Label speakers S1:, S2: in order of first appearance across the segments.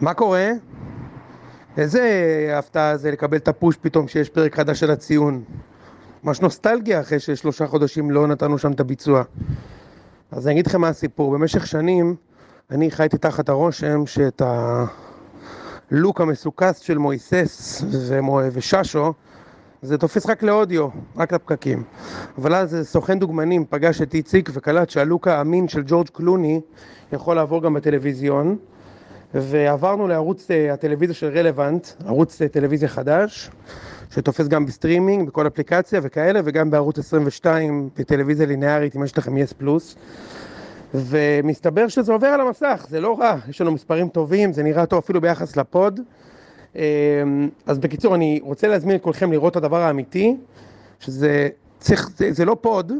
S1: מה קורה? איזה הפתעה זה לקבל את הפוש פתאום שיש פרק חדש של הציון. ממש נוסטלגיה אחרי ששלושה חודשים לא נתנו שם את הביצוע. אז אני אגיד לכם מה הסיפור. במשך שנים אני חייתי תחת הרושם שאת הלוק המסוכס של מויסס ומו... וששו זה תופס רק לאודיו, רק לפקקים. אבל אז סוכן דוגמנים פגש את איציק וקלט שהלוק האמין של ג'ורג' קלוני יכול לעבור גם בטלוויזיון. ועברנו לערוץ אה, הטלוויזיה של רלוונט, ערוץ אה, טלוויזיה חדש, שתופס גם בסטרימינג, בכל אפליקציה וכאלה, וגם בערוץ 22 בטלוויזיה לינארית, אם יש לכם יס פלוס. ומסתבר שזה עובר על המסך, זה לא רע, יש לנו מספרים טובים, זה נראה טוב אפילו ביחס לפוד. אה, אז בקיצור, אני רוצה להזמין את כולכם לראות את הדבר האמיתי, שזה צריך, זה, זה לא פוד,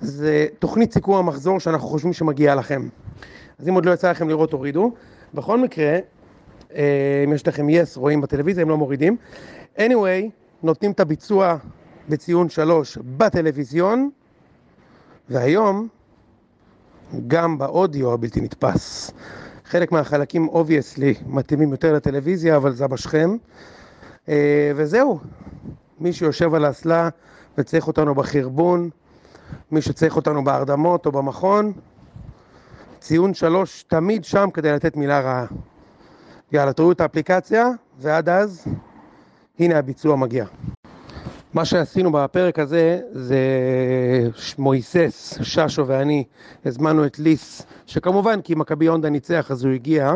S1: זה תוכנית סיכום המחזור שאנחנו חושבים שמגיעה לכם. אז אם עוד לא יצא לכם לראות, תורידו. בכל מקרה, אה, אם יש לכם יס, yes, רואים בטלוויזיה, הם לא מורידים. anyway, נותנים את הביצוע בציון 3 בטלוויזיון, והיום, גם באודיו הבלתי נתפס. חלק מהחלקים אובייסלי מתאימים יותר לטלוויזיה, אבל זה בשכם. אה, וזהו, מי שיושב על האסלה וצריך אותנו בחרבון, מי שצריך אותנו בהרדמות או במכון, ציון שלוש תמיד שם כדי לתת מילה רעה. יאללה, תורידו את האפליקציה, ועד אז, הנה הביצוע מגיע. מה שעשינו בפרק הזה, זה מויסס, ששו ואני, הזמנו את ליס, שכמובן כי מכבי הונדה ניצח אז הוא הגיע,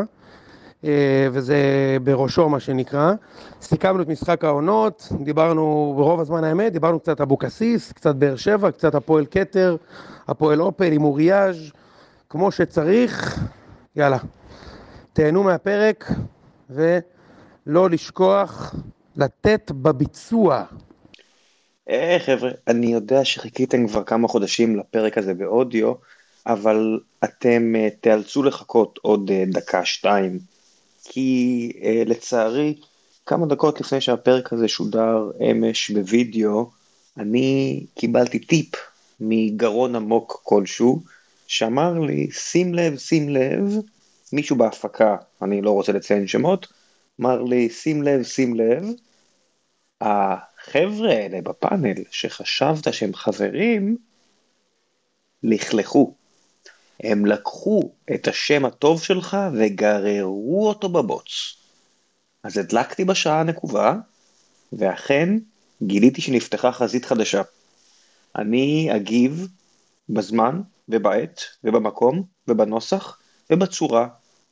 S1: אה, וזה בראשו מה שנקרא. סיכמנו את משחק העונות, דיברנו ברוב הזמן האמת, דיברנו קצת אבוקסיס, קצת באר שבע, קצת הפועל כתר, הפועל אופל עם אוריאז', כמו שצריך, יאללה. תהנו מהפרק, ולא לשכוח לתת בביצוע.
S2: היי אה, חבר'ה, אני יודע שחיכיתם כבר כמה חודשים לפרק הזה באודיו, אבל אתם אה, תיאלצו לחכות עוד אה, דקה-שתיים, כי אה, לצערי, כמה דקות לפני שהפרק הזה שודר אמש בווידאו, אני קיבלתי טיפ מגרון עמוק כלשהו, שאמר לי, שים לב, שים לב, מישהו בהפקה, אני לא רוצה לציין שמות, אמר לי, שים לב, שים לב, החבר'ה האלה בפאנל שחשבת שהם חברים, לכלכו. הם לקחו את השם הטוב שלך וגררו אותו בבוץ. אז הדלקתי בשעה הנקובה, ואכן גיליתי שנפתחה חזית חדשה. אני אגיב בזמן ובעת ובמקום ובנוסח ובצורה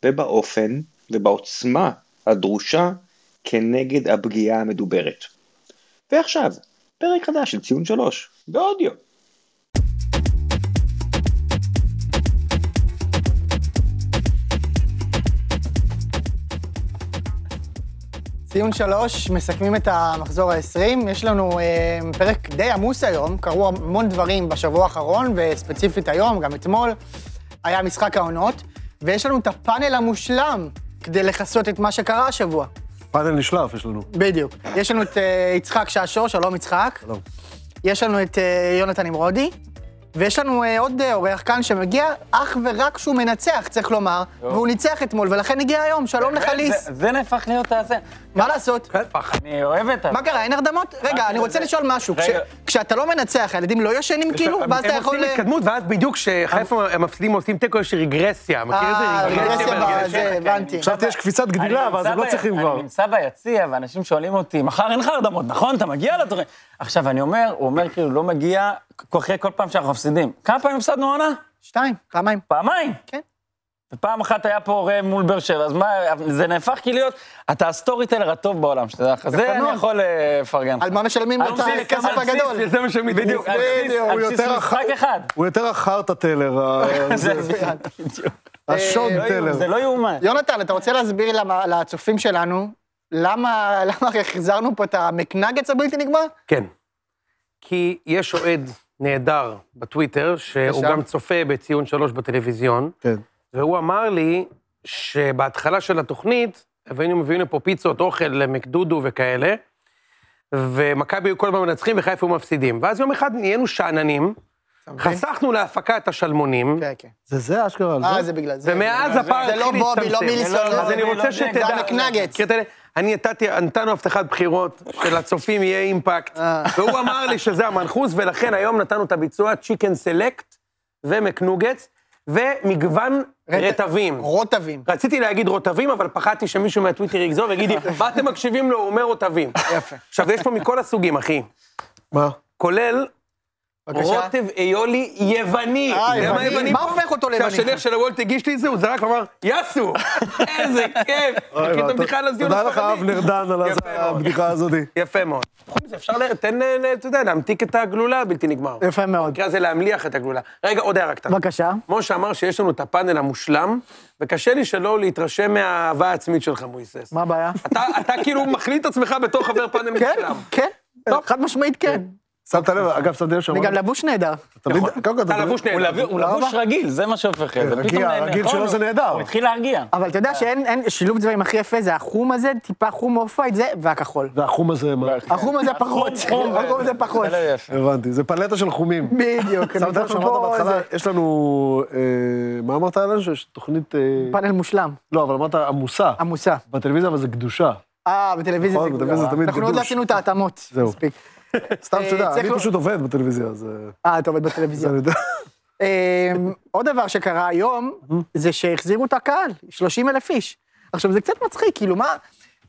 S2: ובאופן ובעוצמה הדרושה כנגד הפגיעה המדוברת. ועכשיו, פרק חדש של ציון 3, באודיו.
S3: ציון שלוש, מסכמים את המחזור ה-20. יש לנו אה, פרק די עמוס היום, קרו המון דברים בשבוע האחרון, וספציפית היום, גם אתמול, היה משחק העונות, ויש לנו את הפאנל המושלם כדי לכסות את מה שקרה השבוע.
S4: פאנל נשלף יש לנו.
S3: בדיוק. יש לנו את אה, יצחק שעשוע, שלום יצחק.
S4: שלום.
S3: יש לנו את אה, יונתן נמרודי, ויש לנו אה, עוד אה, אורח כאן שמגיע אך ורק כשהוא מנצח, צריך לומר, והוא ניצח אתמול, ולכן הגיע היום, שלום לך ליס.
S5: זה- זה נהפך להיות הזה.
S3: מה לעשות?
S5: פח,
S3: כאילו,
S5: אני אוהב את ה...
S3: מה קרה, אין הרדמות? רגע, אני רוצה לשאול משהו. כש-
S5: רגע.
S3: כשאתה לא מנצח, הילדים לא ישנים כאילו? ואז אתה יכול...
S1: הם עושים התקדמות, ואז בדיוק כשחיפה מפסידים עושים תיקו, יש רגרסיה. כן. מכיר את זה?
S3: אה, רגרסיה
S1: ברגרסיה.
S3: בזה, הבנתי.
S4: חשבתי יש קפיצת גדילה,
S5: אני
S4: אבל אז הם
S5: נמצא
S4: לא
S5: ב-
S4: צריכים כבר.
S5: אני נמצא ביציע, ואנשים שואלים אותי, מחר אין לך הרדמות, נכון? אתה מגיע לתוכנית. עכשיו, אני אומר, הוא אומר כאילו, לא מגיע, כ- אחרי כל פעם שאנחנו מפסידים. כמה פעמים הפסדנו עונה?
S3: שתיים, פעמיים.
S5: פעמיים.
S3: כן.
S5: ופעם אחת היה פה ראם מול באר שבע, אז מה, זה נהפך כאילו להיות, אתה הסטורי טיילר הטוב בעולם, שתדע לך. זה אני
S3: מאוד.
S5: יכול אה, לפרגן לך.
S3: על מה משלמים לו
S5: על
S3: את
S5: בסיס-
S3: הכסף
S5: על בסיס-
S3: הגדול?
S1: זה מה שהם
S5: בדיוק, על בסיס-
S4: הוא
S5: על בסיס
S4: יותר
S5: משחק
S4: אחר.
S5: אחד.
S4: הוא יותר החרטא טלר,
S3: אה,
S4: ה- זה-
S5: בדיוק.
S4: השוד
S5: לא יאומן, זה
S4: טלר.
S5: לא יאומן.
S3: יונתן, אתה רוצה להסביר למה- לצופים שלנו למה למה החזרנו פה את המקנגץ הבלתי נגמר?
S6: כן. כי יש אוהד נהדר בטוויטר, שהוא
S3: ישר.
S6: גם צופה בציון שלוש בטלוויזיון,
S4: כן.
S6: והוא אמר לי שבהתחלה של התוכנית, היינו מביאים לפה פיצות, אוכל, למקדודו וכאלה, ומכבי היו כל הזמן מנצחים וחיפה היו מפסידים. ואז יום אחד נהיינו שאננים,
S3: אתה מבין?
S6: חסכנו להפקה את השלמונים,
S3: כן, כן.
S4: זה זה אשכרה לא? על
S3: אה,
S4: זה?
S3: זה בגלל זה.
S6: ומאז הפער
S3: זה
S6: התחיל
S3: לא
S6: להצטמצם.
S3: בובי, לא מילסון,
S5: לא,
S3: לא...
S6: אז אני
S5: לא,
S6: רוצה
S5: לא,
S6: שתדע,
S3: זה המקנגטס.
S6: כי אתה יודע, אני נתתי, נתנו הבטחת בחירות שלצופים יהיה אימפקט,
S3: אה.
S6: והוא אמר לי שזה המנחוס, ולכן היום נתנו את הביצוע צ'יקן סלקט ומקנוגטס, ומגוון
S3: רט-
S6: רטבים.
S3: רוטבים.
S6: רציתי להגיד רוטבים, אבל פחדתי שמישהו מהטוויטר יגזור ויגיד לי, מה אתם מקשיבים לו? הוא אומר רוטבים.
S3: יפה.
S6: עכשיו, יש פה מכל הסוגים, אחי.
S4: מה?
S6: כולל
S3: בבקשה.
S6: רוטב איולי יווני.
S3: אה,
S6: אתה יודע
S3: יווני? מה הופך אותו ליווני?
S6: כשהשליח של הוולט הגיש לי את זה, הוא זרק ואמר, יאסו! איזה כיף! תקריא את הבדיחה על הזיון
S4: תודה לך,
S6: הספרדי.
S4: אבנר דן, על
S6: יפה מאוד.
S4: הבדיחה הזאת.
S6: יפה מאוד. חוץ מזה, אפשר, ל- תן, אה, אתה יודע, להמתיק את הגלולה הבלתי נגמר.
S3: יפה מאוד.
S6: במקרה הזה להמליח את הגלולה. רגע, עוד הערה קטנה.
S3: בבקשה.
S6: משה אמר שיש לנו את הפאנל המושלם, וקשה לי שלא להתרשם מהאהבה העצמית שלך, מויסס.
S3: מה הבעיה?
S6: אתה, אתה כאילו מכליל את עצמך בתור חבר פאנל
S3: כן,
S6: מושלם.
S3: כן. חד משמעית כן.
S4: שמת לב, אגב, שמת לב
S3: אני
S4: שאמרנו...
S3: גם לא- נכון. לבוש נהדר.
S4: תמיד- קודם כל,
S6: אתה
S4: תמיד-
S6: לבוש
S5: הוא
S6: נהדר.
S5: לבוש- הוא לבוש רגיל, זה מה שהופך את זה.
S4: רגיע,
S5: פתאום נהנה,
S4: הרגיל
S5: נכון?
S4: שלו זה
S5: הוא-
S4: נהדר.
S5: הוא התחיל להרגיע.
S3: אבל אתה יודע שאין אין- שילוב צבעים הכי יפה זה החום הזה, טיפה חום אוף ווייט זה, והכחול.
S4: והחום הזה, מה?
S3: החום הזה פחות.
S5: חום, חום.
S3: החום הזה פחות.
S5: זה לא יפה.
S4: הבנתי, זה פלטה של חומים.
S3: בדיוק.
S4: שמת לב
S3: אנחנו
S4: שאמרת
S3: פה,
S4: בהתחלה,
S3: זה
S4: יש לנו... אה, מה אמרת עלינו? שיש תוכנית... אה,
S3: פאנל מושלם,
S4: לא, אבל אמרת עמוסה.
S3: עמוסה.
S4: בטלוויזיה, אבל זה קדושה.
S3: אה, בטלוויזיה
S4: נכון,
S3: זה
S4: בטלוויזיה זה תמיד
S3: אנחנו עוד לא
S4: גדוש.
S3: עשינו את ההתאמות.
S4: זהו.
S3: מספיק.
S4: סתם
S3: אה,
S4: שתדע,
S3: צריך
S4: אני
S3: לא-
S4: פשוט עובד בטלוויזיה, אז... אה,
S3: אה, אתה עובד
S4: זה
S3: בטלוויזיה.
S4: אני יודע.
S3: אמ, עוד דבר שקרה היום, זה שהחזירו את הקהל, 30 אלף איש. עכשיו, זה קצת מצחיק, כאילו, מה...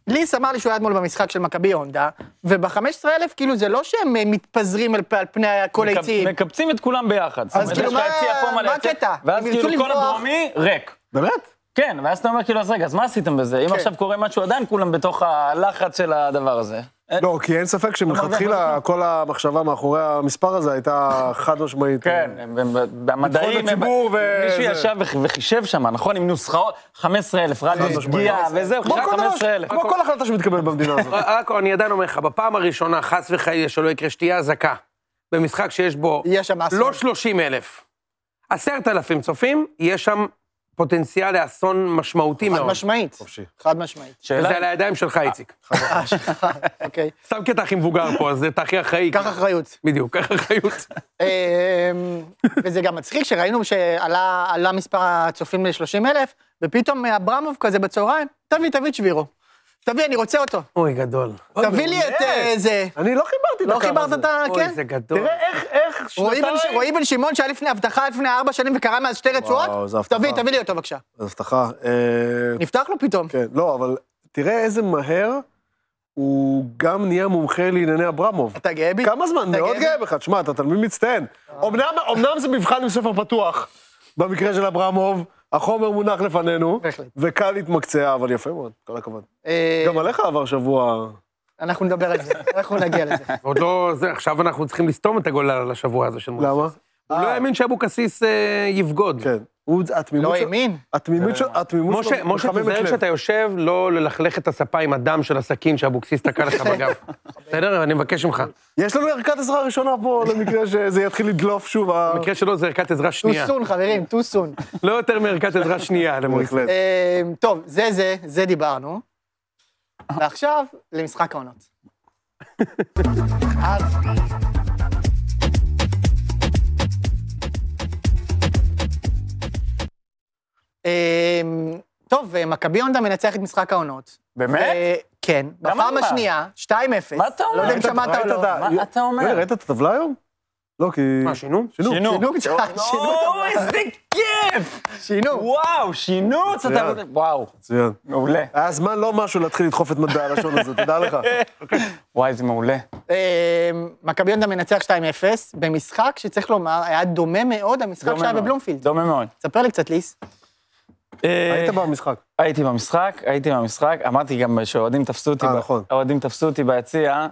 S3: ליס אמר לי שהוא היה אתמול במשחק של מכבי הונדה, וב-15 אלף, כאילו, זה לא שהם אה, מתפזרים על פ- על פני כל
S5: מקב-
S3: היציעים.
S5: מקבצים את כולם ביחד. זאת אומרת,
S3: כאילו,
S5: יש לך
S3: מה-
S5: יציע פה מלא
S3: מה
S5: יציע,
S3: הקטע?
S5: ואז
S3: הם ירצו
S5: כאילו כל
S3: לברוח.
S5: הדרומי ריק.
S4: באמת?
S5: כן, ואז אתה אומר כאילו, אז רגע, אז מה עשיתם בזה? אם עכשיו קורה משהו, עדיין כולם בתוך הלחץ של הדבר הזה.
S4: לא, כי אין ספק שמלכתחילה כל המחשבה מאחורי המספר הזה הייתה חד משמעית.
S5: כן, הם- הם- במדעים, הם-
S4: הציבור ו-
S5: מישהו
S4: זה.
S5: ישב וח- וחישב שם, נכון? עם נוסחאות, 15,000, רדיוס
S4: משמעית.
S5: פגיעה וזה, הוא
S4: כמו
S5: חישב
S4: כל דבר-
S5: 15,000.
S4: כמו כל החלטה שמתקבלת במדינה הזאת.
S6: רק אה, אני עדיין אומר לך, בפעם הראשונה, חס וחלילה, שלא יקרה, שתהיה אזעקה. במשחק שיש בו
S3: יהיה שם אסון.
S6: לא 30 אלף, 10,000 צופים, יש שם פוטנציאל לאסון
S3: חד
S6: משמעותי מאוד.
S3: משמעית. חד משמעית.
S5: שאלה,
S6: זה על הידיים שלך, איציק.
S3: אוקיי.
S6: סתם כי אתה הכי מבוגר פה, אז אתה הכי אחראי.
S3: קח אחריות.
S6: בדיוק, קח אחריות.
S3: אמ, וזה גם מצחיק שראינו שעלה עלה מספר הצופים ל-30 אלף, ופתאום אברמוב כזה בצהריים, תביא, תביא את שבירו. תביא, אני רוצה אותו.
S6: אוי, גדול.
S3: תביא לי את אה, זה.
S4: אני לא חיברתי את
S3: לא
S4: הקו
S3: חיברת
S4: הזה.
S3: את ה...
S6: אוי,
S3: כן?
S6: זה גדול.
S4: איך, איך,
S3: רועי בן-
S4: שנתיים?
S3: רועי בן שמעון שהיה לפני הבטחה לפני ארבע שנים וקרא מאז שתי רצועות?
S4: זה הבטחה.
S3: תביא, תביא לי אותו בבקשה.
S4: אז הבטחה. אה,
S3: נפתח לו פתאום.
S4: כן, לא, אבל תראה איזה מהר הוא גם נהיה מומחה לענייני אברמוב.
S3: אתה גאה בי?
S4: כמה זמן?
S3: אתה
S4: מאוד
S3: גאה בי?
S4: גאה בך. תשמע, אתה תלמיד מצטיין. אמנם- אמנם זה מבחן עם ספר פתוח, במקרה של אברמוב, החומר מונח לפנינו,
S3: בהחלט.
S4: וקל להתמקצע, אבל יפה מאוד, כל הכבוד.
S3: אה,
S4: גם עליך עבר שבוע...
S3: אנחנו נדבר על זה, אנחנו נגיע לזה.
S6: עוד לא... זה, עכשיו אנחנו צריכים לסתום את הגולל על השבוע הזה של מויסס.
S4: למה?
S6: הוא לא האמין שאבוקסיס אה, יבגוד.
S4: כן. הוא- התמימות
S3: לא
S4: שלו-
S3: האמין?
S4: התמימות שלו... התמימות
S6: משה,
S4: שלו
S6: משה,
S4: מחממת
S6: תיזהר
S4: לב.
S6: כשאתה יושב, לא ללכלך את הספה עם הדם של הסכין שאבוקסיס תקע לך בגב. בסדר? אני מבקש ממך.
S4: יש לנו ערכת עזרה ראשונה פה, למקרה שזה יתחיל לדלוף שוב. ה-
S6: במקרה שלו זה ערכת עזרה
S3: טו
S6: שנייה.
S3: סון, חברים, טו סון.
S6: לא יותר מערכת עזרה שנייה, למויסס.
S4: בהחלט.
S3: אמ, טוב, זה זה, זה דיברנו. ועכשיו, למשחק העונות. אז... אמ, טוב, מכבי הונדה מנצח את משחק העונות.
S5: באמת?
S3: ו- כן.
S5: גם
S3: בפעם
S5: ארבע.
S3: השנייה, 2-0.
S5: מה אתה אומר?
S3: לא יודע אם
S4: ראית-
S3: שמעת
S4: ראית
S3: או לא.
S4: את ה-
S5: מה אתה אומר?
S4: רגע, ראית את הטבלה היום? לא, כי...
S6: מה, שינו?
S4: שינו.
S5: לא,
S3: שינו קצת, שינו את
S5: אוי, איזה כיף!
S3: ה- שינו.
S5: וואו, שינו את
S4: מצוין.
S5: התרבות. וואו,
S4: מצוין.
S5: מעולה.
S4: היה זמן לא משהו להתחיל לדחוף את מדע הלשון הזה, תדע לך.
S5: וואי, זה מעולה.
S3: אמ, מכבי הונדה מנצח 2-0, במשחק שצריך לומר, היה דומה מאוד המשחק
S5: דומה
S3: שהיה
S5: מאוד.
S3: בבלומפילד.
S5: דומה מאוד.
S3: ספר לי קצת, ליס.
S5: אה,
S4: היית במשחק.
S5: הייתי במשחק, הייתי במשחק, אמרתי גם שאוהדים תפסו אותי,
S4: אה,
S5: ב-
S4: נכון.
S5: האוהדים תפסו אותי ביציע,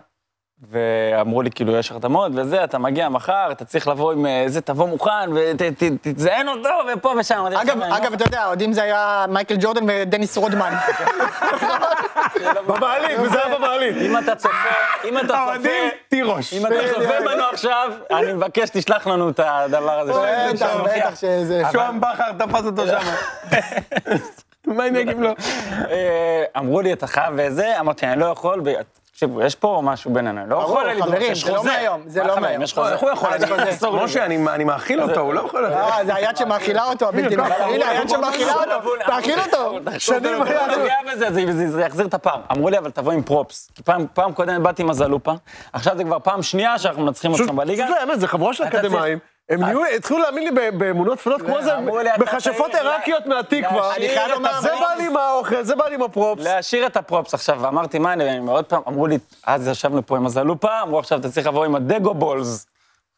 S5: ואמרו לי, כאילו, יש הרתמות וזה, אתה מגיע מחר, אתה צריך לבוא עם אה, זה, תבוא מוכן, ותזיין אותו, ופה ושם. אמרתי,
S3: אגב,
S5: "חבר'ה, אני לא
S3: אגב, אתה יודע, האוהדים זה היה מייקל ג'ורדן ודניס רודמן.
S4: במעלית, וזה היה במעלית.
S5: לא-" אם אתה צופה, אם אתה צופה,
S6: לא, תירוש.
S5: אם אתה צופה בנו עכשיו, אני מבקש, תשלח לנו את הדבר הזה. שאתה
S3: בטח,
S5: שם.
S3: בטח שזה...
S6: שוהם בכר תפס אותו שמה. מה אם יגיב לו?
S5: אה, אמרו לי, אתה חייב וזה, אמרתי, אני לא יכול, ו- תקשיבו, יש פה משהו בינינו, לא
S3: ברור,
S5: יכול היה לדרוש,
S3: חברים,
S5: יש
S3: זה לא
S5: חוזה.
S3: מהיום, זה
S5: מה
S3: לא
S5: חברים,
S3: מהיום.
S5: יש חוזה.
S6: איך הוא יכול?
S5: אז
S6: אני-
S5: אני- אסור לי.
S6: משה, אני- אני מאכיל אותו, הוא לא יכול...
S3: אה, זה היד שמאכילה אותו, הבלתי
S6: ככה,
S3: מאכיל. הנה, היד שמאכילה אותו, תאכיל אותו.
S5: שנים היה... אני גאה בזה, זה- זה- זה יחזיר את הפער. אמרו לי, אבל תבוא עם פרופס. כי פעם- פעם קודם באתי עם הזלופה, עכשיו זה כבר פעם שנייה שאנחנו מנצחים אותם בליגה.
S4: פשוט האמת, זה חבורה של
S5: אתה צריך-
S4: אקדמאים. הם נהיו, התחילו להאמין לי ב- באמונות טפלות כמו איזה,
S5: אמרו לי, אתה
S4: בכשפות
S5: צעיר,
S4: עיראקיות מהתקווה.
S5: להשאיר אני חייב את לומר,
S4: זה
S5: הפרופס.
S4: בא לי עם האוכל, זה בא לי עם הפרופס.
S5: להשאיר את הפרופס עכשיו, ואמרתי, מה אני, עוד פעם, אמרו לי, אז ישבנו פה עם הזלופה, אמרו עכשיו, אתה צריך לבוא עם הדגו בולס.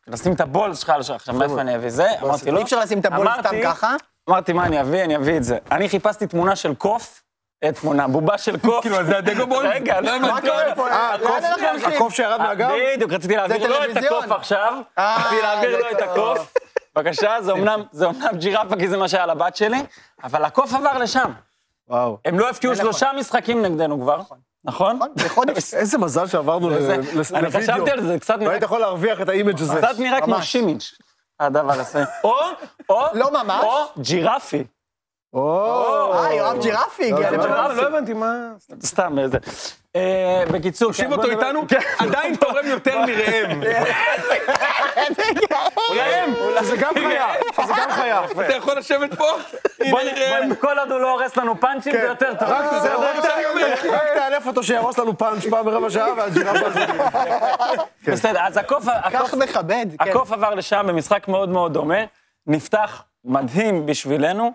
S5: לשים את הבולס שלך על השולחן, עכשיו, מאיפה אני אביא זה? אמרתי, לא.
S3: אי אפשר לשים את הבול
S5: אמרתי-
S3: סתם ככה.
S5: אמרתי, מה אני אביא? אני אביא את זה. אני חיפשתי תמונה של קוף, אה, תמונה, בובה של קוף. כאילו, זה הדגו בולס? רגע, לא
S3: מה קורה פה?
S4: אה,
S3: לאן
S4: הקוף-
S3: אנחנו הולכים?
S4: הקוף שירד מהגב?
S5: אה, בדיוק, רציתי להעביר לו את
S3: טלוויזיון.
S5: הקוף עכשיו.
S3: אה,
S5: רציתי
S3: זה
S5: להעביר לו את
S3: טוב.
S5: הקוף. בבקשה, זה אמנם- זה אמנם ג'ירפה, כי זה מה שהיה לבת שלי, אבל הקוף עבר לשם.
S4: וואו.
S5: הם לא הפקיעו שלושה משחקים נגדנו כבר, נכון?
S3: נכון, אה, זה חודש.
S4: איזה מזל שעברנו ל-
S5: זה-
S4: לס-
S5: אני
S4: לוידאו.
S5: חשבתי על זה,
S3: לא
S5: קצת נראה-
S4: והיית יכול להרוויח את האימג' הזה.
S5: קצת נראה כמו שימיץ', הדבר הזה. או, או,
S3: לא ממש.
S5: או ג'ירפי.
S4: או,
S3: אה, יואב ג'ירפי הגיע
S4: לא,
S3: לבן.
S5: לא, לא
S6: הבנתי מה...
S5: סתם איזה. אה, בקיצור, תקשיב
S6: תקשיב אותו איתנו, עדיין תורם יותר מראם.
S5: ראם,
S4: זה גם חיה, זה גם חיה.
S6: אתה יכול לשבת פה?
S5: בוא
S6: הנה ראם.
S5: נ- כל עוד הוא לא הורס לנו פאנצ'ים, זה יותר טוב.
S4: רק זה,
S5: בסדר?
S4: רק ת- רק תאלף אותו שיהרוס לנו פאנץ' פעם ברבע שעה, והג'ירפה הזאת.
S5: בסדר, אז הקוף,
S3: כך
S5: הקוף-
S3: מכבד, כן.
S5: הקוף עבר לשם במשחק מאוד מאוד דומה, נפתח מדהים בשבילנו,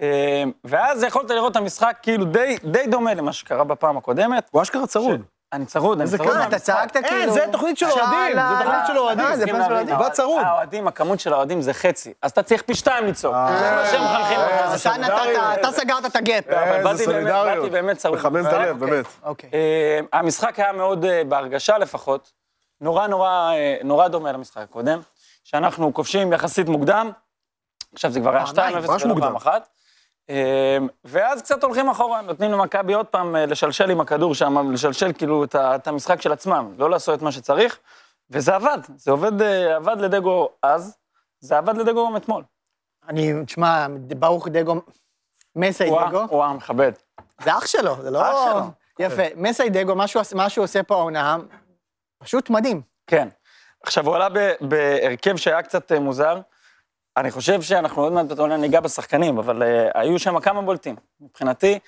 S5: אה, ואז יכולת לראות את המשחק כאילו די- די דומה למה שקרה בפעם הקודמת.
S4: הוא אשכרה צרוד.
S5: אני צרוד, אני צרוד.
S3: אה, אתה צעקת כאילו...
S4: זה תוכנית של אוהדים, זה
S3: שאלה,
S4: תוכנית של אוהדים.
S3: אה, זה
S5: צריכים
S3: פעם של
S5: להבין,
S3: אוהדים.
S4: בא
S5: האוהד-
S4: צרוד.
S5: האוהדים, הכמות של האוהדים זה חצי, אז אתה צריך פי שתיים ליצור. זה מה שהם מחנכים אותך.
S3: אה, אתה נתת, אתה סגרת את הגאפ.
S5: אבל באתי
S4: איזה
S5: באמת-
S4: סולידריות.
S5: באתי באמת צרוד.
S4: מחמם את הלב, באמת.
S3: אוקיי.
S5: אה, המשחק היה מאוד, אה, בהרגשה לפחות, נורא נורא אה, נורא דומה למשחק הקודם, שאנחנו כובשים יחסית מוקדם, עכשיו זה כבר היה 2-0
S3: פעמיים,
S4: ממש
S5: ולא פעם
S4: מוקדם.
S5: אחת, אה, ואז קצת הולכים אחורה, נותנים למכבי עוד פעם אה, לשלשל עם הכדור שם, לשלשל כאילו את ה- את המשחק של עצמם, לא לעשות את מה שצריך, וזה עבד, זה עובד, אה, עבד לדגו אז, זה עבד לדגו גם אתמול.
S3: אני, תשמע, ברוך דגו, מסי דגו,
S5: וואה, וואה, מכבד.
S3: זה אח שלו, זה לא...
S5: אח שלו.
S3: יפה, מסי דגו, מה שהוא עש- מה שהוא עושה פה העונה, פשוט מדהים.
S5: כן. עכשיו, הוא עלה ב- בהרכב שהיה קצת אה, מוזר. אני חושב שאנחנו עוד מעט בתור ניגע בשחקנים, אבל uh, היו שם כמה בולטים. מבחינתי,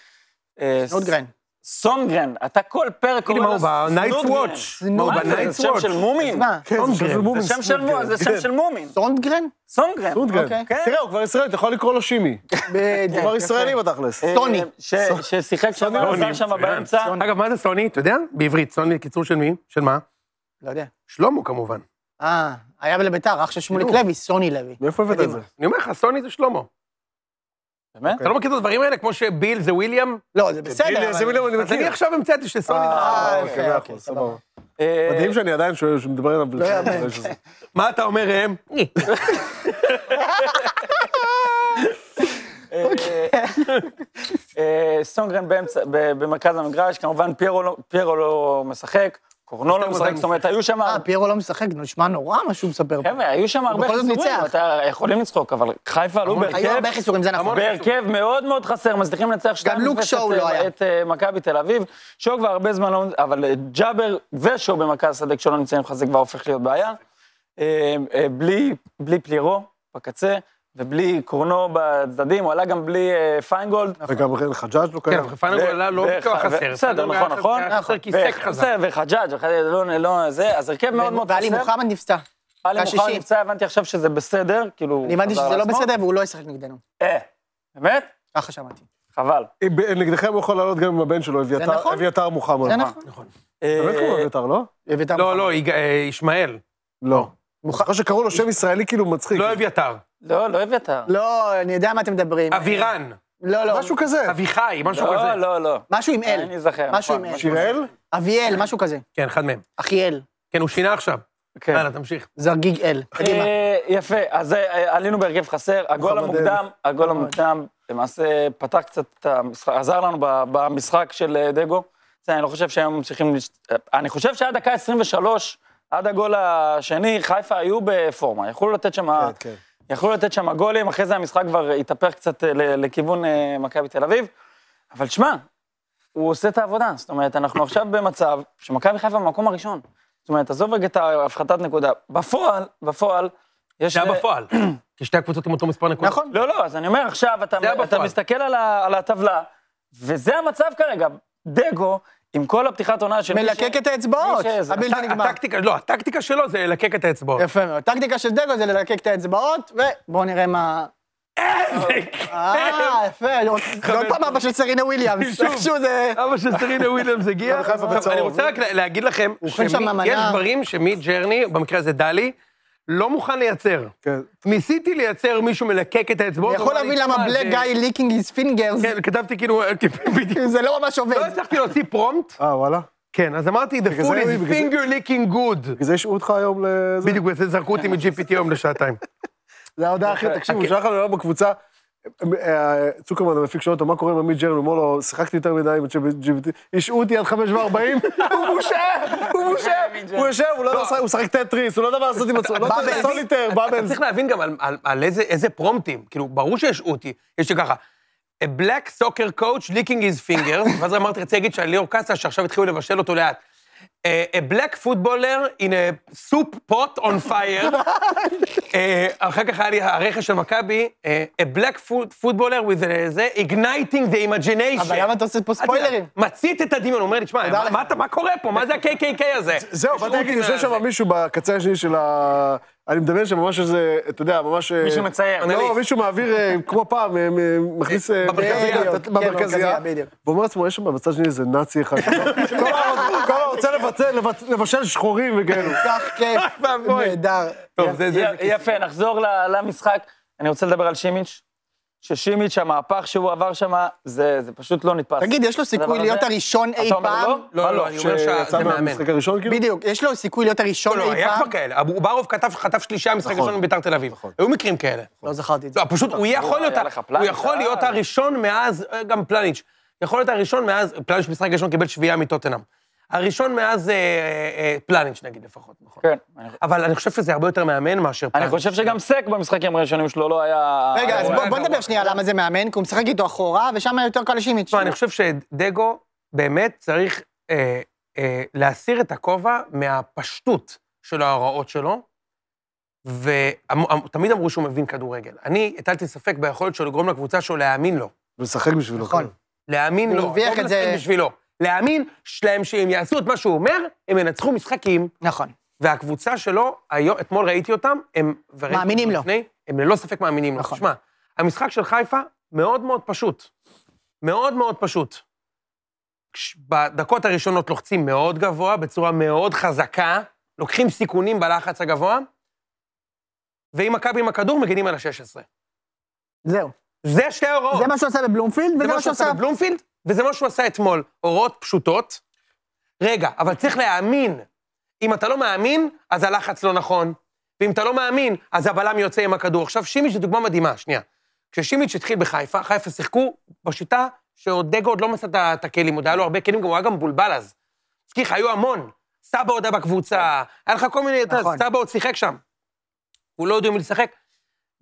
S5: uh,
S3: נוטגרן.
S5: סונגרן, אתה כל פרק
S6: כאילו, מה הוא ב-Night
S5: סנודגרן.
S6: Watch?
S3: נו,
S6: מה הוא
S5: מה זה,
S6: ב-Night
S5: זה שם של
S6: Watch?
S5: מומין?
S3: מה?
S5: זה שם של מומין, זה שם של מומין.
S3: סונדגרן?
S5: סונגרן.
S4: סונדגרן.
S3: אוקיי.
S5: כן.
S4: תראה, הוא כבר ישראלי, אתה יכול לקרוא לו שימי. הוא
S3: בדיוק.
S4: כבר ישראלי בתכלס.
S5: אה,
S3: סוני.
S5: ש- ששיחק שם, עזר שם באמצע.
S6: אגב, מה זה סוני? אתה יודע? בעברית, סוני, קיצור של מי? של מה?
S3: לא יודע.
S6: שלמה, כמובן.
S3: אה, היה בלביתר, אח של שמוליק לוי, סוני לוי.
S4: מאיפה הבאת את
S5: אה,
S4: זה?
S6: אני אומר לך, סוני זה שלמה.
S5: באמת?
S6: אתה לא מכיר את הדברים האלה? כמו שביל זה וויליאם?
S3: לא, זה
S4: הנה,
S3: בסדר.
S4: איזה
S3: אבל-
S4: מילים אני
S6: אז אני
S4: מכיר.
S6: עכשיו המצאתי שסוני זה...
S3: אה,
S4: אוקיי,
S3: יפה,
S4: מאה
S3: אוקיי,
S4: אחוז,
S3: סבבה.
S5: אה,
S4: מדהים שאני עדיין שואל, שמדבר עליו
S5: לא
S4: בלשון.
S3: יאמן.
S4: שזה-
S6: מה אתה אומר, ראם?
S5: אה, סונגרן באמצע- ב- במרכז המגרש, כמובן פיירו לא- פיירו לא משחק, קורנו לא משחק, זאת אומרת, היו שם...
S3: אה, פיירו לא משחק, נשמע נורא מה שהוא מספר פה.
S5: חבר'ה, היו שם הרבה
S3: בכל זאת
S5: חיסורים,
S3: ניצח.
S5: אתה יכולים לצחוק, אבל חיפה עלו
S3: היו
S5: בהרכב,
S3: הרבה חיסורים, זה נכון.
S5: בהרכב מאוד מאוד חסר, מצליחים לנצח שתיים.
S3: לוק
S5: אפס
S3: שואו
S5: את-
S3: לא היה.
S5: את אה, מכבי תל אביב, שואו כבר הרבה זמן לא... אבל אה, ג'אבר ושואו במרכז השדה כשלא נמצאים לך זה כבר הופך להיות בעיה. אה, אה, בלי בלי פלירו בקצה, ובלי קורנו בצדדים, הוא עלה גם בלי אה, פיינגולד.
S4: וגם אחרי חג'אג' לא
S6: כן,
S4: קיים.
S6: אבל חיפה עלה לא
S5: ו-
S6: בכוח
S5: ו-
S6: חסר.
S5: בסדר, נכון, נכון.
S6: היה חסר כיסק
S5: ו-
S6: חזק.
S5: בסדר, וחג'אג', אחרי זה לא, לא זה, אז הרכב מאוד מאוד חסר.
S3: ואלי מוחמד נפצע.
S5: עלי
S3: קשישים.
S5: מוחמד נפצע, הבנתי עכשיו שזה בסדר, כאילו... הוא
S3: אני הבנתי
S5: חזר
S3: שזה לא
S5: לעצמו.
S3: בסדר והוא לא ישחק נגדנו.
S5: אה, באמת?
S3: ככה שמעתי.
S5: חבל.
S4: אם אה, ב- נגדכם הוא יכול לעלות גם עם הבן שלו, אביתר-
S3: נכון.
S4: אביתר מוחמד.
S3: זה נכון.
S4: באמת קוראים לו
S5: אה,
S4: אביתר, לא?
S3: אביתר
S6: לא,
S3: מוחמד.
S6: לא, יג- אה, ישמעאל.
S4: לא. אני זוכר שקראו לו שם ישראלי כאילו מצחיק.
S6: לא אביתר.
S5: לא, לא אביתר.
S3: לא, אני יודע מה אתם מדברים.
S6: אבירן.
S3: לא, לא.
S4: משהו כזה.
S6: אביחי, משהו
S5: לא,
S6: כזה.
S5: לא, לא.
S3: משהו עם אל.
S5: אני אזכר.
S3: משהו
S5: נכון,
S3: עם אל.
S4: שיראל?
S3: אביאל, משהו כזה.
S6: כן, אחד מהם.
S3: אחיאל.
S6: כן, הוא שינה עכשיו.
S5: כן.
S6: יאללה, תמשיך.
S3: זרגיג אל. קדימה.
S5: אה, יפה, אז אה, עלינו בהרכב חסר, הגול
S4: מוחמד נכון.
S5: המוקדם, הגול המוקדם למעשה פתח קצת את המשחק, עזר לנו ב- במשחק של אה, דגו. זה, אני לא חושב שהם ממשיכים, לש- אה, אני חושב שעד דקה 23, עד הגול השני, חיפה היו בפורמה, יכלו לתת שם,
S4: כן.
S5: יכלו לתת שם גולים, אחרי זה המשחק כבר התהפך קצת אה, ל- לכיוון אה, מכבי תל אביב. אבל שמע, הוא עושה את העבודה. זאת אומרת, אנחנו עכשיו במצב שמכבי חיפה במקום הראשון. זאת אומרת, עזוב רגע את ההפחתת נקודה. בפועל, בפועל, יש...
S6: זה היה בפועל, כי שתי הקבוצות עם אותו מספר נקודות.
S3: נכון.
S5: לא, לא, אז אני אומר עכשיו,
S6: היה
S5: אתה, אתה
S6: בפועל.
S5: מסתכל על, ה, על הטבלה, וזה המצב כרגע. דגו, עם כל הפתיחת עונה של... מי
S3: מלקק את האצבעות,
S5: מי שזה.
S3: הבלתי נגמר.
S6: הטקטיקה, לא, הטקטיקה שלו זה ללקק את האצבעות.
S3: יפה מאוד. טקטיקה של דגו זה ללקק את האצבעות, ובואו נראה מה...
S6: איזה
S3: אה,
S6: כיף!
S3: יפה, אני רוצה- זה עוד פעם אבא של סרינה וויליאמס.
S6: שוב.
S3: איכשהו זה...
S6: אבא של סרינה וויליאמס הגיע.
S4: מכבי חיפה בצהוב.
S6: אני רוצה רק לה- להגיד לכם,
S3: אוכל שם מנה.
S6: שיש דברים שמי ג'רני, במקרה הזה דלי, לא מוכן לייצר.
S4: כן.
S6: ניסיתי לייצר מישהו מלקק את האצבעות.
S3: אני יכול
S6: הוא אמר לי,
S3: להבין למה
S6: "תשמע,
S3: בלק
S6: לא, זה-
S3: גיא ליקינג היז פינגרס,
S6: כן, כתבתי כאילו, בדיוק.
S3: זה לא ממש
S6: לא
S3: עובד.
S6: הצלחתי להוציא פרומפט.
S4: אה, וואלה?
S6: כן, אז אמרתי, the
S4: זה-
S6: food is
S4: בגלל זה-
S6: finger licking good.
S4: בגלל זה השעו אותך היום לזה?
S6: בדיוק, בגלל זה זרקו אותי מ-GPT היום לשעתיים.
S4: זה ההודעה הכי, תקשיבו, שלח לנו היום בקבוצה, אה, צוקרמן המפיק שואל אותו, מה קורה עם עמית ג'רן? הוא אומר לו, שיחקתי יותר מדי עם ה-GPT, השעו אותי עד חמש וארבעים, הוא מושעה, הוא מושעה, הוא יושב, הוא לא יודע, לשחק- הוא משחק טטריס, הוא לא יודע מה לעשות עם עצמו, לא
S6: אתה-
S4: יודע,
S6: אתה-
S4: סוליטר,
S6: אתה
S4: באבל.
S6: צריך להבין גם על- על- על איזה- איזה פרומפטים. כאילו, ברור שיש אותי, יש לי ככה. A black soccer coach licking his finger, ואז אמרתי, רציתי להגיד שעל ליאור קאסה, שעכשיו התחילו לבשל אותו לאט. אה, A black footballer in a soup pot on fire. אה, אחר כך היה לי הרכש של מכבי, אה, a black foot- footballer with a- זה, igniting the imagination.
S3: אבל למה אתה עושה פה
S6: אל תדאג,
S3: ספוילרים?
S6: מצית את הדמיון, הוא אומר לי, תשמע, מה-
S3: לך.
S6: מה אתה- מה קורה פה? מה זה ה-KKK הזה?
S4: זהו, באתי להגיד, יושב שם מישהו בקצה השני של ה... אני מדמיין שממש איזה, אתה יודע, ממש... אה,
S5: מישהו מצייר.
S4: לא,
S6: אנליסט.
S4: מישהו מעביר, אה, כמו פעם, אה, מ- מכניס... אה,
S6: במרכזייה.
S4: בדיוק,
S3: כן, במרכזייה,
S4: במרכזייה.
S3: בדיוק.
S4: ואומר לעצמו, יש שם בצד השני איזה נאצי אחד. כל ה- כל הרוצה לבצע- לבצ- לבשל שחורים וכאלו.
S3: כך כיף,
S6: ואבוי.
S3: נהדר.
S6: טוב, זה- זה...
S5: י- יפה, נחזור ל- למשחק. אני רוצה לדבר על שימיץ', ששימיץ', המהפך שהוא עבר שם, זה זה פשוט לא נתפס.
S3: תגיד, יש לו סיכוי
S5: הדבר הזה-
S3: להיות הראשון אי
S5: אתה אומר
S3: פעם?
S5: לא?
S6: לא, לא, אני אומר שזה
S4: שיצא
S6: מאמן.
S4: אה, מהמשחק הראשון, כאילו?
S3: בדיוק, יש לו סיכוי להיות הראשון
S6: לא,
S3: אי
S6: היה
S3: פעם?
S6: כבר כאלה. אוברוב כתב- חטף שלישה במשחק הראשון מביתר תל אביב. נכון. היו מקרים כאלה.
S3: לא זכרתי את זה.
S6: לא, פשוט הוא יכול להיות,
S5: היה לך
S6: הוא
S5: פלניץ',
S6: יכול
S5: אה.
S6: להיות הראשון מאז, אה, גם פלניץ', יכול להיות הראשון מאז, פלניץ' במשחק הראשון קיבל שביעייה מטוטנאם. הראשון מאז אה, אה, פלניץ' נגיד לפחות, נכון.
S5: כן. אני-
S6: אבל אני חושב שזה הרבה יותר מאמן מאשר
S5: אני
S6: פלניץ'.
S5: חושב שגם סק במשחקים הראשונים שלו לא היה...
S3: רגע, אז
S6: הוא
S3: בוא-
S6: היה
S3: בוא
S6: גרוע.
S3: נדבר שנייה למה זה מאמן, כי הוא משחק איתו אחורה, ושם היה יותר קל לשימיץ'.
S6: תשמע, אני חושב שדגו באמת צריך אה, אה, להסיר את הכובע מהפשטות של ההוראות שלו, ותמיד אמרו שהוא מבין כדורגל. אני הטלתי ספק ביכולת שלו לגרום לקבוצה שלו להאמין לו.
S4: ולשחק בשבילו.
S3: נכון.
S4: כן.
S6: להאמין
S3: הוא
S6: לו,
S3: הרוויח
S6: לא
S3: את זה-
S6: מנסים בשבילו. להאמין שלהם שהם יעשו את מה שהוא אומר, הם ינצחו משחקים,
S3: נכון.
S6: והקבוצה שלו, היום, אתמול ראיתי אותם, הם... וראיתי
S3: מאמינים
S6: אותם
S3: לו.
S6: לפני, הם ללא ספק מאמינים לו.
S3: נכון.
S6: תשמע, המשחק של חיפה מאוד מאוד פשוט. מאוד מאוד פשוט. כש- בדקות הראשונות לוחצים מאוד גבוה, בצורה מאוד חזקה, לוקחים סיכונים בלחץ הגבוה, ואם מכבי עם הכדור, מגינים על ה-16.
S3: זהו.
S6: זה שתי ההוראות.
S3: זה מה שהוא עשה בבלומפילד, וזה מה שהוא עשה...
S6: בבלומפילד, וזה מה שהוא עשה אתמול. הוראות פשוטות. רגע, אבל צריך להאמין. אם אתה לא מאמין, אז הלחץ לא נכון. ואם אתה לא מאמין, אז הבלם יוצא עם הכדור. עכשיו, שימיץ' זו דוגמה מדהימה, שנייה. כששימיץ' התחיל בחיפה, חיפה שיחקו בשיטה שעוד דגו עוד לא מצא את ה- את הכלים, עוד היה לו הרבה כלים, גם הוא היה גם מבולבל אז. סליחה, היו המון. סבא עוד היה בקבוצה, היה לך כל מיני, אתה יודע,
S3: נכון.
S6: סבא עוד שיחק שם. הוא לא יודע מי לשחק.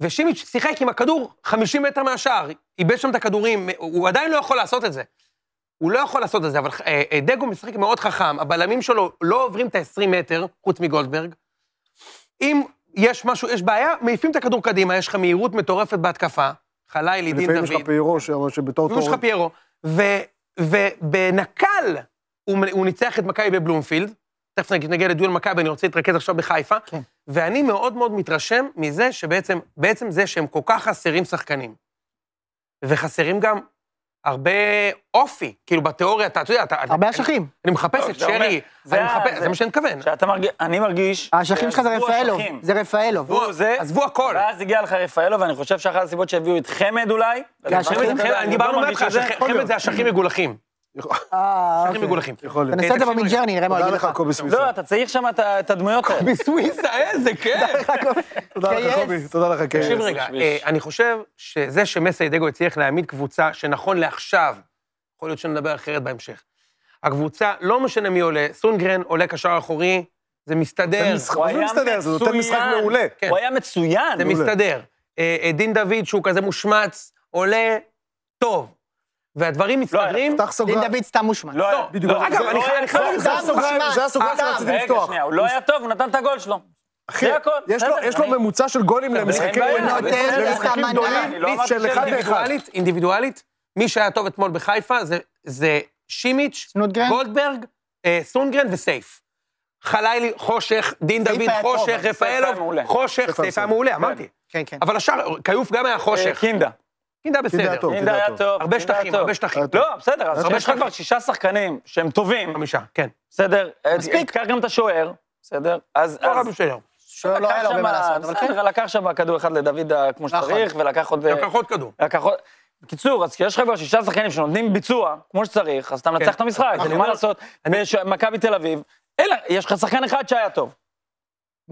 S6: ושימיץ' שיחק עם הכדור 50 מטר מהשער, איבד שם את הכדורים, הוא עדיין לא יכול לעשות את זה. הוא לא יכול לעשות את זה, אבל אה, אה, דגו משחק מאוד חכם, הבלמים שלו לא עוברים את ה-20 מטר, חוץ מגולדברג. אם יש משהו, יש בעיה, מעיפים את הכדור קדימה, יש לך מהירות מטורפת בהתקפה, חלילי, דין
S4: לפעמים יש לך
S6: דוד,
S4: פיירו, שאמר שבתור
S6: ויש לך
S4: תורן.
S6: פיירו, ו- ובנקל הוא מ- הוא ניצח את מכבי בבלומפילד, תכף נגיד- נגיע לדיון מכבי, אני רוצה להתרכז עכשיו בחיפה,
S3: כן.
S6: ואני מאוד מאוד מתרשם מזה שבעצם, בעצם זה שהם כל כך חסרים שחקנים, וחסרים גם הרבה אופי, כאילו בתיאוריה, אתה אתה יודע, אתה...
S3: הרבה
S6: אני-
S3: אשכים.
S6: אני מחפש
S5: טוב,
S6: את
S5: זה אומר-
S6: שרי,
S5: זה
S6: אני
S5: ה-
S6: מחפש,
S5: זה-
S6: זה מה שאני מתכוון.
S5: שאתה מרגיש, אני מרגיש...
S3: האשכים שלך זה
S5: שעזבו
S3: רפאלוב.
S5: אשכים.
S3: זה רפאלוב.
S5: עזבו זה,
S6: עזבו הכל.
S5: ואז הגיע לך רפאלו, ואני חושב שאחת הסיבות שהביאו את חמד אולי.
S3: האשכים
S5: אני
S3: זה
S5: לא
S6: חמד- דיברנו
S5: מרגיש
S6: מההתחלה,
S5: את זה.
S6: שחמד זה אשכים מגולחים.
S3: אה,
S6: אשכים
S3: אוקיי.
S6: מגולחים.
S4: יכול להיות.
S3: תנסה את זה
S6: תקשיב רגע.
S3: במינג'רני, נראה מה הוא
S4: תודה
S3: יגיד
S4: לך,
S3: לך.
S4: קובי סוויסה.
S5: לא, אתה צריך שם את ה- את הדמויות האלה.
S6: בסוויסה, איזה כיף.
S4: תודה לך,
S3: KS.
S4: קובי. תודה לך, כן. קייס.
S6: תקשיב רגע,
S5: שביש.
S6: אה, אני חושב שזה שמסיידגו הצליח להעמיד קבוצה שנכון לעכשיו, יכול להיות שנדבר אחרת בהמשך. הקבוצה, לא משנה מי עולה, סונגרן עולה קשר אחורי, זה מסתדר.
S4: משחק
S5: הוא
S4: זה
S5: היה
S4: מסתדר, זה נותן
S5: מצוין.
S4: משחק מעולה.
S6: כן.
S5: הוא היה מצוין.
S6: זה מסתדר. אה, אה, דין דוד, שהוא כזה מושמץ, עולה טוב.
S4: לא,
S6: והדברים מסתדרים...
S4: פתח
S3: דין
S4: סוגריים.
S3: דוד סתם מושמן.
S5: לא היה.
S4: בדיוק,
S5: לא,
S4: אבל
S5: אגב,
S4: זה-
S5: אני
S6: זה-
S5: חי- אני חייב
S6: זה-
S5: להגיד
S4: זה
S5: לך,
S4: הסוגריים, זה הסוגריים
S3: סתם.
S4: שרציתי
S5: רגע,
S4: לפתוח.
S5: שנייה, הוא לא היה טוב, הוא נתן את הגול שלו.
S4: אחי,
S5: זה הכל,
S4: יש לו-
S5: בסדר,
S4: יש לו
S5: אני-
S4: ממוצע של גולים
S5: בסדר,
S4: למשחקים
S5: אין בעיה,
S3: בסדר,
S4: למשחקים
S3: סתם, אני-
S4: גדולים
S5: אני לא אמרתי
S4: של
S5: שזה
S4: אחד לאחד.
S6: אינדיבידואלית, אינדיבידואלית, מי שהיה טוב אתמול בחיפה זה- זה שימיץ',
S3: סנודגרן?
S6: גולדברג, אה, סונגרן וסייף. חלילי, חושך, דין
S3: סייף
S6: דוד,
S3: היה טוב,
S6: חושך,
S3: אבל סייף
S5: היה
S6: רפאלוב,
S5: מעולה.
S6: חושך, סייף היה מעולה, אמרתי.
S3: כן, כן.
S6: אבל השאר, כיוף גם היה
S5: אה,
S6: חושך.
S5: קינדה.
S6: קינדה בסדר.
S4: כן. טוב.
S5: קינדה היה
S4: טוב.
S5: טוב.
S6: הרבה
S5: קינדה היה
S6: שטחים,
S5: טוב.
S6: הרבה שטחים.
S4: היה טוב.
S5: לא, בסדר, אז
S6: הרבה
S5: יש לך
S6: שטחים.
S5: כבר שישה שחקנים שהם טובים,
S6: חמישה, כן.
S5: בסדר?
S3: מספיק.
S5: קח גם את השוער, בסדר? אז...
S6: לא
S5: אז-
S6: רע בסדר.
S3: שוער לא היה לו הרבה מה
S5: לקח
S3: לעשות,
S5: שם-
S3: אבל כן.
S5: בסדר, לקח שם כדור אחד לדוד ה- כמו
S3: נכון.
S5: שצריך, ולקח
S4: אה.
S5: עוד... אה,
S6: לקח עוד כדור.
S5: לקח עוד... בקיצור, אז כשיש לך כבר שישה שחקנים שנותנים ביצוע, כמו שצריך, אז אתה מנצח
S6: כן.
S5: את המשחק,
S6: אני
S5: אין מה
S6: אומר-
S5: לעשות. ויש מכבי תל אביב, אלא, יש לך שחקן אחד שהיה טוב.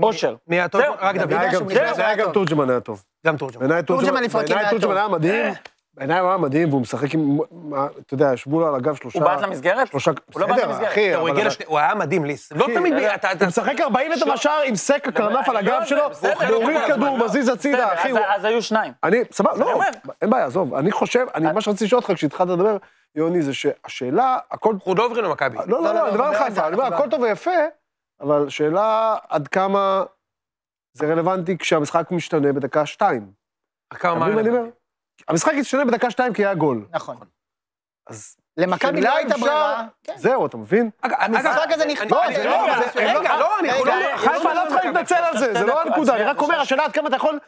S5: אושר.
S6: מי היה טוב?
S5: זהו.
S6: רק דוד.
S4: היה גם-
S3: שהוא נכנס,
S4: זה היה
S3: היה
S4: גם
S3: טוב.
S4: תורג'מן היה טוב.
S6: גם תורג'מן.
S4: בעיניי
S3: תורג'מן
S4: תורג'מן
S3: לפרקים
S4: בעיניי
S3: היה
S4: תורג'מן
S3: טוב.
S4: היה מדהים, בעיניי הוא היה מדהים, והוא משחק עם... מה- אתה יודע, ישבו לו על הגב שלושה...
S5: הוא בעט למסגרת?
S4: שלושה...
S5: הוא לא בעט
S4: בסדר,
S5: למסגרת.
S4: אחי,
S6: הוא
S4: אבל- אה,
S6: הגיע לשני- הוא היה מדהים, ליס. לא תמיד... ב- אתה- אתה-
S4: הוא משחק 40 מטר בשער עם סק הקרנף על
S5: אני לא
S4: הגב
S5: יודע,
S4: שלו,
S5: בסדר,
S4: הוא
S5: לא
S4: מוריד
S5: כל הזמן,
S4: כדור,
S5: לא.
S4: מזיז הצידה,
S5: בסדר,
S4: אחי.
S5: אז-
S4: הוא-
S5: אז היו שניים.
S4: אני, סבבה, לא,
S5: אומר.
S4: אין בעיה, עזוב. אני חושב, אני מה שרציתי לשאול אותך כשהתחלת לדבר, יוני, זה שהשאלה, הכל...
S6: חודוברין או מכבי?
S4: לא, לא,
S3: לא,
S4: לא, אני מדבר על
S3: נדבר על זה,
S4: חיפה, אני אומר,
S3: אנחנו
S4: הכל טוב ויפה, אבל שאלה עד כמה זה רלוונטי כשהמשחק משתנה בדקה שתיים.
S6: כמה
S4: אתה מבין מה אני אומר?
S6: רלוונטי?
S4: המשחק השתנה בדקה שתיים כי היה גול.
S3: נכון.
S4: אז
S3: למכבי לא
S4: שאלה
S3: הייתה
S4: אם
S3: ברירה.
S4: אפשר- זהו, אתה מבין?
S6: אגב,
S3: המשחק
S6: אגב,
S3: הזה
S6: אני-
S3: נכפה,
S6: אני-
S3: זה
S6: אני-
S3: לא-
S6: רגע,
S3: זה-
S6: רגע,
S3: רגע,
S6: לא, אני
S3: רגע,
S4: כן,
S6: לא-
S3: רגע,
S6: חיפה לא צריכה להתנצל.
S4: על זה, זה לא הנקודה, אני רק אומר, השאלה עד כמה אתה יכול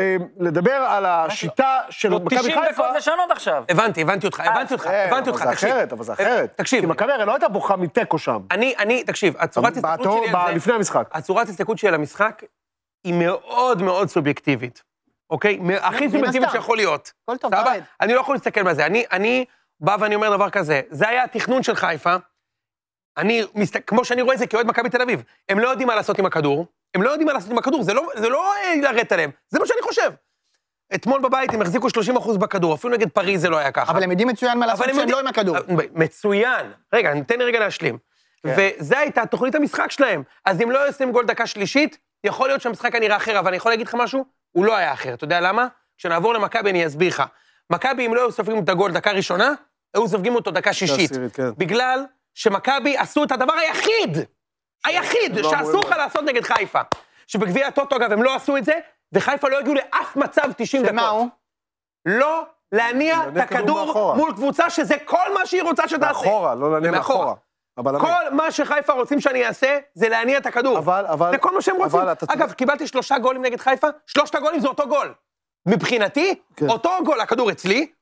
S4: אה, לדבר על השיטה של
S6: לא,
S5: נו,
S4: מכבי
S5: 90
S4: חיפה.
S5: לא, דקות לשנות עכשיו.
S6: הבנתי, הבנתי אותך, הבנתי אותך,
S4: אה,
S6: הבנתי
S4: אבל
S6: אותך,
S4: זה
S6: תקשיב.
S4: אחרת, אבל זה אחרת.
S6: תקשיב.
S4: כי מכבי הרי לא הייתה בוכה מתיקו שם.
S6: אני, אני, תקשיב, הצורת הסתכלות
S4: בעטו-
S6: שלי על זה,
S4: לפני המשחק.
S6: הצורת הסתכלות שלי על המשחק היא מאוד מאוד סובייקטיבית, אוקיי?
S4: לא,
S6: מ- הכי
S3: מן
S6: סובייקטיבית
S3: הסתם.
S6: שיכול להיות.
S3: הכל טוב,
S6: סבבה?
S3: ורד.
S6: אני לא יכול להסתכל על זה. אני, אני בא ואני אומר דבר כזה, זה היה התכנון של חיפה, אני, מסת- כמו שאני רואה את זה כאוהד מכבי תל אביב, הם לא יודעים מה לעשות עם הכדור, הם לא יודעים מה לעשות עם הכדור, זה לא, זה לא אה, לרדת עליהם, זה מה שאני חושב. אתמול בבית הם החזיקו 30% בכדור, אפילו נגד פריז זה לא היה ככה.
S3: אבל הם יודעים מצוין מה לעשות
S6: אבל הם
S3: כשהם
S6: יודעים- אה,
S3: לא עם הכדור. כן.
S6: מצוין. רגע, תן לי רגע להשלים. וזו הייתה תוכנית המשחק שלהם. אז אם לא יוצאים גול דקה שלישית, יכול להיות שהמשחק היה נראה אחר, אבל אני יכול להגיד לך משהו? הוא לא היה אחר. אתה יודע למה? כשנעבור למכבי אני אסביר לך. מכבי, אם לא היו סופגים את הגול דקה ראשונה, היו סופגים אותו
S3: לא,
S6: דקה שישית.
S4: עשירית, כן.
S6: בגלל שמכבי עשו את הדבר היחיד, היחיד,
S4: לא
S6: שאסור
S4: אמורים
S6: לך לעשות נגד חיפה. שבגביע הטוטו, אגב, הם לא עשו את זה, וחיפה לא הגיעו לאף מצב 90 דקות.
S3: ומה הוא?
S6: לא להניע את
S4: להניע כדור
S6: הכדור
S4: מאחורה.
S6: מול קבוצה שזה כל מה שהיא רוצה שתעשה.
S4: מאחורה, לא לעניין
S6: מאחורה.
S4: מאחורה. אבל
S6: כל מה שחיפה רוצים שאני אעשה, זה להניע את הכדור.
S4: אבל, אבל...
S6: זה כל מה שהם רוצים.
S4: אבל אתה צודק.
S6: אגב, קיבלתי שלושה גולים נגד חיפה, שלושת הגולים זה אותו גול. מבחינתי,
S4: כן.
S6: אותו גול, הכדור אצלי,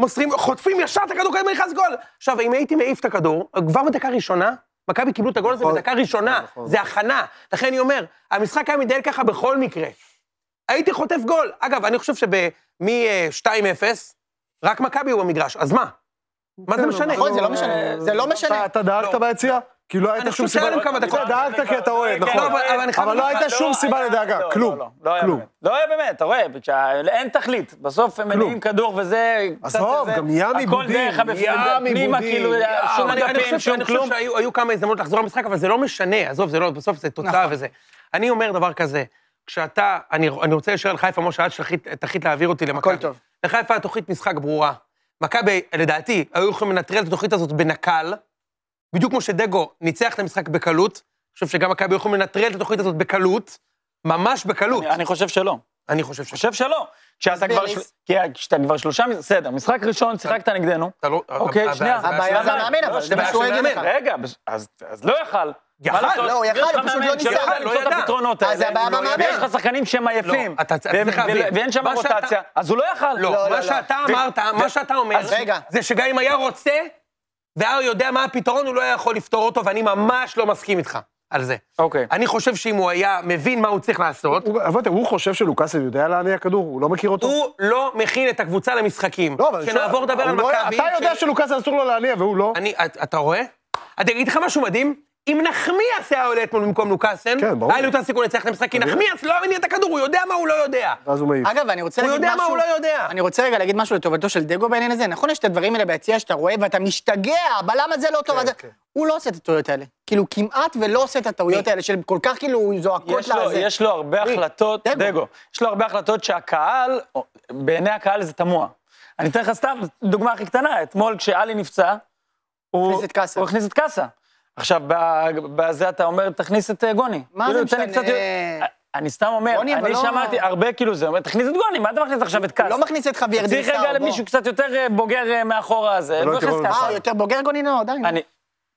S6: מוסרים, חוטפים ישר את הכדור, קודם נכנס גול. עכשיו, אם הייתי מעיף את הכדור, כבר בדקה ראשונה, מכבי קיבלו את הגול הזה
S4: נכון.
S6: בדקה ראשונה,
S4: נכון.
S6: זה הכנה. לכן אני אומר, המשחק היה מתנהל ככה בכל מקרה. הייתי חוטף גול. אגב, אני חושב שמ-2-0, רק מכבי הוא במגרש, אז מה? מה זה
S4: כן,
S6: משנה?
S3: נכון, זה לא משנה. זה
S6: אה,
S3: לא משנה.
S4: אתה- אתה דאגת
S6: לא.
S4: ביציע? כי לא
S6: אני
S4: הייתה שום
S6: חושב
S4: סיבה...
S6: שהיה להם כמה דקות.
S4: אתה דאגת כי אתה
S5: כן,
S4: אוהד, נכון.
S6: לא, אבל- אבל אני חייב
S4: אבל לא
S6: להגיד לך,
S4: הייתה שום
S5: לא
S4: סיבה
S5: היה-
S4: לדאגה,
S5: לא,
S4: כלום.
S5: לא, לא היה
S4: כלום.
S5: באמת. לא היה באמת, אתה רואה, כשה- אין תכלית. בסוף הם מניעים כדור וזה... קצת
S4: עזוב,
S5: זה-
S4: גם ים
S5: הכל
S4: עיבודים,
S5: דרך
S4: ים
S5: הבפנים, פנימה,
S4: עיבודים,
S5: כאילו,
S4: ים.
S5: שום
S6: אני- אני
S5: דפים,
S6: חושב
S5: שום
S6: שאני חושב
S5: כלום.
S6: שהיו היו כמה הזדמנות לחזור למשחק, אבל זה לא משנה, עזוב, זה לא, בסוף זה תוצאה וזה. אני אומר דבר כזה, כשאתה, אני אני רוצה להישאר על חיפה, משה, עד שתחליט להעביר אותי למכבי.
S3: הכל טוב.
S6: לחיפה היה תוכנית משחק ברורה. מכבי, לדעתי, היו יכולים לנטרל את התוכנית הזאת בנקל, בדיוק כמו שדגו ניצח את המשחק בקלות, אני חושב שגם מכבי היו יכולים לנטרל את התוכנית הזאת בקלות, ממש בקלות.
S5: אני- אני חושב שלא.
S6: אני חושב ש...
S5: חושב שלא. כשאתה כבר...
S3: ביליס.
S5: של- כי כשאתה כבר שלושה... מש- בסדר, משחק ראשון, שיחקת נגדנו.
S6: אתה לא-
S5: אוקיי,
S6: הבעיה-
S5: שנייה.
S6: הבעיה-
S3: הבעיה זה המאמן, אבל
S5: לא,
S3: זה מה
S6: בעיה
S3: שהוא
S6: של
S3: יגיד לך.
S6: מאמן,
S5: רגע, בס- אז אז לא יכל. מה
S6: יכל,
S5: לעשות?
S6: לא,
S3: הוא
S5: יש
S3: יכל,
S5: לך
S3: הוא פשוט
S5: מאמן
S3: לא ניסה.
S5: שלא יודע
S6: לא
S5: למצוא את
S6: ידע.
S5: הפתרונות
S3: אז
S5: האלה.
S3: זה הבעיה
S6: לא,
S3: במאמן.
S5: ויש לך שחקנים שהם עייפים,
S6: אתה- אתה
S5: והם-
S6: צריך להבין.
S5: ו- ואין שם
S6: מה שאתה-
S5: רוטציה, אז הוא לא יכל.
S6: לא,
S3: לא,
S6: מה
S3: לא.
S6: שאתה
S5: ו-
S6: אמרת, מה שאתה אומר,
S3: אז רגע.
S6: זה שגם אם היה רוצה, והיה יודע מה הפתרון, הוא לא היה יכול לפתור אותו, ואני ממש לא מסכים איתך על זה.
S5: אוקיי.
S6: אני חושב שאם הוא היה מבין מה הוא צריך לעשות,
S4: הוא- אבל אתה- הוא חושב שלוקאסל יודע להניע כדור? הוא לא מכיר אותו?
S6: הוא לא מכין את הקבוצה למשחקים.
S4: לא, אבל... אני
S6: כשנעבור
S4: שואל,
S6: לדבר על
S4: הוא לא-
S6: מכבי...
S4: אתה יודע
S6: ש-
S4: שלוקאסל אסור לו להניע והוא לא?
S6: אני, את- אתה רואה? אני אגיד לך משהו מדהים, אם נחמיאס היה עולה אתמול במקום לוקאסן,
S4: כן, ברור.
S6: היה לי יותר סיכוי לנצח את המשחק, כי נחמיאס לא הניע את הכדור, הוא יודע מה הוא לא יודע.
S4: ואז הוא מעיף.
S3: אגב, אני רוצה
S6: הוא
S3: להגיד משהו...
S6: יודע מה הוא לא יודע.
S3: אני רוצה רגע להגיד משהו לטובתו של דגו בעניין הזה. נכון, יש את הדברים האלה ביציע שאתה רואה ואתה משתגע, הבלם הזה לא
S5: כן,
S3: טוב. הזה- הוא לא עושה את הטעויות האלה. כאילו, כמעט ולא עושה את הטעויות האלה של כל כך כאילו זועקות
S5: יש לו,
S3: לזה.
S5: יש לו הרבה
S3: מי?
S5: החלטות,
S3: דגו.
S5: דגו, יש לו הרבה החלטות שהקהל, או- בעיני הקהל זה תמוה. אני אתן לך סתם דוגמה הכי קטנה, אתמול כשאלי נפצע, הוא
S3: הכניס את קאסה.
S5: הוא הכניס את קאסה. עכשיו, ב- בזה אתה אומר, תכניס את אה, גוני.
S3: מה זה
S5: כאילו, תן לי
S3: משנה?
S5: קצת יותר- אני סתם אומר,
S3: גוני, אבל
S5: אני
S3: לא-
S5: שמעתי הרבה כאילו זה, אומר, תכניס את גוני, מה אתה מכניס עכשיו את קאסה?
S3: לא מכניס את חביר
S5: צריך
S3: דיסאו,
S5: רגע
S3: בוא.
S5: למישהו קצת יותר אה, בוגר אה, מאחורה הזה,
S4: לא
S5: והוא
S4: הייתי
S5: הכניס
S4: רואה-
S5: קאסה.
S3: אה, יותר בוגר גונינו, עדיין.
S5: אני...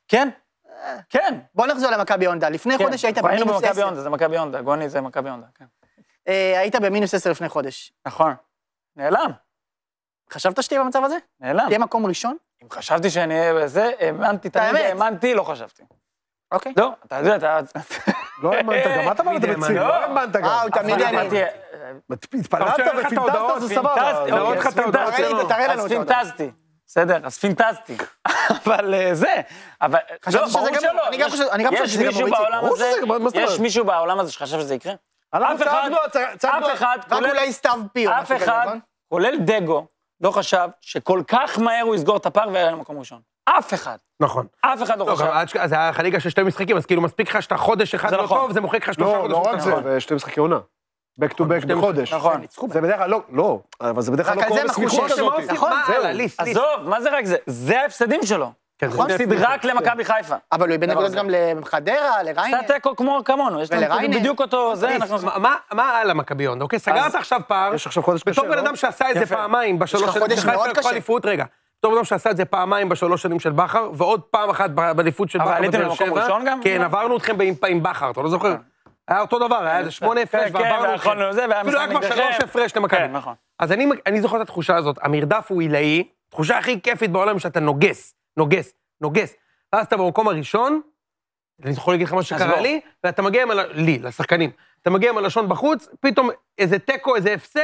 S5: כן?
S3: אה,
S5: כן.
S3: בוא נחזור למכבי הונדה. לפני
S5: כן.
S3: חודש היית
S5: כבר היינו
S3: במינוס
S5: במכבי
S3: עשר.
S5: הונדה, זה מכבי הונדה, גוני זה מכבי הונדה, כן.
S3: אה, היית במינוס עשר לפני חודש.
S5: נכון. נעלם,
S3: חשבת שתהיה במצב הזה?
S5: נעלם.
S3: תהיה מקום ראשון?
S5: אם חשבתי שאני אהיה בזה, האמנתי, תמיד
S3: האמת.
S5: האמנתי, לא חשבתי.
S3: אוקיי.
S5: לא, אתה יודע, אתה...
S4: לא האמנת גם, אתה אמרת
S5: מי
S4: בציב,
S5: האמין?
S4: לא האמנת גם.
S3: אה, הוא תמיד
S5: אבל
S3: האמין.
S5: אמרתי,
S4: התפללת
S6: אתה שולח לך את
S4: ופינטזת,
S6: ההודעות,
S4: זה
S5: פינטזתי,
S4: סבבה. לא,
S5: אוקיי,
S6: לך את
S5: אז
S6: ההודעות
S5: פינטזתי.
S3: שלו. תראה לנו את
S5: אז
S3: ההודעות.
S5: פינטזתי. בסדר, אז פינטזתי. אבל אה, זה, אבל...
S3: חשבתי
S5: לא,
S3: שזה
S5: ברור
S3: גם-
S5: שלא.
S3: אני גם
S5: יש-
S3: חושב- אני גם
S5: יש
S3: חושב שזה גם
S5: מישהו
S3: מוריד סיכון.
S5: בעולם
S4: ברור
S5: הזה-
S4: שזה- מה- מה זאת
S5: יש
S4: אומרת?
S5: מישהו בעולם הזה שחשב שזה יקרה?
S4: אנחנו
S5: אף אחד,
S4: צעדנו, צע- צעדנו-
S5: אף אחד,
S3: רק
S5: כולל-
S3: אולי סתיו פיר. או
S5: אף
S3: משהו כזה,
S5: אחד,
S3: נכון?
S5: כולל דגו, לא חשב שכל כך מהר הוא יסגור את הפער ויעלה למקום ראשון. אף אחד.
S4: נכון.
S5: אף אחד לא
S6: לא,
S5: חשב.
S6: גם עד ש- אז היה לך ליגה של שתי משחקים, אז כאילו מספיק לך שאתה חודש אחד
S5: זה
S6: לא
S5: נכון.
S6: טוב, זה מוחק לך שלושה
S4: לא,
S6: חודשים.
S4: לא רק זה,
S5: נכון.
S4: ושתי משחקי עונה. back to back בחודש.
S5: נכון.
S4: זה בדרך כלל, לא, לא, אבל זה בדרך
S3: רק
S4: כלל לא
S3: על זה
S4: קורה
S3: אנחנו
S4: בסמיכות
S3: שש.
S4: כזאת.
S3: מה עושים?
S6: נכון,
S3: מה
S6: זהו. כן,
S5: הלאה, ליס, ליס. עזוב, מה זה רק זה? זה ההפסדים שלו. הוא
S3: נכון.
S5: הפסיד רק למכבי חיפה.
S3: אבל הוא איבד
S5: דבר
S3: נקודות
S5: זה.
S3: גם לחדרה,
S5: עשה
S3: לריינה.
S5: תיקו כמו כמונו, יש לנו
S3: כן. ולריינר?
S5: בדיוק אותו, זה
S6: ליס,
S5: אנחנו...
S6: מה- אה, מה- מה הלאה מכבי הונדה, אוקיי? סגרת
S5: אז-
S6: עכשיו פער,
S4: יש עכשיו חודש
S6: בתור
S4: קשה,
S6: בן
S4: לא?
S6: אדם שעשה את זה
S5: יפה.
S6: פעמיים בשלוש
S3: לך
S6: שנים
S3: חודש
S6: של חיפה,
S3: מאוד
S6: לקחה
S3: קשה.
S6: אליפות, רגע. בתור בן אדם שעשה את זה פעמיים בשלוש שנים של בכר, ועוד פעם אחת ב- באליפות של
S5: אבל
S6: בכר
S5: עליתם
S6: בבאר
S5: למקום
S6: שבע.
S5: ראשון גם?
S6: כן, עברנו אתכם עם- עם בכר, אתה לא זוכר? היה אותו דבר, היה איזה שמונה
S5: כן,
S6: הפרש,
S5: כן,
S6: ועברנו אתכם.
S5: ויכולנו זה, והיה
S6: אפילו היה
S5: משחק
S6: כבר
S5: נגדכם.
S6: שלוש הפרש למכבי.
S5: כן, נכון.
S6: אז אני, אני זוכר את התחושה הזאת, המרדף הוא עילאי, התחושה הכי כיפית בעולם היא שאתה נוגס, נוגס, נוגס. ואז אתה במקום הראשון, אני יכול להגיד לך מה שקרה
S5: בוא.
S6: לי, ואתה מגיע עם, ה... לי, לשחקנים, אתה מגיע עם הלשון בחוץ, פתאום איזה תיקו, איזה הפסד,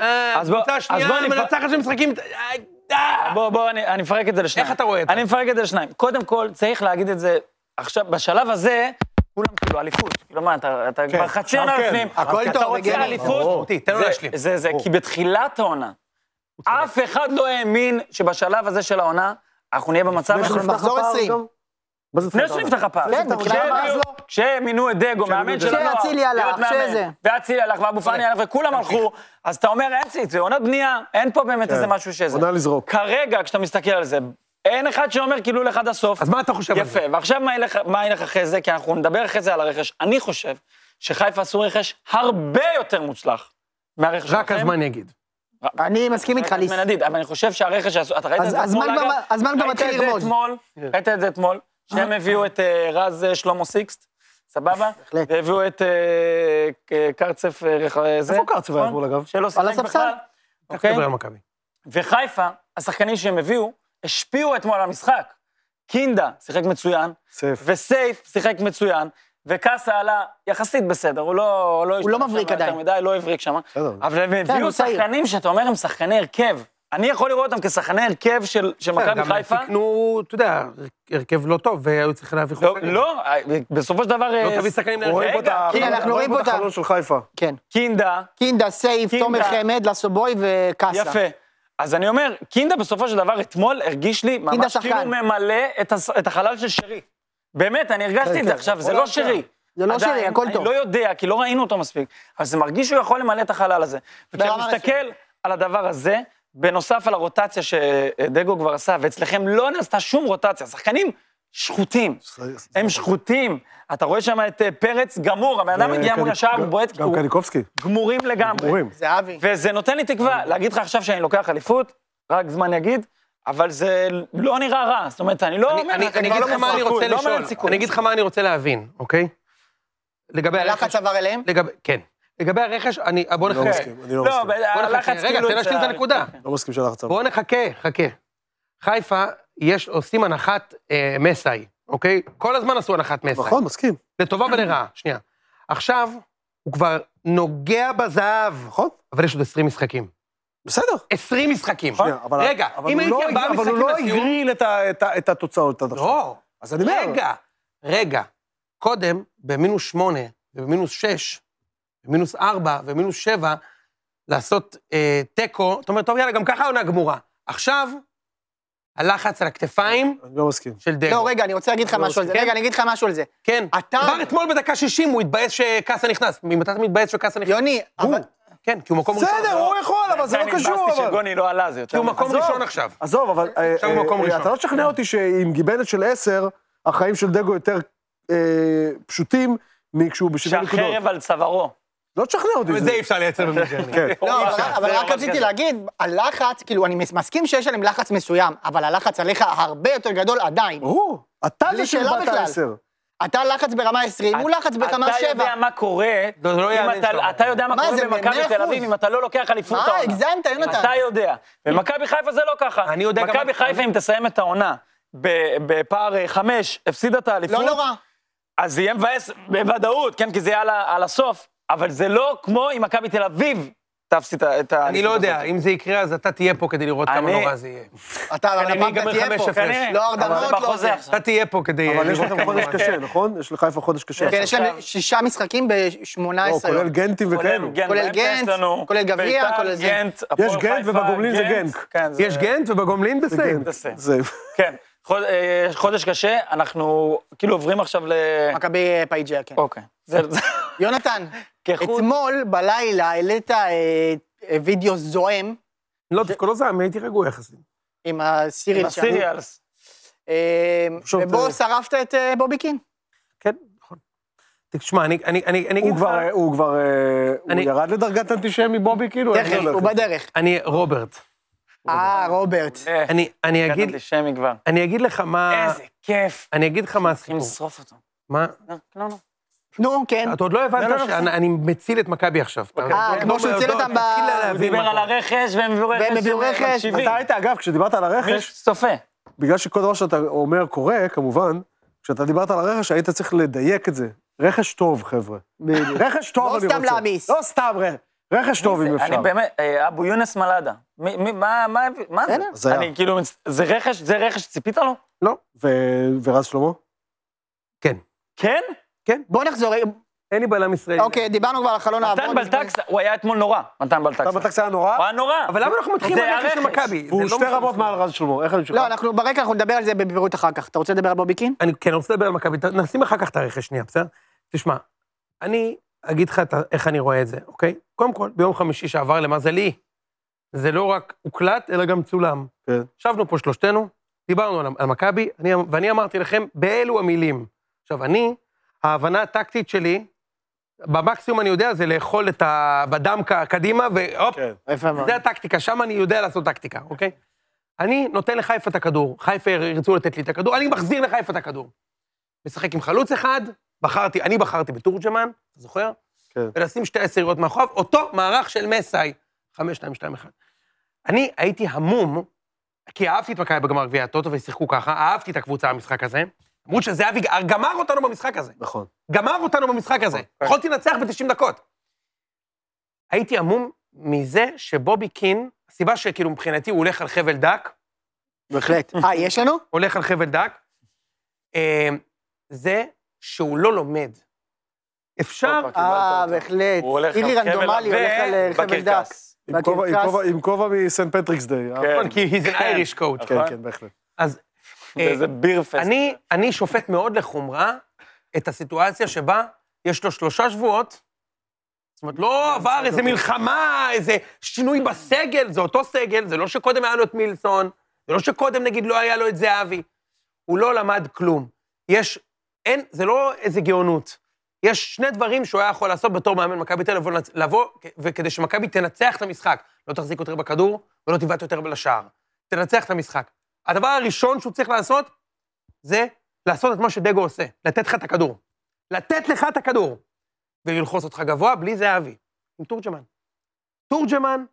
S6: אה,
S5: אז בוא-
S6: הקבוצה
S5: אז
S6: השנייה
S5: בוא אני-
S6: מנצחת של משחקים, אה, אה,
S5: בוא, בוא, אני, אני מפרק את זה לשניים.
S6: איך אתה רואה את זה?
S5: אני מפרק את זה לשניים. קודם כל, צריך להגיד את זה עכשיו, בשלב הזה, כולם כאילו אליפות. כאילו מה, אתה, אתה כבר חצי עונה
S4: כן.
S5: לפנים,
S3: הכל
S5: אתה
S3: טוב,
S5: רוצה
S3: בגמר.
S5: אליפות?
S6: אותי, תן לו
S5: זה-
S6: להשלים.
S5: זה, זה, כי בתחילת העונה, אף אחד לא האמין שבשלב הזה של העונה, אנחנו נהיה במצב הזה.
S3: שנפתח מחזור הפער 20. גם?
S4: מה זה
S5: לפני שנפתח הפער.
S3: כן, בתחילת
S5: כשהם-
S3: הפער, אז לא.
S5: כשמינו את דגו, מאמן של הנוער,
S3: כשאצילי הלך,
S5: להיות מאמן,
S3: כשזה.
S5: ואצילי הלך, ואבו פאני הלך, וכולם הלכו, אז אתה אומר, אין סיט, זה עונת בנייה, אין פה
S6: כן.
S5: באמת איזה משהו שזה.
S4: עונה לזרוק.
S5: כרגע, כשאתה מסתכל על זה, אין אחד שאומר כאילו לך עד הסוף.
S6: אז מה אתה חושב על זה?
S5: יפה, ועכשיו מה ילך- מה ילך אחרי זה? כי אנחנו נדבר אחרי זה על הרכש. אני חושב שחיפה עשו רכש הרבה יותר מוצלח מהרכש
S6: רק
S5: שלכם.
S6: הזמן יגיד.
S3: אני מסכים איתך, ליס.
S5: מנדיד, אבל אני חושב שהרכש שעשו, אתה ראית את
S3: אז-
S5: זה
S3: הזמן
S5: אתמול,
S3: כבר-
S5: אגב?
S3: הזמן כבר
S5: ראית
S3: מתחיל
S5: את זה
S3: לרמוז.
S5: אתמול, ראית את זה אתמול, שהם הביאו את אה, רז אה, שלמה סיקסט, סבבה?
S3: בהחלט.
S5: והביאו את אה, ק- קרצף אה, רך- אה, זה.
S4: איפה קרצב היה
S5: נכון?
S4: אתמול, אגב?
S5: שלא שיחק
S3: הספסל.
S5: בכלל.
S6: תכף
S5: אוקיי?
S6: נדבר על מכבי.
S5: וחיפה, השחקנים שהם הביאו, השפיעו אתמול על המשחק. קינדה שיחק מצוין,
S4: סייף.
S5: וסייף שיחק מצוין, וקאסה עלה יחסית בסדר, הוא לא...
S3: הוא לא
S5: השתנה
S3: מבריק
S5: שם
S3: עדיין. כן,
S5: יותר מדי, לא הבריק שם.
S4: בסדר.
S5: אבל הם
S3: הוא
S5: הביאו
S3: צעיר.
S5: שחקנים שאתה אומר הם שחקני הרכב. אני יכול לראות אותם כשחקני הרכב של של מכבי
S6: גם
S5: חיפה.
S6: תקנו, אתה יודע, הרכב לא טוב, והיו צריכים להביא
S5: לא,
S6: חוסרים.
S5: לא, בסופו של דבר...
S6: לא
S5: אה,
S6: תביא שחקנים
S4: רואים פה את
S5: רגע,
S4: ה-
S6: כן,
S3: כי אנחנו רואים פה
S4: את
S3: את ה-
S4: החלון של חיפה.
S3: כן.
S5: קינדה,
S3: קינדה, סייף,
S5: קינדה.
S3: תומר חמד, לסובוי וקאסה.
S5: יפה. אז אני אומר, קינדה בסופו של דבר אתמול הרגיש לי
S3: קינדה
S5: ממש
S3: שחקן.
S5: כאילו ממלא את הס- את החלל של שרי. באמת, אני הרגשתי את
S3: כן,
S5: זה עכשיו, זה לא שרי.
S3: זה לא
S5: עדיין,
S3: שרי, הכל
S5: אני
S3: טוב.
S5: לא יודע, כי לא ראינו אותו מספיק, אבל זה מרגיש שהוא יכול למלא את החלל הזה. וכשאני
S3: ברמה
S5: מסתכל על הדבר הזה, בנוסף על הרוטציה שדגו כבר עשה, ואצלכם לא נעשתה שום רוטציה, שחקנים שחוטים.
S3: לא
S5: הם שחוטים. אתה רואה שם את אה, פרץ גמור, הבן
S3: כן,
S5: אדם מגיע מול השער, הוא בועט,
S4: גם
S5: הוא-
S4: קניקובסקי.
S5: גמורים לגמרי.
S4: גמורים.
S3: זהבי.
S5: וזה נותן לי תקווה, להגיד לך עכשיו שאני לוקח אליפות, רק זמן יגיד, אבל זה לא נראה רע. זאת אומרת, אני לא
S6: אני-
S5: אומר,
S6: אני
S5: זה
S6: אני
S5: כבר
S6: אגיד
S5: לא
S6: לך מה אני
S5: מופרך,
S6: רוצה
S5: לא
S6: לשאול,
S5: מלא סיכוי.
S6: אני אגיד לך מה אני רוצה להבין, אוקיי? לגבי הרכש,
S3: הלחץ עבר אליהם?
S6: לגבי, כן. לגבי הרכש, אני, בוא
S4: לא
S6: נחכה.
S5: אוקיי.
S4: מסכים, אני לא
S5: לא,
S4: מסכים.
S5: אבל
S6: בוא נחכה.
S5: הלחץ
S6: רגע,
S5: כאילו...
S6: תן להשלים את
S5: אצל-
S6: הנקודה.
S4: לא מסכים שהלחץ עבר.
S6: בוא נחכה, חכה. חיפה, יש, עושים הנחת אה, מסאי, אוקיי? כל הזמן עשו הנחת מסאי.
S4: נכון, מסכים.
S6: לטובה ולרעה, שנייה. עכשיו, הוא כבר נוגע בזהב,
S4: נכון,
S6: אבל יש עוד 20 משחקים.
S4: בסדר.
S6: 20 משחקים.
S4: שנייה, אבל-
S6: נכון. רגע,
S4: אבל הוא
S6: אם הייתי
S4: לא-
S6: ארבעה
S4: אבל הוא
S6: משחקים
S4: לא
S6: לסיום...
S4: הגריל את ה- את ה- את התוצאות עד עכשיו.
S6: לא,
S4: אז אני אומר...
S6: רגע, רגע. קודם, במינוס שמונה, ובמינוס שש, במינוס ארבע, ובמינוס שבע, לעשות אה, תיקו, אתה אומר, טוב, יאללה, גם ככה העונה גמורה. עכשיו, הלחץ על הכתפיים
S4: אני לא מסכים.
S6: של דגו.
S3: לא, רגע, אני רוצה להגיד לך משהו על זה.
S6: כן?
S3: רגע, אני אגיד לך משהו על זה.
S6: כן.
S3: אתה-
S6: כבר אתמול בדקה 60 הוא התבאס שקאסה נכנס. ממתי אתה מתבאס שקאסה נכנס?
S3: יוני, אבל...
S6: כן, כי הוא מקום ראשון.
S4: בסדר, הוא יכול, אבל זה לא קשור,
S5: נתבאסתי
S4: אבל...
S5: שגוני לא עלה, זה
S6: כי
S5: יותר...
S6: הוא מקום
S4: עזוב.
S6: ראשון עכשיו.
S4: עזוב, אבל... אה,
S6: עכשיו הוא
S4: אה,
S6: מקום
S4: אה,
S6: ראשון. כן.
S4: אתה לא תשכנע אותי שעם גיבנת של עשר, החיים של דגו יותר אה, פשוטים מכשהוא בשבע נקודות.
S5: שהחרב על צווארו.
S4: לא תשכנע אותי.
S6: ואת זה אי אפשר לייצר במג'רני.
S4: כן.
S3: לא,
S5: אי
S3: אבל-
S5: אפשר,
S3: אבל
S5: זה
S3: רק
S5: ממש
S3: רציתי
S5: כזה.
S3: להגיד, הלחץ, כאילו, אני מס- מסכים שיש עליהם לחץ מסוים, אבל הלחץ עליך הרבה יותר גדול עדיין.
S4: ברור. אתה
S3: בלי
S4: זה
S3: שאלה
S4: שבאת
S3: בכלל.
S4: עשר.
S3: אתה לחץ ברמה 20, הוא לחץ ברמה 7.
S5: אתה יודע מה קורה,
S6: לא, זה לא
S5: אם
S6: יאמן
S5: אתה-
S6: שאתה אומר.
S5: אתה יודע מה
S3: מה,
S5: קורה
S3: זה
S5: במכבי
S3: ב-
S5: תל
S3: 100%?
S5: אביב אם אתה לא לוקח אליפות
S3: מה,
S5: העונה.
S3: אה, הגזמת, יונתן.
S5: אתה יודע. במכבי חיפה זה לא ככה.
S6: אני יודע גם-
S5: מכבי חיפה, אם תסיים את העונה ב- בפער אה, חמש, הפסידה את האליפות,
S3: לא נורא.
S5: אז זה יהיה מבאס בוודאות, כן? כי זה יהיה על ה- על הסוף. אבל זה לא כמו אם מכבי תל אביב תפסיד את ה- את האליפות.
S6: אני לא יודע,
S5: הזאת.
S6: אם זה יקרה, אז אתה תהיה פה כדי לראות כמה
S5: אני-
S6: נורא זה יהיה.
S3: אתה על
S6: כנראה
S3: הפעם אתה
S6: ייגמר
S3: תהיה
S6: חמש
S3: פה.
S6: הפרש.
S5: כנראה.
S3: לא
S5: אבל
S3: הרדמות,
S5: זה
S3: לא
S5: בחוזה
S3: זה.
S5: עכשיו.
S6: אתה תהיה פה כדי...
S4: אבל יש
S6: לראות
S4: לכם
S6: כמה
S4: חודש
S6: נורא.
S4: קשה, נכון? יש לחיפה חודש קשה.
S3: כן,
S4: עכשיו.
S3: יש להם שישה משחקים
S4: לא,
S3: ב-18 יום.
S4: כולל גנטים וכאלו.
S5: גנט,
S3: כולל
S5: באמצע יש
S3: גנט,
S5: לנו
S3: כולל גביע,
S5: ביתר,
S3: כולל זה.
S5: גנט, הפועל
S4: יש גנט
S5: חיפה,
S4: ובגומלין זה
S5: גנט.
S4: גנט.
S5: כן, זה-
S6: יש גנט ובגומלין בסיים.
S4: גנט.
S5: בסדר.
S4: זה...
S5: כן. חוד- אה, חודש קשה, אנחנו כאילו עוברים עכשיו ל...
S6: אוקיי.
S3: מכבי אה, פייג'ר, כן.
S5: אוקיי. זה- זה-
S3: יונתן,
S5: כחוט.
S3: אתמול בלילה העלית אה, אה, וידאו זועם
S6: לא, דווקא לא זעם, הייתי רגוע יחסית.
S3: עם הסיריל שם.
S5: הסיריאלס.
S3: אה,
S4: פשוט,
S3: ובו
S4: אה,
S3: שרפת את אה, בובי קין.
S6: כן, נכון. תשמע, אני- אני אני- אני אגיד
S4: הוא
S6: לך...
S4: כבר, הוא כבר, אה, הוא
S6: אני-
S4: ירד לדרגת אנטישמי בובי, כאילו? איך זה
S3: תכף,
S4: הולך?
S3: הוא בדרך.
S6: אני, רוברט,
S3: אה, רוברט.
S5: אה,
S6: אני- אני
S5: הגעתי
S6: אגיד-
S5: לשמי כבר.
S6: אני אגיד לך מה...
S5: איזה כיף.
S6: אני אגיד לך מה
S5: צריכים
S6: הסיפור.
S5: לשרוף אותו.
S6: מה?
S5: לא, לא, לא.
S3: נו, כן.
S6: אתה עוד לא הבנת שאני מציל את מכבי עכשיו. אתה
S3: אה,
S6: לא-
S3: כמו שהוא הציל
S6: לא-
S3: אותם ב-
S6: תתחיל
S3: הוא
S5: הוא
S6: להבין
S5: דיבר
S6: מה
S5: על
S6: קורה.
S5: הרכש, והם הביאו רכש.
S3: והם הביאו
S5: שהם
S3: רכש,
S5: מקשיבים.
S4: אתה היית, אגב, כשדיברת על
S5: מי
S4: הרכש,
S5: שצופה.
S4: בגלל שכל דבר שאתה אומר קורה, כמובן, כשאתה דיברת על הרכש, היית צריך לדייק את זה. רכש טוב, חבר'ה. רכש טוב
S3: לא
S4: אני רוצה.
S3: סתם להעמיס.
S4: לא סתם רכש. רכש טוב, אם
S5: זה-
S4: אפשר.
S5: אני באמת, אה, אבו יונס מלאדה. מי- מי- מה מה- מה
S4: בסדר,
S5: זה?
S4: הזיה.
S5: אני כאילו, מצ- זה רכש, זה רכש שציפית לו?
S4: ו- ורז שלמה?
S5: כן?
S3: בוא נחזור, אה,
S6: אין לי בלם ישראלי.
S3: אוקיי, דיברנו כבר על החלון העבור.
S5: מתן בלטקסה, הוא היה אתמול נורא, מתן
S4: אתה
S5: בלטקסה.
S4: בטקס היה נורא,
S5: הוא היה נורא.
S6: אבל למה אנחנו מתחילים
S5: זה
S6: על הרכש של
S5: הרכש.
S6: מכבי? זה
S4: והוא
S6: לא
S4: שתי
S6: משנה.
S4: רמות מעל רז שלמה. איך אני שלך?
S3: לא, אנחנו ברקע, אנחנו נדבר על זה בפירוט אחר כך. אתה רוצה לדבר על בובי קין?
S6: אני כן אני רוצה לדבר על מכבי, ת- נשים אחר כך את הרכש שנייה, בסדר? תשמע, אני אגיד לך את ה- איך אני רואה את זה, אוקיי? קודם כל, ביום חמישי שעבר, למזלי, זה לא רק הוקלט, אלא גם צולם.
S4: כן.
S6: ישבנו פה שלושתנו, דיברנו על, על מכבי, אני, ואני אמרתי לכם באלו המילים. עכשיו, אני, ההבנה הטקטית שלי, במקסימום אני יודע, זה לאכול את ה... בדמקה קדימה, והופ,
S4: כן.
S3: יפה מאוד.
S6: זה הטקטיקה, שם אני יודע לעשות טקטיקה, אוקיי? אני נותן לחיפה את הכדור, חיפה ירצו לתת לי את הכדור, אני מחזיר לחיפה את הכדור. משחק עם חלוץ אחד, בחרתי, אני בחרתי בתורג'מן, אתה זוכר?
S4: כן.
S6: ולשים שתי עשיריות מאחוריו, אותו מערך של מסאי, 5, 2, 2, 1. אני הייתי המום, כי אהבתי את מכבי בגמר גביע הטוטו ושיחקו ככה, אהבתי את הקבוצה במשחק הזה, למרות שזהבי אה, גמר אותנו במשחק הזה.
S4: נכון.
S6: גמר אותנו במשחק הזה. יכולתי לנצח ב-90 דקות. הייתי המום מזה שבובי קין, הסיבה שכאילו מבחינתי הוא הולך על חבל דק,
S3: בהחלט. אה, יש לנו?
S6: הולך על חבל דק, אה, זה שהוא לא לומד. אפשר...
S5: עוד פעם, קיבלת
S3: אה,
S5: אותו.
S3: בהחלט.
S5: הוא הולך
S3: אירי
S5: על חבל
S3: רנדומלי
S5: עבה
S3: הולך על אה, חבל דק.
S5: בקרקס.
S4: עם כובע- עם
S3: בקרקס.
S4: כובע- עם כובע מסן פטריקס דיי. אה?
S5: כן.
S6: נכון, כי he's an
S5: כן.
S6: Irish coach.
S4: כן,
S5: נכון.
S4: כן, בהחלט.
S6: אה,
S5: זה ביר פסט.
S6: אני, אני שופט מאוד לחומרה את הסיטואציה שבה יש לו שלושה שבועות, זאת אומרת, לא עבר איזה מלחמה, איזה שינוי בסגל, זה אותו סגל, זה לא שקודם היה לו את מילסון, זה לא שקודם, נגיד, לא היה לו את זהבי. הוא לא למד כלום. יש, אין, זה לא איזה גאונות. יש שני דברים שהוא היה יכול לעשות בתור מאמן מכבי תל אביב, לנצ- לבוא, כ- וכדי שמכבי תנצח את המשחק. לא תחזיק יותר בכדור ולא תבעט יותר לשער. תנצח את המשחק. הדבר הראשון שהוא צריך לעשות, זה לעשות את מה שדגו עושה, לתת לך את הכדור. לתת לך את הכדור. וללחוץ אותך גבוה בלי זהבי, עם תורג'מן. תורג'מן,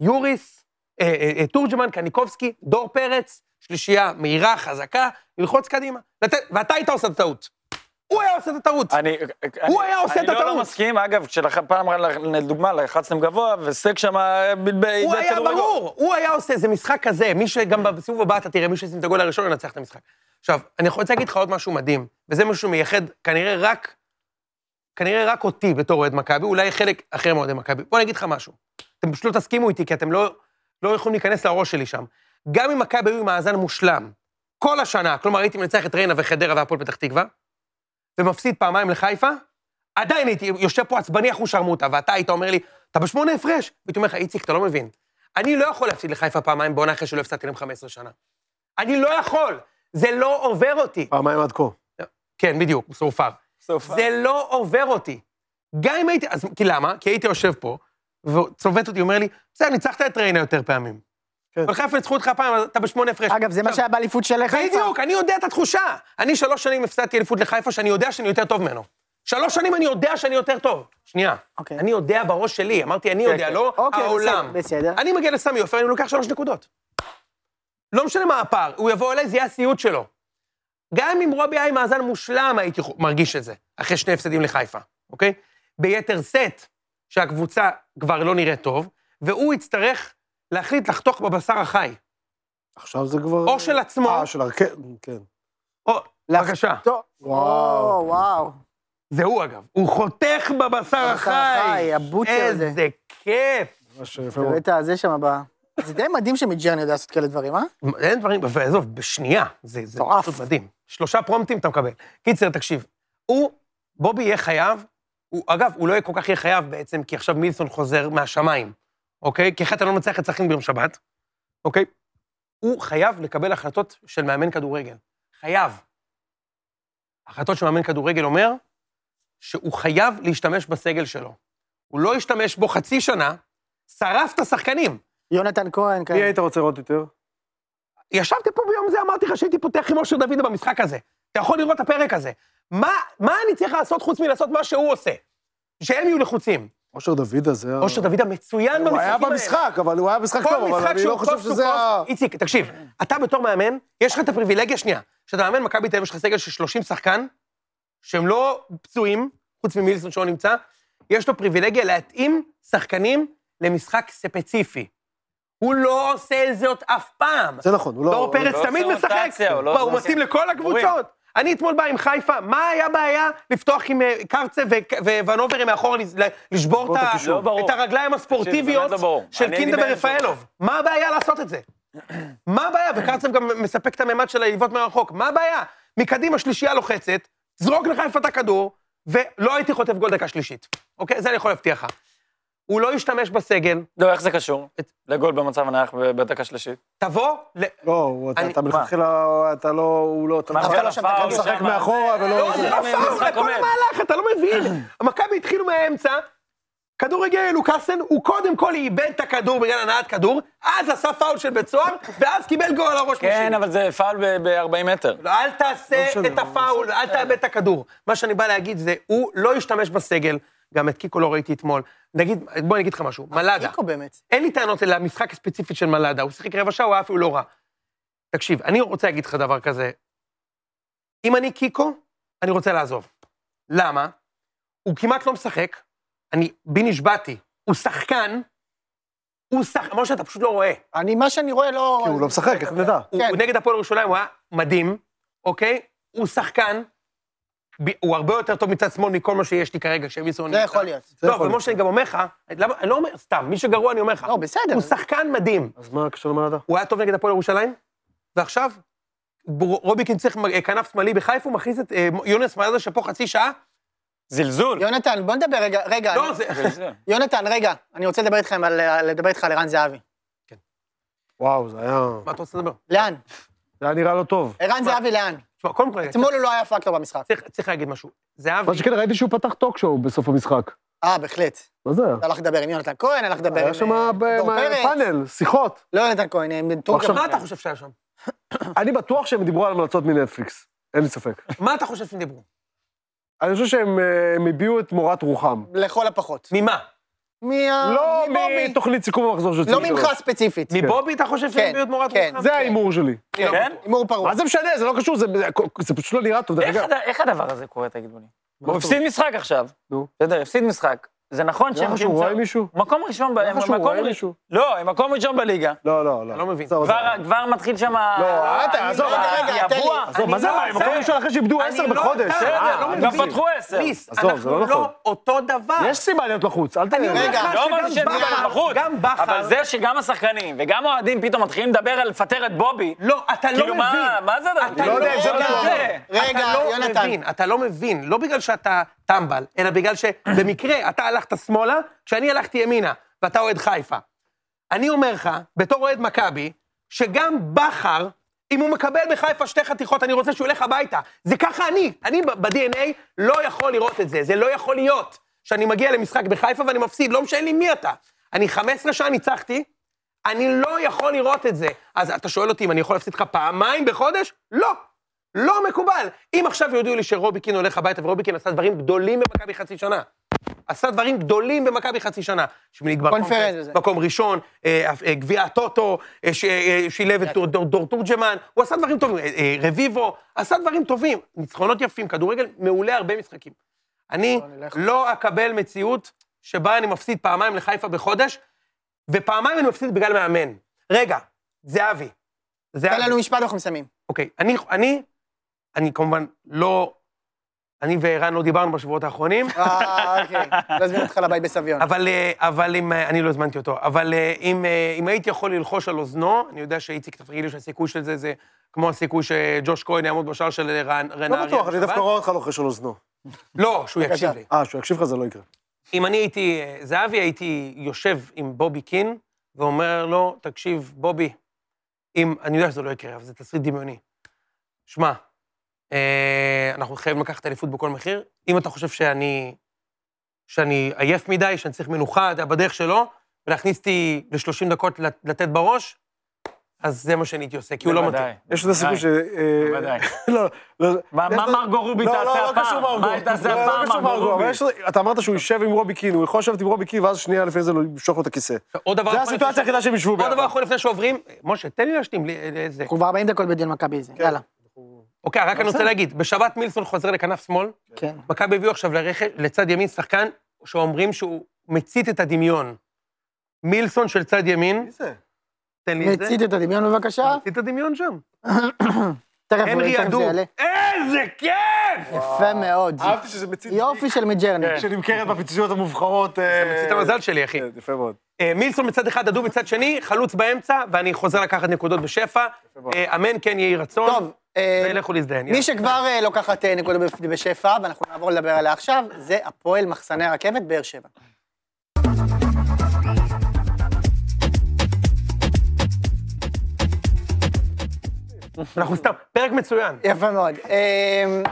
S6: יוריס, אה, אה, אה, תורג'מן, קניקובסקי, דור פרץ, שלישייה מהירה, חזקה, ללחוץ קדימה. לתת, ואתה היית עושה את הטעות. הוא היה עושה את הטעות.
S5: אני,
S6: הוא
S5: אני-
S6: היה עושה את
S5: אני לא
S6: הטעות.
S5: לא מסכים, אגב, כשפעם, לדוגמה, לחצתם גבוה, וסק שם אה, בלבל...
S6: הוא היה ברור, הוא היה עושה, זה משחק כזה, מי שגם בסיבוב הבא אתה תראה, מי שישים את הגול הראשון ינצח את המשחק. עכשיו, אני רוצה להגיד לך עוד משהו מדהים, וזה משהו שמייחד כנראה רק, כנראה רק אותי בתור אוהד מכבי, אולי חלק אחר מאוהדי מכבי. בוא אני אגיד לך משהו, אתם פשוט לא תסכימו איתי, כי אתם לא, לא יכולים להיכנס לראש שלי שם. גם אם מכבי היו עם מאזן מושלם, כל השנה, כלומר הייתי מנצח את ריינה וחדרה והפועל פתח תקווה, ומפסיד פעמיים לחיפה, עדיין הייתי יושב פה עצבני אחוש שרמוטה, ואתה היית אומר לי, אתה בשמונה הפרש. הייתי אומר לך, איציק, אתה לא מבין. אני לא יכול להפסיד לחיפה פעמיים בעונה אחרי שלא הפסדתי להם 15 שנה. אני לא יכול. זה לא עובר אותי.
S4: פעמיים עד כה.
S6: כן, בדיוק, סופר.
S5: סוף.
S6: זה לא עובר אותי. גם אם הייתי, אז כי למה? כי הייתי יושב פה, וצובט אותי, אומר לי, בסדר, ניצחת את ריינה יותר פעמים.
S4: כן.
S6: אבל חיפה ניצחו אותך פעם, אז אתה בשמונה הפרש.
S3: אגב, זה מה
S6: עכשיו,
S3: שהיה באליפות של חיפה.
S6: בדיוק, אני יודע את התחושה. אני שלוש שנים הפסדתי אליפות לחיפה, שאני יודע שאני יותר טוב ממנו. שלוש שנים אני יודע שאני יותר טוב. שנייה.
S3: אוקיי.
S6: אני יודע בראש שלי, אמרתי, אני יודע,
S5: כן.
S6: לא
S3: אוקיי,
S6: העולם.
S3: בסדר, בסדר.
S6: אני מגיע לסמי עופר, כן, אני לוקח שלוש נקודות. לא משנה מה הפער, הוא יבוא אליי, זה יהיה הסיוט שלו. גם אם רובי היה עם מאזן מושלם, הייתי חו- מרגיש את זה, אחרי שני הפסדים לחיפה, אוקיי? ביתר סט, שהקבוצה כבר לא נראית טוב, והוא יצטרך להחליט לחתוך בבשר החי.
S4: עכשיו זה כבר...
S6: או של עצמו,
S4: אה, של הרכב, כן.
S6: או... בבקשה.
S3: טוב.
S4: וואו.
S3: או, וואו.
S6: זה הוא, אגב. הוא חותך בבשר
S3: בבשר
S6: החי.
S3: החי, הבוטר הזה.
S6: איזה כיף.
S4: ממש יפה מאוד.
S3: תראה את זה שם ב... זה די מדהים שמידג'רני יודע לעשות כאלה דברים, אה?
S6: אין דברים, ועזוב, בשנייה, זה, זה
S3: מטורף.
S6: פשוט מדהים. שלושה פרומפטים אתה מקבל. קיצר, תקשיב, הוא, בובי יהיה חייב, הוא, אגב, הוא לא יהיה כל כך יהיה חייב בעצם, כי עכשיו מילסון חוזר מהשמיים, אוקיי? כי אחת אתה לא מנצח את סכנין ביום שבת, אוקיי? הוא חייב לקבל החלטות של מאמן כדורגל. חייב. החלטות של מאמן כדורגל אומר שהוא חייב להשתמש בסגל שלו. הוא לא השתמש בו חצי שנה, שרף את השחקנים.
S3: יונתן כהן, כן.
S4: מי
S3: כאלה.
S4: היית רוצה לראות יותר?
S6: ישבתי פה ביום זה, אמרתי לך שהייתי פותח עם אושר דוידה במשחק הזה. אתה יכול לראות את הפרק הזה. מה, מה אני צריך לעשות חוץ מלעשות מה שהוא עושה? שהם יהיו לחוצים.
S4: אושר דוידה זה ה...
S6: אושר דוידה מצוין במשחקים
S4: הוא היה
S6: האלה.
S4: במשחק, אבל הוא היה במשחק
S6: כל
S4: טוב, אבל
S6: משחק
S4: אני לא
S6: שהוא
S4: חושב
S6: קוף שהוא
S4: שזה ה...
S6: קוף. איציק, תקשיב, אתה בתור מאמן, יש לך את הפריבילגיה שנייה, שאתה מאמן מכבי תל אביב, יש לך סגל של 30 שחקן, שהם לא פצועים, חוץ ממילסון שלא נמצא, יש לו פריבילגיה להתאים שחקנים למשחק ספציפי. הוא לא עושה זאת אף פעם.
S4: זה נכון, הוא לא...
S6: דור פרץ
S5: לא
S6: תמיד
S5: עושה
S6: משחק.
S5: רוטציה, הוא לא
S6: מה, הוא
S5: עושה-
S6: מתאים לכל הקבוצות. אני אתמול בא עם חיפה, מה היה בעיה לפתוח עם אה, קרצה ו- וונוברי מאחורה, לז- ל- לשבור את ה-
S5: הקישור. לא ברור.
S6: את הרגליים
S5: תקשיב,
S6: הספורטיביות
S5: באמת לא ברור.
S6: של
S5: אני
S6: קינדה
S5: הייתי באמצע.
S6: ורפאלוב? מה הבעיה לעשות את זה? מה הבעיה? וקרצב גם מספק את הממד של העליבות מרחוק. מה הבעיה? מקדימה שלישייה לוחצת, זרוק לחיפה את הכדור, ולא הייתי חוטף גול דקה שלישית. אוקיי? זה אני יכול להבטיח לך. הוא לא ישתמש בסגל,
S5: לא, איך זה קשור?
S6: את-
S5: לגול במצב הנייח ב- בדקה שלישית.
S6: תבוא ל...
S4: לא, הוא- אתה-
S6: אני-
S4: אתה מלכתחילה, אתה לא... הוא לא... אתה
S5: מה,
S4: לא-
S5: אבל
S4: אתה לא-
S5: הפאול
S4: אתה
S5: שם,
S4: משחק
S5: זה-
S4: מאחורה ולא...
S6: לא, זה לא
S5: זה
S6: פאול, זה
S5: משחק
S6: כל
S5: עומד.
S6: המהלך, אתה לא מבין. המכבי התחילו מהאמצע, כדור הגיע ללוקאסן, הוא קודם כל איבד את הכדור בגלל הנעת כדור, אז עשה פאול של בית סוהר, ואז קיבל גול על הראש
S5: כן,
S6: משני.
S5: אבל זה פאול ב-40 מטר.
S6: לא, אל תעשה
S4: לא משנה,
S6: את הפאול, אל תאבד את הכדור. מה שאני בא להגיד זה, הוא לא ישתמש בסגל, גם את קיקו לא ראיתי אתמול. נגיד, בוא אני אגיד לך משהו, מלאדה.
S3: איקו באמת.
S6: אין לי טענות אל המשחק הספציפי של מלאדה, הוא שיחק רבע שעה, הוא היה אפילו לא רע. תקשיב, אני רוצה להגיד לך דבר כזה. אם אני קיקו, אני רוצה לעזוב. למה? הוא כמעט לא משחק, אני בי נשבעתי. הוא שחקן, הוא שחק... משה, אתה פשוט לא רואה.
S3: אני, מה שאני רואה לא...
S4: כי הוא לא משחק, איך נדע?
S6: הוא
S3: כן.
S6: הוא נגד הפועל ירושלים, הוא היה מדהים, אוקיי? הוא שחקן, ב- הוא הרבה יותר טוב מצד שמאל מכל מה שיש לי כרגע, שמיסון...
S3: זה יכול להיות.
S4: זה
S6: לא,
S4: יכול
S6: אבל
S4: להיות.
S6: משה, אני גם אומר לך, למה, אני לא אומר סתם, מי שגרוע אני אומר לך.
S3: לא, בסדר.
S6: הוא שחקן מדהים.
S4: אז מה הקשר למדע?
S6: הוא היה טוב נגד הפועל ירושלים, ועכשיו ב- רוביקין צריך אה, כנף שמאלי בחיפה, הוא מכניס את אה, יונס מלאדה שפה חצי שעה.
S5: זלזול.
S3: יונתן, בוא נדבר רגע, רגע.
S6: לא,
S3: אני-
S6: זה...
S5: זלזול.
S3: יונתן, רגע, אני רוצה לדבר איתכם על... אה, לדבר איתך על ערן זהבי.
S4: וואו, זה היה...
S6: מה אתה רוצה לדבר?
S3: לאן?
S4: זה היה נראה לא טוב.
S3: ערן זהבי לאן?
S6: תשמע, קודם כל, רגע,
S3: אתמול הוא לא היה פקטור במשחק.
S6: צריך- צריך להגיד משהו. זהבי,
S4: מה שכן, ראיתי שהוא פתח טוק שואו בסוף המשחק.
S3: אה, בהחלט.
S4: מה זה היה?
S3: אתה הלך לדבר עם יונתן כהן, הלך לדבר עם...
S4: היה שם
S3: אה,
S4: ב-
S3: דור
S4: מה-
S3: פרץ.
S4: פאנל, שיחות.
S3: לא יונתן כהן, עם טורקיה.
S6: מה אתה חושב שהיה שם?
S4: אני בטוח שהם דיברו על המלצות מנטפליקס, אין לי ספק.
S6: מה אתה חושב שהם דיברו?
S4: אני חושב שהם אה, הם הביעו את מורת רוחם.
S3: לכל הפחות.
S6: ממה? אה,
S3: מה-
S4: לא
S3: מבומי.
S4: מתוכנית סיכום המחזור של
S3: לא
S4: ציון
S3: ממך
S4: שלוש.
S3: ספציפית.
S6: מבובי אתה חושב שהם
S3: כן,
S6: הביאו את מורת
S3: כן.
S6: רוחם?
S4: זה ההימור שלי.
S6: אני לא
S5: כן?
S6: בטוח.
S3: הימור פרוע.
S4: מה זה משנה? זה לא קשור, זה- זה- זה פשוט לא נראה טוב. דרך
S5: איך
S4: אגב.
S5: הד- איך הדבר הזה קורה, תגידו לי?
S4: מה
S5: הוא הפסיד משחק עכשיו.
S4: נו.
S5: בסדר, הפסיד משחק. זה נכון
S4: נראה
S5: שהם
S4: לך שהוא רואה מישהו?
S5: מקום ראשון, ב-
S4: נראה לך שהוא
S5: מקום
S4: רואה
S5: ר-
S4: מישהו?
S5: לא, הם מקום ראשון בליגה.
S4: לא, לא, לא.
S6: אתה לא מבין.
S4: עזוב, עזוב.
S5: כבר- כבר מתחיל שם... ה-
S4: לא, אתה,
S5: ה-
S4: עזוב,
S5: ה-
S3: רגע, רגע, תן לי.
S5: הבוע.
S4: עזוב, מה
S6: אני
S4: זה
S6: לא
S4: הבעיה? מקום
S6: זה.
S4: ראשון אחרי שאיבדו
S6: אני
S4: עשר
S6: לא-
S4: בחודש.
S6: בסדר,
S4: אה,
S6: לא
S4: אני
S5: גם
S6: מבין.
S5: פתחו עשר.
S6: ליס,
S4: עזוב, זה
S6: אנחנו
S4: לא נכון.
S6: לא אותו דבר.
S4: יש סיבה להיות לחוץ, אל
S6: אני אומר
S4: תראה.
S3: רגע,
S6: לך
S5: לא אמרתי
S6: שגם
S5: שהם
S6: בכר,
S5: בכר בחוץ,
S6: גם בכר,
S5: אבל זה שגם השחקנים וגם האוהדים פתאום מתחילים לדבר על לפטר את בובי,
S6: לא, אתה לא
S5: כאילו, מה-
S6: מבין.
S5: מה זה הדבר הזה?
S6: אתה
S4: לא
S6: לא
S4: יודע, זה
S6: יודע,
S4: לא
S6: זה.
S3: רגע,
S6: אתה לא
S3: יונתן.
S6: מבין, אתה לא מבין, לא בגלל שאתה טמבל, אלא בגלל שבמקרה אתה על הלכת שמאלה, כשאני הלכתי ימינה, ואתה אוהד חיפה. אני אומר לך, בתור אוהד מכבי, שגם בכר, אם הוא מקבל בחיפה שתי חתיכות, אני רוצה שהוא ילך הביתה. זה ככה אני, אני ב- ב-DNA לא יכול לראות את זה, זה לא יכול להיות שאני מגיע למשחק בחיפה ואני מפסיד, לא משנה לי מי אתה. אני 15 שנה ניצחתי, אני לא יכול לראות את זה. אז אתה שואל אותי אם אני יכול להפסיד לך פעמיים בחודש? לא. לא מקובל. אם עכשיו יודיעו לי שרוביקין הולך הביתה, ורוביקין עשה דברים גדולים במכבי חצי שנה. עשה דברים גדולים במכבי חצי שנה. שנגמר
S3: קונפרנס
S6: קונפרנס,
S3: וזה.
S6: מקום ראשון, אה, אה, גביע הטוטו, אה, ש- אה, שילב את דור- דור- דור תורג'מן, הוא עשה דברים טובים, אה, אה, רביבו, עשה דברים טובים, ניצחונות יפים, כדורגל מעולה הרבה משחקים. אני
S3: נלך.
S6: לא אקבל מציאות שבה אני מפסיד פעמיים לחיפה בחודש, ופעמיים אני מפסיד בגלל מאמן. רגע, זהבי.
S3: תן
S6: זהבי.
S3: לנו משפט אנחנו מסיימים.
S6: אוקיי, אני, אני, אני כמובן לא, אני וערן לא דיברנו בשבועות האחרונים,
S3: אה, אוקיי. לא אזמין אותך לבית בסביון.
S6: אבל, אה, אבל אם, אה, אני לא הזמנתי אותו, אבל אה, אם, אה, אם הייתי יכול ללחוש על אוזנו, אני יודע שאיציק תכף יגיד לי שהסיכוי של זה זה כמו הסיכוי שג'וש כהן יעמוד בשער של אה, רן- רנארי.
S4: לא בטוח, אני
S6: בשבת.
S4: דווקא רואה אותך לוחש על אוזנו.
S6: לא, שהוא יקשיב
S3: בבקשה.
S6: אה, לי.
S4: אה, שהוא יקשיב לך זה לא יקרה.
S6: אם אני הייתי אה, זהבי, הייתי יושב עם בובי קין ואומר לו, תקשיב, בובי, אם, אני יודע שזה לא יקרה, אבל זה תסריט דמיוני. שמע, אה, אנחנו חייבים לקחת אליפות בכל מחיר. אם אתה חושב שאני, שאני עייף מדי, שאני צריך מנוחה, אתה בדרך שלו, ולהכניס אותי ל-30 דקות לת- לתת בראש, אז זה מה שאני הייתי עושה, כי הוא לא מתאים.
S5: בוודאי,
S4: יש איזה סיכוי ש... אה,
S5: בוודאי.
S4: לא, לא.
S5: מה- מה מרגו רובי
S4: לא,
S5: תעשה
S4: לא, לא קשור
S5: הפעם?
S4: מרגו.
S5: מה היא תעשה
S4: לא,
S5: הפעם,
S4: לא קשור
S5: מרגו
S4: מרגו, אבל
S5: רובי?
S4: יש לו- אתה אמרת שהוא יישב עם רובי קין, הוא יכול לשבת עם רובי קין, ואז שנייה לפני זה לא ימשוך לו את הכיסא.
S6: עוד דבר
S4: זה
S6: אחרון-
S4: הסיטואציה היחידה שהם ישבו
S6: עוד דבר
S4: ביחד.
S6: אחרון לפני שעוברים, משה, תן לי להשלים, לי- לי- זה.
S3: אנחנו כבר 40 דקות בדיון מכבי זה, יאללה.
S6: אוקיי, רק אני רוצה להגיד, בשבת מילסון חוזר לכנף שמאל,
S3: כן.
S6: מכבי הביאו עכשיו לרכש, לצד ימין שחקן שאומרים שהוא מצית את הדמיון. מילסון של צד ימין,
S4: זה?
S6: תן לי את זה.
S3: מצית את הדמיון בבקשה.
S6: מצית את הדמיון שם.
S3: תכף הוא
S6: הנרי
S3: תכף זה
S6: אדו.
S3: יעלה.
S6: איזה כיף!
S3: יפה מאוד.
S4: אהבתי כן. שזה מציץ
S3: יופי של מידג'רני.
S4: שנמכרת בפיצוציות המובחרות. אה,
S6: זה מצית המזל שלי, אחי.
S4: כן, יפה מאוד.
S6: אה, מילסון מצד אחד, אדום מצד שני, חלוץ באמצע, ואני חוזר לקחת נקודות בשפע.
S4: מאוד.
S6: אה, אמן, כן יהי רצון.
S3: טוב, אה,
S6: ולכו להזדיין. יאללה.
S3: מי שכבר אה, לוקחת אה, נקודה בפ- בשפע, ואנחנו נעבור לדבר עליה עכשיו, זה הפועל מחסני הרכבת באר שבע.
S6: אנחנו סתם, פרק מצוין.
S3: יפה מאוד. אמ,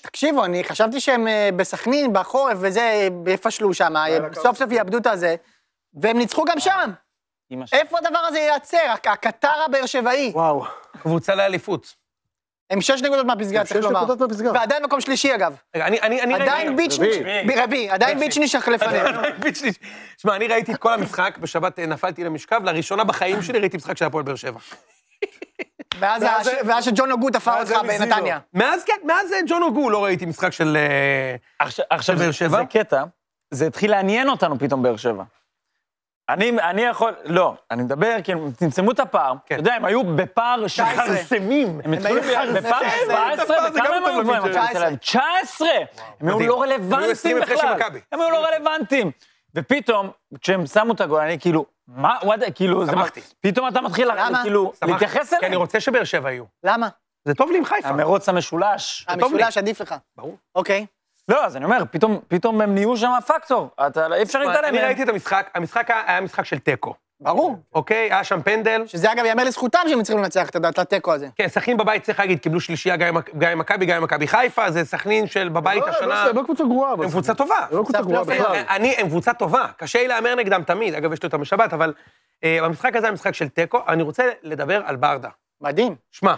S3: תקשיבו, אני חשבתי שהם אה, בסכנין, בחורף וזה, יפשלו שם, אה, סוף סוף יאבדו את הזה, והם ניצחו גם שם.
S5: אמא שלי.
S3: איפה הדבר הזה ייעצר? הק- הקטר הבאר שבעי.
S4: וואו.
S6: קבוצה לאליפות.
S3: הם שש נקודות מהפסגה,
S4: שש
S3: צריך לומר.
S4: נקודות מהפסגה.
S3: ועדיין מקום שלישי, אגב.
S6: רגע, אני... אני- אני- רגע,
S3: עדיין ביצ'ניש, רביעי, עדיין ביצ'ניש לפנינו.
S6: ביצ'ניש. שמע, אני ראיתי את כל המשחק, בשבת אה, נפלתי למשכב, לראשונה בחיים שלי ראיתי משחק של הפועל באר שבע.
S3: ואז ה-
S4: ואז-
S3: ואז שג'ון אוגו תפר
S4: ואז
S3: אותך
S4: הם הזינו.
S3: אה, בנתניה.
S6: מאז כן, מאז אה, ג'ון אוגו לא ראיתי משחק של... אה,
S5: עכשיו, עכשיו
S6: של באר
S5: זה,
S6: שבע?
S5: זה קטע, זה התחיל לעניין אותנו פתאום באר שבע. אני, אני יכול, לא, אני מדבר, כאילו, צמצמו את הפער. אתה יודע, הם היו בפער של
S3: 19.
S5: חרסמים. הם התחילו
S3: היו
S5: בפער
S3: חרסמים.
S5: 17,
S6: זה גם
S5: וכמה הם
S6: טוב
S5: היו כבר?
S6: למי
S5: מכבי
S3: ש-
S5: תל אביב? 19! הם היו
S6: מדהים.
S5: לא
S6: הם היו
S5: רלוונטיים
S6: 20 הפרש
S5: בכלל.
S6: למכבי.
S5: הם היו לא רלוונטיים. ופתאום, כשהם שמו את הגול, אני כאילו, מה, וואט, כאילו, זה...
S6: שמחתי.
S5: פתאום אתה מתחיל,
S3: למה?
S5: כאילו,
S6: שמחתי,
S5: להתייחס
S6: כי
S5: אליהם.
S6: אני רוצה שבאר שבע יהיו.
S3: למה?
S6: זה טוב לי עם חיפה.
S5: המרוץ המשולש.
S6: טוב לי.
S3: המשולש עדיף לך.
S6: ברור.
S3: אוקיי.
S5: לא, אז אני אומר, פתאום, פתאום הם נהיו שם פקטור. אתה, אי אפשר להתעלם
S6: אני
S5: מהם.
S6: ראיתי את המשחק, המשחק היה היה משחק של תיקו,
S3: ברור.
S6: אוקיי? היה שם פנדל.
S3: שזה אגב ייאמר לזכותם שהם הצליחו לנצח את הדת לתיקו הזה.
S6: כן, סכנין בבית, צריך להגיד, קיבלו שלישייה גם עם- גם עם מכבי, גם עם מכבי חיפה, זה סכנין של בבית
S4: לא,
S6: השנה.
S4: לא, הם לא קבוצה גרועה, אבל...
S6: הם קבוצה טובה.
S4: הם לא קבוצה גרועה
S3: סתם, לא,
S4: בכלל.
S6: אני, הם קבוצה טובה, קשה לי להמר נגדם תמיד, אגב, יש לי אותם בשבת, אבל אה, במשחק הזה היה משחק של תיקו, אני רוצה לדבר על ברדה.
S3: מדהים.
S6: שמע,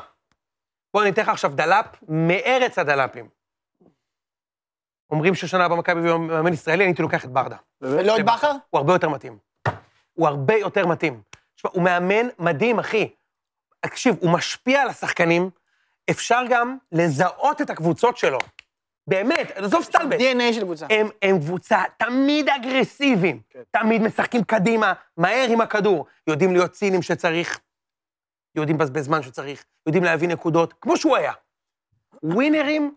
S6: בוא אני אתן לך עכשיו דלאפ מארץ הדלאפים. אומרים ששנה הבאה מכבי יהיה מאמן ישראלי, אני הייתי לוקח את ברדה.
S3: ולא את בכר?
S6: הוא הרבה יותר מתאים. הוא הרבה יותר מתאים. תשמע, הוא מאמן מדהים, אחי. תקשיב, הוא משפיע על השחקנים, אפשר גם לזהות את הקבוצות שלו. באמת, אה. עזוב סטלבט.
S3: DNA של קבוצה.
S6: הם, הם קבוצה תמיד אגרסיביים, כן. תמיד משחקים קדימה, מהר עם הכדור. יודעים להיות ציניים שצריך, יודעים לבזבז זמן שצריך, יודעים להביא נקודות, כמו שהוא היה. ווינרים,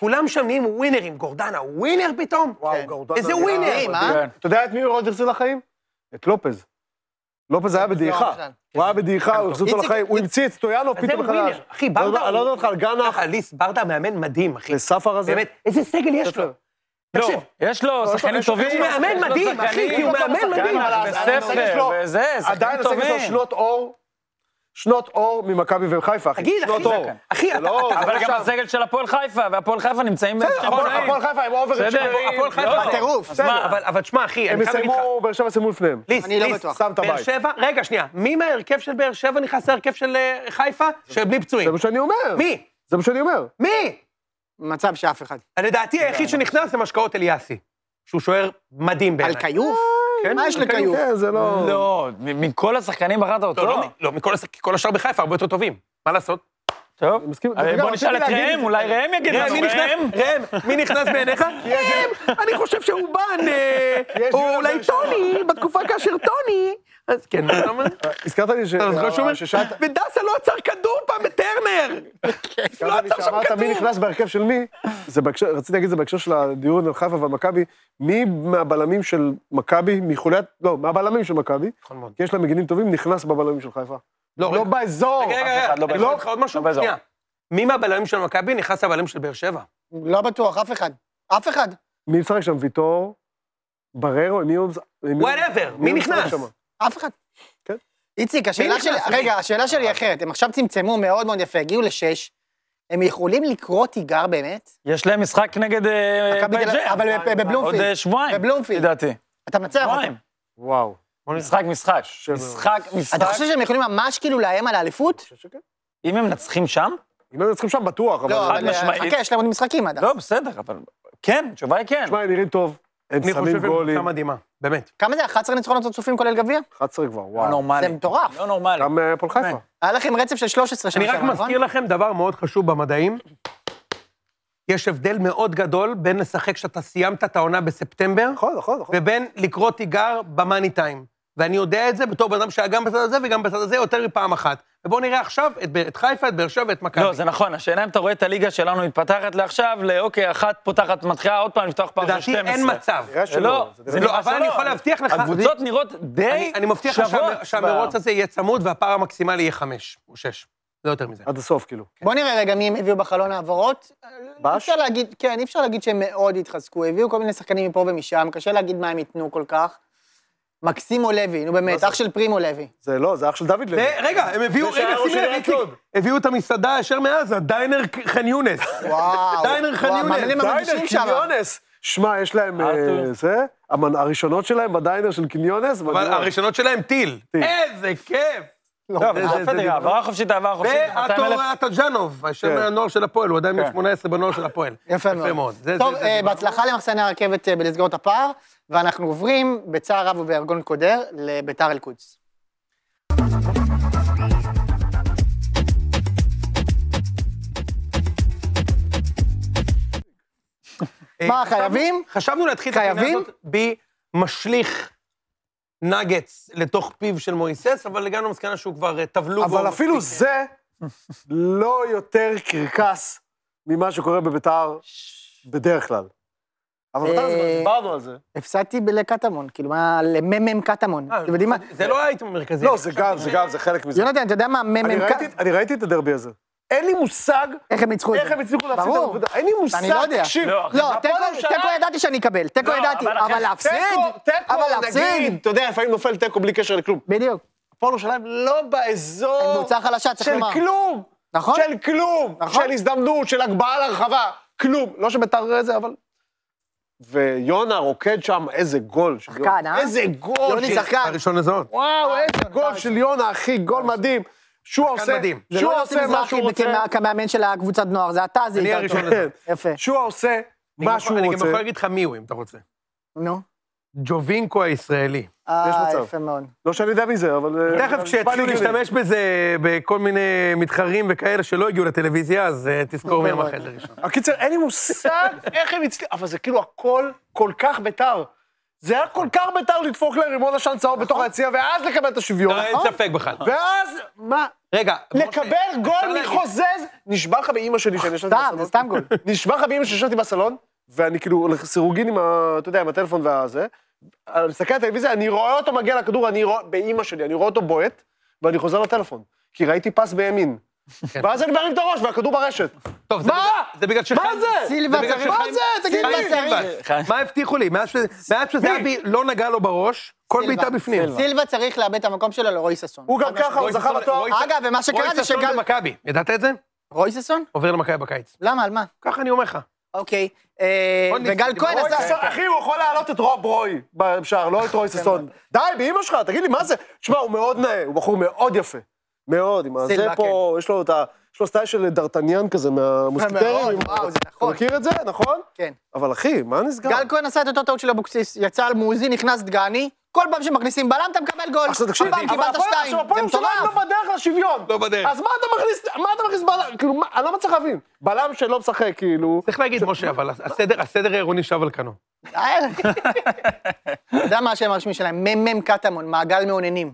S6: כולם שם נהיים ווינרים. גורדנה, ווינר פתאום?
S3: כן.
S4: גורדנה
S6: איזה
S4: נראה
S6: ווינר.
S4: מדהים.
S3: אה?
S5: כן.
S4: אתה יודע את מי רוד החזיר לחיים? את לופז. לופז
S6: לא
S4: היה בדעיכה.
S3: בכלל.
S4: הוא היה בדעיכה, הוא החזיר אותו
S3: איציק-
S4: לחיים, הוא המציא את סטויאנו
S6: כן, אז זה
S4: פתאום
S6: ווינר.
S4: מחדש.
S6: אחי,
S4: לא,
S6: ברדה...
S4: לא, אני לא יודע אותך על גנח,
S6: אליס, ברדה מאמן מדהים, אחי.
S4: לספר הזה.
S6: באמת, איזה סגל יש
S4: ספר.
S6: לו.
S5: לא,
S6: תקשיב.
S5: יש לו שחקנים טובים.
S6: הוא מאמן
S5: יש לו
S6: מדהים, אחי,
S5: שחקנים,
S6: כי הוא
S5: יש לו
S6: מאמן
S5: שחקנים,
S6: מדהים.
S5: אבל
S6: אבל
S5: בספר,
S6: הסגל שלו-
S5: וזה, שחקנים
S4: עדיין הסגל שלו
S6: אה.
S5: טובים.
S4: שנות אור, שנות אור ממכבי וחיפה, אחי.
S6: תגיד,
S4: שנות
S6: אחי,
S4: אור.
S6: אחי,
S4: זה
S6: אתה-
S4: לא-
S6: אתה-
S5: אבל גם
S6: עכשיו-
S5: הסגל של הפועל חיפה, והפועל חיפה נמצאים באיזשהם
S4: כן, הפועל-
S5: תנאים.
S4: הפועל חיפה הם אובר
S5: בסדר,
S6: הפועל חיפה.
S5: לא.
S3: טירוף.
S6: אז מה, אבל- אבל תשמע, אחי,
S4: הם
S6: אני חייב להגיד לך.
S4: יסיימו, באר שבע יסיימו לפניהם.
S6: ליס,
S3: אני לא
S6: ליס,
S3: בטוח.
S4: שם את
S6: באר
S4: הבית.
S6: שבע, רגע, שנייה, מי מההרכב של באר שבע נכנס להרכב של אה, חיפה? שבלי
S4: זה
S6: פצועים.
S4: מה שאני אומר.
S6: מי?
S4: זה מה שאני אומר.
S6: מי?
S3: מצב שאף אחד.
S6: לדעתי היחיד שנכנס זה לא- משקאות אליאסי, שהוא שוער מדהים
S3: על
S6: בעיניי.
S3: כיוף?
S6: כן?
S3: מה יש
S6: על
S3: לכיוף?
S4: כן, זה לא...
S5: לא, מ- מכל השחקנים בחרת
S6: לא,
S5: אותו.
S6: לא, לא, מכל הש- כי כל השאר בחיפה הרבה יותר טובים. מה לעשות?
S5: טוב,
S4: מסכים.
S5: אה,
S4: רגע,
S5: בוא נשאל את
S4: רציתי להגיד-
S5: ראם, אולי ראם יגיד
S6: ראם,
S5: לנו.
S6: מי נכנס?
S5: ראם?
S6: ראם, מי נכנס בעיניך? ראם, אני חושב שאובן, אה,
S4: יש דיון
S6: או
S4: על באר
S6: אולי
S4: שבע.
S6: טוני, בתקופה כאשר טוני... אז כן, מה אתה אומר?
S4: הזכרת לי ש...
S6: אתה זוכר שהוא אומר?
S4: ששאלת...
S6: ודסה לא עצר כדור פעם בטרנר! לא
S4: הזכרת לי
S6: עצר שם
S4: שאמרת מי
S6: כדור!
S4: נכנס בהרכב של מי. זה בהקשר, רציתי להגיד את זה בהקשר של הדיון על חיפה ומכבי. מי מהבלמים של מכבי, מחוליית... לא, מהבלמים של מכבי,
S6: נכון מאוד.
S4: כי יש לה מגינים טובים, נכנס בבלמים של חיפה. לא
S6: לא, רגע,
S4: באזור.
S6: רגע, רגע,
S5: אחד לא
S6: אני
S5: באזור.
S6: יכול להגיד לך עוד משהו?
S5: לא באזור.
S6: שנייה. מי מהבלמים של מכבי נכנס לבלמים של באר שבע?
S3: לא בטוח, אף אחד. אף אחד.
S4: מי משחק שם? ויטור? בררו? מי הוא... מי-
S6: וואטאבר, מי
S4: הוא משחק
S6: נכנס?
S4: שם?
S3: אף אחד.
S4: כן.
S3: איציק, השאלה
S6: נכנס,
S3: שלי,
S6: אחי?
S3: רגע, השאלה שלי היא אחרת. הם עכשיו צמצמו מאוד מאוד יפה, הגיעו לשש. הם יכולים לקרוא תיגר באמת?
S5: יש להם משחק נגד אה,
S3: מכבי תל-
S5: בייג'ן.
S3: אבל בפ-
S5: עוד
S3: בבלומפילד.
S5: אה, שבועיים,
S3: בבלומפילד.
S5: לדעתי.
S3: אתה מנצח אותם.
S5: שבועיים.
S4: וואו.
S6: כן.
S5: משחק, משחק.
S4: מאוד.
S5: משחק,
S3: אתה
S5: משחק.
S3: חושב שהם יכולים ממש כאילו לאיים על האליפות?
S5: אם הם מנצחים שם?
S4: אם הם צריכים שם בטוח, אבל...
S3: לא,
S5: חד
S3: אבל
S5: משמעית.
S3: חכה, יש להם עוד משחקים עד אז.
S5: לא, בסדר, אבל... כן, התשובה היא כן.
S6: לא
S4: תשמע, הם נראים טוב, הם
S6: אני חושב
S4: שמים
S6: שהם קבוצה
S4: גולים,
S6: מדהימה, באמת.
S3: כמה זה, 11 ניצחונות רצופים כולל גביע?
S4: 11 כבר,
S5: לא
S4: וואו.
S5: נורמלי.
S3: זה מטורף.
S5: לא נורמלי.
S4: גם אה, הפועל חיפה.
S6: כן.
S3: היה לכם רצף של 13 שנה
S6: אני רק
S3: שעברה, נכון?
S6: מזכיר לכם דבר מאוד חשוב במדעים. יש הבדל מאוד גדול בין לשחק כשאתה סיימת את העונה בספטמבר,
S4: נכון, נכון, נכון.
S6: ובין לקרוא תיגר במאני טיים. ואני יודע את זה בתור בן אדם שהיה גם בצד הזה וגם בצד הזה יותר מפעם אחת. ובואו נראה עכשיו את, באר- את חיפה, את באר שבע ואת מכבי.
S5: לא, זה נכון, השאלה אם אתה רואה את הליגה שלנו מתפתחת לעכשיו, לאוקיי, אחת פותחת, מתחילה עוד פעם לפתוח פעם של
S6: לדעתי
S5: 12.
S6: אין מצב.
S4: נראה שלא,
S5: לא,
S4: זה
S5: זה
S4: נראה-
S5: נראה
S6: אבל אני
S5: שלא.
S6: יכול להבטיח לך-
S5: הקבוצות נראות
S6: אני,
S5: די
S6: אני מבטיח לך
S5: שוות.
S6: שהמ- שהמרוץ הזה יהיה צמוד והפער המקסימלי יהיה חמש או שש. לא יותר מזה.
S4: עד הסוף, כאילו.
S3: בוא נראה רגע מי הם הביאו בחלון העברות. אי אפשר להגיד, כן, אי אפשר להגיד שהם מאוד התחזקו, הביאו כל מיני שחקנים מפה ומשם, קשה להגיד מה הם ייתנו כל כך. מקסימו לוי, נו באמת, אח של פרימו לוי.
S4: זה לא, זה אח של דוד לוי.
S6: ו- אה, רגע, הם הביאו,
S4: זה
S6: רגע,
S4: שהראש
S6: שים לב,
S4: נראה
S6: איציק,
S4: טוב.
S6: הביאו את המסעדה ישר מעזה, דיינר ק- ח'אן יונס.
S3: וואו.
S6: דיינר ח'אן
S3: וואו,
S6: יונס,
S3: מאמינים
S6: דיינר
S3: המגישים שם.
S4: קיניונס. שמע, יש להם אה,
S5: ארתור.
S4: זה, המנ- הראשונות שלהם בדיינר של קיניונס.
S6: אבל
S4: מדהימות.
S6: הראשונות שלהם טיל.
S4: טיל.
S6: איזה כיף.
S5: לא, אבל
S6: זה-
S5: זה-
S6: זה-
S5: זה-
S6: זה-
S5: העברה חופשית, העברה חופשית. 200,000.
S6: ועטור הטג'אנוב, השם
S4: כן.
S6: מהנוער של הפועל, הוא עדיין בן 18 בנוער של הפועל.
S3: יפה מאוד.
S6: זה-
S3: טוב,
S6: זה-
S3: אה,
S6: זה-
S3: בהצלחה למחסני הרכבת אה, בלסגור את הפער, ואנחנו עוברים בצער רב ובארגון קודר לביתר אל-קודס.
S6: אה,
S3: מה,
S6: חשבנו-
S3: חייבים?
S6: חשבנו להתחיל את הפינה
S3: חייבים?
S6: הזאת במשליך נגץ לתוך פיו של מויסס, אבל הגענו למסקנה שהוא כבר אה, טבלו בו.
S4: אבל אפילו
S6: מספיק.
S4: זה לא יותר קרקס ממה שקורה בביתר בדרך כלל. אבל ביתר זה כבר
S3: אה,
S4: דיברנו על זה.
S3: הפסדתי ב- לקטמון, כאילו מה, למ"מ קטמון.
S6: אה,
S3: אתם יודעים מה?
S6: זה לא האייטם המרכזי.
S4: לא, זה גם, זה גם, זה חלק מזה.
S3: יונתן, אתה יודע מה
S4: אני
S3: המ"מ
S4: ראיתי-
S3: קטמון?
S4: אני ראיתי את הדרבי הזה. אין לי מושג
S3: איך הם ניצחו את זה?
S4: איך הם הצליחו להפסיד את
S3: ברור.
S4: העבודה. אין לי מושג,
S3: אני לא יודע.
S4: תקשיב.
S5: לא,
S3: לא,
S5: הפועל
S3: תיקו-
S5: ירושלים-
S3: תיקו ידעתי שאני אקבל, תיקו
S5: לא,
S3: ידעתי,
S5: אבל אחרי-
S3: אבל להפסיד?
S4: תיקו, תיקו,
S3: אבל להפסיד?
S4: נגיד, אתה יודע, לפעמים נופל תיקו בלי קשר לכלום.
S3: בדיוק.
S4: הפועל ירושלים לא
S3: הם
S4: באזור
S3: קבוצה חלשה, צריך
S4: של
S3: לומר.
S4: כלום.
S3: נכון?
S4: של כלום.
S3: נכון.
S4: של הזדמנות, של הגבהה לרחבה. כלום. לא שביתר זה, אבל... ויונה רוקד שם, איזה גול. של יונה.
S3: שחקן, אה?
S4: איזה גול.
S3: יוני
S4: של-
S3: שחקן.
S6: הראשון לזהות.
S4: וואו, איזה גול
S3: שחקן.
S4: של יונה, אחי, גול מדהים. שהוא עושה,
S6: אה, מדהים.
S3: זה
S4: שהוא
S3: לא יוסי
S4: עושה מה
S3: מזרחי
S4: שהוא רוצה.
S3: בכ- כמאמן של הקבוצת נוער, זה אתה, זה
S6: אני
S3: איתו.
S6: הראשון לזהות.
S4: כן.
S3: יפה.
S4: שהוא עושה מה שהוא
S6: אני גם יכול
S4: רוצה.
S6: להגיד לך מי הוא, אם אתה רוצה.
S3: נו.
S6: ג'ובינקו הישראלי.
S3: אה,
S4: מצב.
S3: יפה מאוד.
S4: לא שאני יודע מי זה, אבל... אה,
S6: תכף
S4: אבל בא
S6: כשהתחילו
S4: לי הגיוני.
S6: להשתמש בזה בכל מיני מתחרים וכאלה שלא הגיעו לטלוויזיה, אז אה, תזכור מי
S3: מאוד.
S6: המחל הראשון.
S4: הקיצר, אין לי מושג איך הם הצליחו, אבל זה כאילו הכל כל כך ביתר. זה היה כל כך ביתר לדפוק להם רימון עשן צהוב בתוך היציאה, ואז לקבל את השוויון.
S6: לא,
S4: נכון?
S6: אין ספק בכלל.
S4: ואז, מה,
S6: רגע, משה,
S4: לקבל
S6: אפשר
S4: גול
S6: להגיד-
S4: מחוזז, נשבע לך באימא שלי שאני ישבתי
S3: סתם, זה
S4: בסלון.
S3: סתם גול.
S4: נשבע לך באימא שישבתי בסלון, ואני כאילו לסירוגין עם ה... אתה יודע, עם הטלפון והזה. אני מסתכל על הטלוויזיה, אני רואה אותו מגיע לכדור, אני רואה... באימא שלי, אני רואה אותו בועט, ואני חוזר לטלפון. כי ראיתי פס בימין.
S6: כן.
S4: ואז אני מרים את הראש והכדור ברשת.
S6: טוב, זה
S4: מה?
S6: בגלל- זה בגלל שחיים...
S4: מה זה?
S3: סילבה
S6: בגלל
S3: צריך-
S6: שחיים-
S4: מה זה? תגיד
S6: חיים
S4: לי.
S6: סילבס.
S5: חיים.
S6: מה הבטיחו לי? מאז שזה- מאז שזהבי לא נגע לו בראש, כל
S3: סילבה.
S6: בעיטה בפנים.
S3: סילבה צריך לאבד את המקום שלו לרועי ששון.
S4: הוא גם ככה, הוא
S6: רועי
S4: זכה
S6: ששון-
S4: בתואר.
S6: רועי
S3: אגב, ומה שקרה
S6: רועי
S3: זה
S6: ששון
S3: שגם...
S6: במכבי, ידעת את זה?
S3: רועי ששון?
S6: עובר למכבי בקיץ.
S3: למה, על מה?
S6: ככה אני אומר לך.
S3: אוקיי. אה,
S6: עוד ניסיתי,
S3: וגל כהן
S4: רועי
S3: עשה...
S4: ששון, אחי, הוא יכול להעלות את רוב רוי בשער, לא את רוי
S3: כן,
S4: ששון. די, באמא שלך, תגיד לי, מה זה? תשמע, הוא מאוד נאה, הוא בחור מאוד יפה. מאוד, עם הזה
S3: סילבה, כן.
S4: פה, יש לו את ה... יש לו סטייל של דרטניאן כזה מהמוסקטרים.
S3: מאוד, וואו, זה
S4: אתה
S3: נכון.
S4: מכיר את זה, נכון?
S3: כן.
S4: אבל אחי, מה נסגר?
S3: גל כהן עשה את אותו טעות של אבוקסיס, יצא על מואזי, נכנס דגני, כל פעם שמכניסים בלם אתה מקבל גול.
S4: עכשיו תקשיב,
S3: הפעם
S4: אבל
S3: קיבלת
S4: הפועל-
S3: שתיים,
S4: עכשיו
S3: זה
S4: הפועל ירושלים
S3: מטורף.
S4: לא בדרך לשוויון.
S6: לא בדרך.
S4: אז מה אתה מכניס, מה אתה מכניס בלם? כאילו, מה- אני לא מצליח להבין. בלם שלא משחק, כאילו...
S6: צריך להגיד, משה, אבל הסדר- הסדר העירוני שב על כנו.
S3: די. אה, אתה יודע מה השם הרשמי שלהם? מ"מ קטמון, מעגל מאוננים.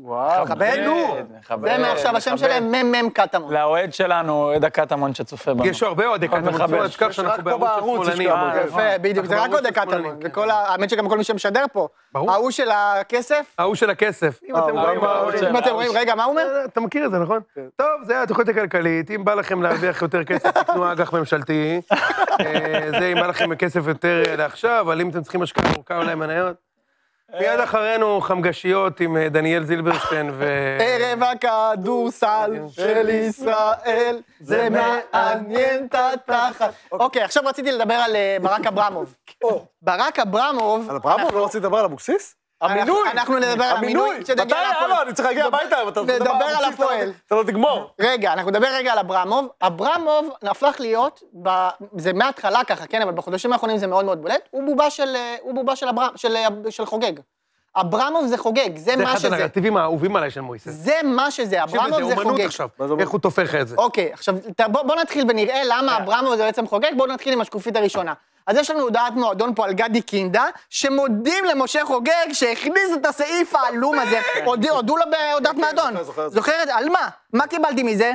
S4: וואו.
S3: מכבד, נו.
S5: מכבד,
S3: זה מעכשיו השם
S5: מכבד.
S3: שלהם מ"מ קטמון.
S5: כן, לאוהד שלנו, אוהד הקטמון שצופה בנו.
S6: יש הרבה אוהדי
S5: עוד
S6: קטמון,
S5: מחבר.
S6: לא תשכח
S4: רק פה
S6: שאנחנו בערוץ
S4: בערוץ יש
S6: השמאלני.
S4: כמה,
S6: אה,
S4: כן.
S3: יפה, בדיוק, זה רק
S6: אנחנו
S3: עוד
S6: בערוץ
S3: הקטמון.
S6: השמאלנים,
S3: זה
S6: כן.
S3: כל ה- האמת שגם כל מי שמשדר פה.
S6: ברור.
S3: ההוא של הכסף.
S6: ההוא של הכסף. אם אתם
S4: ההוא
S6: רואים...
S4: אה, גם כן, ההוא
S6: ההוא
S5: של-
S3: אם אתם רואים, רגע, מה הוא אומר?
S6: אה, אתה מכיר את זה, נכון? טוב, זה התוכנית הכלכלית, אם בא לכם להרוויח יותר כסף, תקנו אג"ח ממשלתי. אה, זה אם בא לכם כסף יותר אה, לעכשיו, אבל אם אתם צריכים השקעה ארוכה, אולי מניות. מיד אחרינו חמגשיות עם אה, דניאל זילברשטיין ו...
S4: אה,
S3: ערב הכדורסל של ישראל, זה מעניין את התחת. אוקיי, עכשיו רציתי לדבר על אה, ברק אברמוב. ברק אברמוב...
S4: על אברמוב לא רצית לדבר על אבוקסיס?
S3: אנחנו-
S4: המינוי!
S3: אנחנו נדבר על המינוי, כשנגיע
S4: מתי?
S3: להפועל.
S4: הלו, אני צריך להגיע הביתה, אבל אתה אתה
S3: נדבר על
S4: אבוקסיס, אתה לא-
S3: הפועל.
S4: אתה לא תגמור.
S3: רגע, אנחנו נדבר רגע על אברמוב. אברמוב הפך להיות, ב... זה מההתחלה ככה, כן, אבל בחודשים האחרונים זה מאוד מאוד בולט, הוא בובה של, אה, הוא בובה של, אברהם, של, אה, של חוגג. אברמוב זה חוגג, זה,
S6: זה
S3: מה
S6: אחד
S3: שזה.
S6: הנרטיבים האהובים עליי של מויסס.
S3: זה מה שזה,
S6: תקשיב,
S3: אברמוב זה
S6: אומנות
S3: חוגג.
S6: עכשיו,
S4: מה זה אומר?
S6: איך הוא תופך את זה.
S3: אוקיי, עכשיו, ת- בוא, בוא נתחיל ונראה למה אברמוב זה בעצם חוגג, בואו נתחיל עם השקופית הראשונה. אז יש לנו הודעת מועדון פה על גדי קינדה, שמודים למשה חוגג שהכניס את הסעיף העלום הזה, הודו- הודו לו בהודעת מועדון.
S4: זוכר, כן, זוכר, זוכר.
S3: זוכרת? על מה? מה קיבלתי מזה?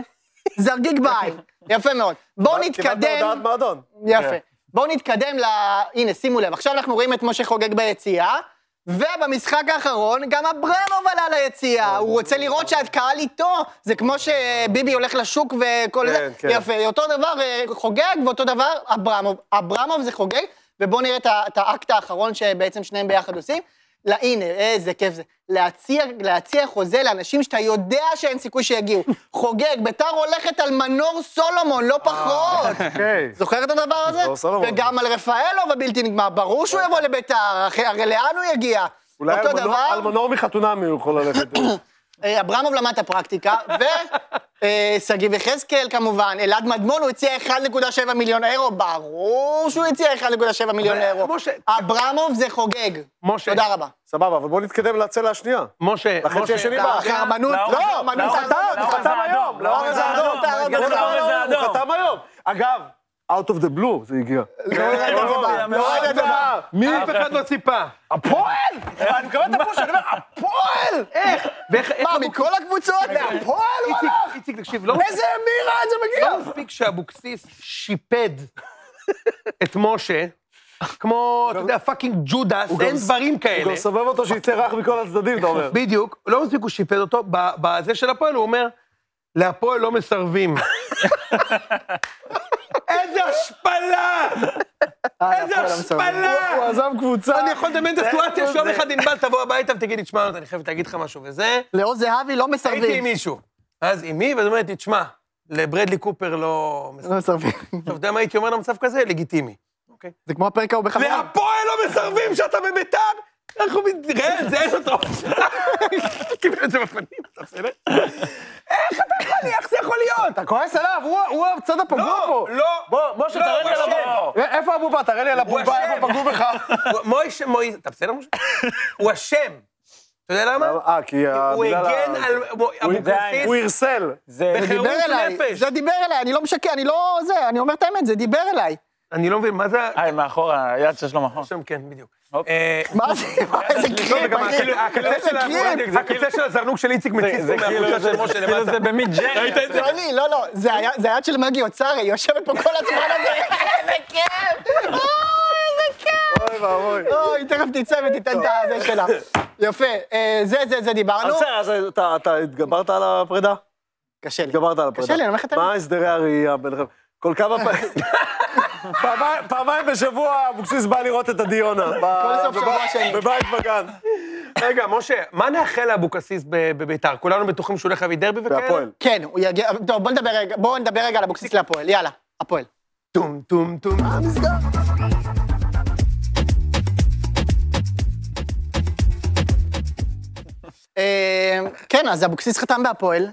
S3: זרגיג בעין. יפה מאוד. בואו
S4: קיבלת
S3: נתקדם.
S4: הודעת מועדון.
S3: יפה. בואו נתקדם ל... הנה, שימו לב, עכשיו אנחנו רואים את משה חוגג ביציאה, ובמשחק האחרון גם אברמוב עלה ליציאה, הוא רוצה לראות שהקהל איתו, זה כמו שביבי הולך לשוק וכל
S4: כן,
S3: זה.
S4: כן.
S3: יפה, אותו דבר אה, חוגג ואותו דבר אברמוב. אברמוב זה חוגג, ובואו נראה את ה- את האקט האחרון שבעצם שניהם ביחד עושים. לה, הנה, איזה כיף זה. להציע, להציע חוזה לאנשים שאתה יודע שאין סיכוי שיגיעו. חוגג, ביתר הולכת על מנור סולומון,
S4: אה.
S3: לא פחות.
S4: אוקיי.
S3: זוכר את הדבר הזה?
S4: לא, סולומון.
S3: וגם על רפאלוב הבלתי נגמר, ברור שהוא יבוא לביתר, אחי, הרי לאן הוא יגיע?
S4: אולי
S3: אותו
S4: אלמנור-
S3: דבר,
S4: אלמנור מחתונמי הוא יכול ללכת.
S3: אה, אברמוב למד את הפרקטיקה, ושגיב יחזקאל כמובן, אלעד מדמון, הוא הציע 1.7 מיליון אירו, ברור שהוא הציע 1.7 מיליון
S6: אבל, כן.
S3: אירו.
S6: משה-
S3: אברמוב זה חוגג.
S6: משה.
S3: לא תודה רבה.
S4: סבבה, אבל בוא נתקדם לצלע השנייה.
S6: משה,
S4: לחצי
S6: משה,
S4: השני
S6: אתה-
S4: בא.
S3: האמנות,
S5: לאור-
S3: לא, האמנות,
S5: לאור-
S4: הוא חתם,
S5: לאור-
S4: הוא חתם
S5: לאור-
S4: היום.
S5: לאור-
S4: לאור-
S5: זה
S4: לאור-
S5: אדום,
S3: לאור-
S5: גם לאור-
S3: לאור-
S5: לאור- זה
S4: הוא
S5: אדום.
S4: חתם היום. אגב, out of the blue זה הגיע.
S3: לא ראיתי את זה בא.
S6: מי אף אחד לא ציפה.
S4: הפועל! אני מקבל את הפוש, אני אומר, הפועל!
S6: איך? ואיך... איך
S3: מה,
S6: אבוקסיס-
S3: מכל הקבוצות?
S4: הפועל,
S6: איציק,
S4: וואלה!
S6: איציק, תקשיב, לא...
S4: איזה מהירה זה
S6: לא
S4: מגיע!
S6: מספיק שאבוקסיס שיפד את משה, כמו, אתה יודע, פאקינג ג'ודס, אין דברים
S4: הוא
S6: כאלה.
S4: גם סובב אותו שיצא רך מכל הצדדים, אתה אומר.
S6: בדיוק, לא מספיק הוא שיפד אותו, ב- בזה של הפועל הוא אומר, להפועל לא מסרבים. איזה השפלה!
S4: אה,
S6: איזה השפלה!
S4: לא הוא עזב קבוצה.
S6: אני יכול לדמיין את הסיטואציה שיום אחד ענבל תבוא הביתה ותגיד לי, תשמע, אני חייבת להגיד לך משהו, וזה,
S3: לאור זהבי לא
S6: הייתי עם
S3: מסרבים.
S6: מישהו. אז עם מי? ואז אומרת לי, תשמע, לברדלי קופר לא... מסרבים."
S3: לא מסרבים.
S6: עכשיו, אתה יודע מה הייתי אומר למצב כזה? לגיטימי. אוקיי.
S3: זה כמו הפרק ההוא בחברים.
S6: להפועל לא מסרבים שאתה בביתר? אנחנו מתראה, זה אין אותו. קיבל את זה בפנים, אתה בסדר? איך אתה יכול לי? איך זה יכול להיות?
S4: אתה כועס עליו, הוא- הוא הצד הפגוע פה.
S6: לא, לא.
S4: בוא, משה,
S6: לא,
S4: תראה לי
S6: הוא
S4: על
S6: אשם.
S4: הבובה. איפה הבובה? תראה לי על
S6: הוא
S4: הבובה,
S6: אשם.
S4: איפה פגעו בך.
S6: הוא- מוישה, מוישה, אתה בסדר, משה? הוא אשם. אתה יודע למה?
S4: אה, כי...
S6: הוא
S4: בגלל ה-
S6: הגן על אבוקסיס.
S4: הוא הרסל.
S5: זה-
S6: בחירוף
S3: דיבר אליי,
S6: נפש.
S3: זה דיבר אליי, אני לא משקר, אני לא זה, אני אומר את האמת, זה דיבר אליי.
S6: אני לא מבין, מה זה... ה-
S5: היי, מאחורה, היד שיש לו מאחור.
S6: שם, כן, בדיוק.
S5: הופ.
S4: אוקיי.
S6: אה,
S3: מה זה, מה, איזה
S6: לא,
S3: קליפ,
S6: וגם
S3: אחי,
S6: כאילו, הקצה
S3: איזה
S6: של
S3: קליפ.
S6: ה- הקצה של הזרנוק של איציק מציץ
S5: זה
S6: לו
S5: כאילו
S6: מהחולצה
S5: זה-
S6: של משה
S5: כאילו
S6: למטה.
S5: זה במיד ג'רי. כזה.
S3: לא לי, לא, לא, זה היה- זה היד של מגי אוצרי, היא יושבת פה כל הזמן הזה, איזה כיף, אוי, איזה כיף.
S4: אוי ואבוי.
S3: אוי, היא תכף תצא ותיתן את הזה שלה. יפה, אה, זה, זה, זה דיברנו.
S4: אז בסדר, אז אתה- אתה התגברת על הפרידה?
S3: קשה לי.
S4: התגברת על הפרידה.
S3: קשה לי, אני אומר לך את האמת.
S4: מה הסדרי הראייה ביניכם? כל כמה פעמים... פעמיים- פעמיים בשבוע אבוקסיס בא לראות את הדיונה.
S3: כל סוף שבוע שני. כן.
S4: בבית בגן.
S6: רגע, משה, מה נאחל לאבוקסיס ב- בביתר? כולנו בטוחים שהוא הולך להביא דרבי וכאלה?
S4: והפועל.
S3: כן, הוא יגיע... טוב, בוא נדבר רגע, בואו נדבר רגע על אבוקסיס להפועל, יאללה, הפועל.
S6: טום, טום, טום. אה, נסגר.
S3: אה, כן, אז אבוקסיס חתם בהפועל.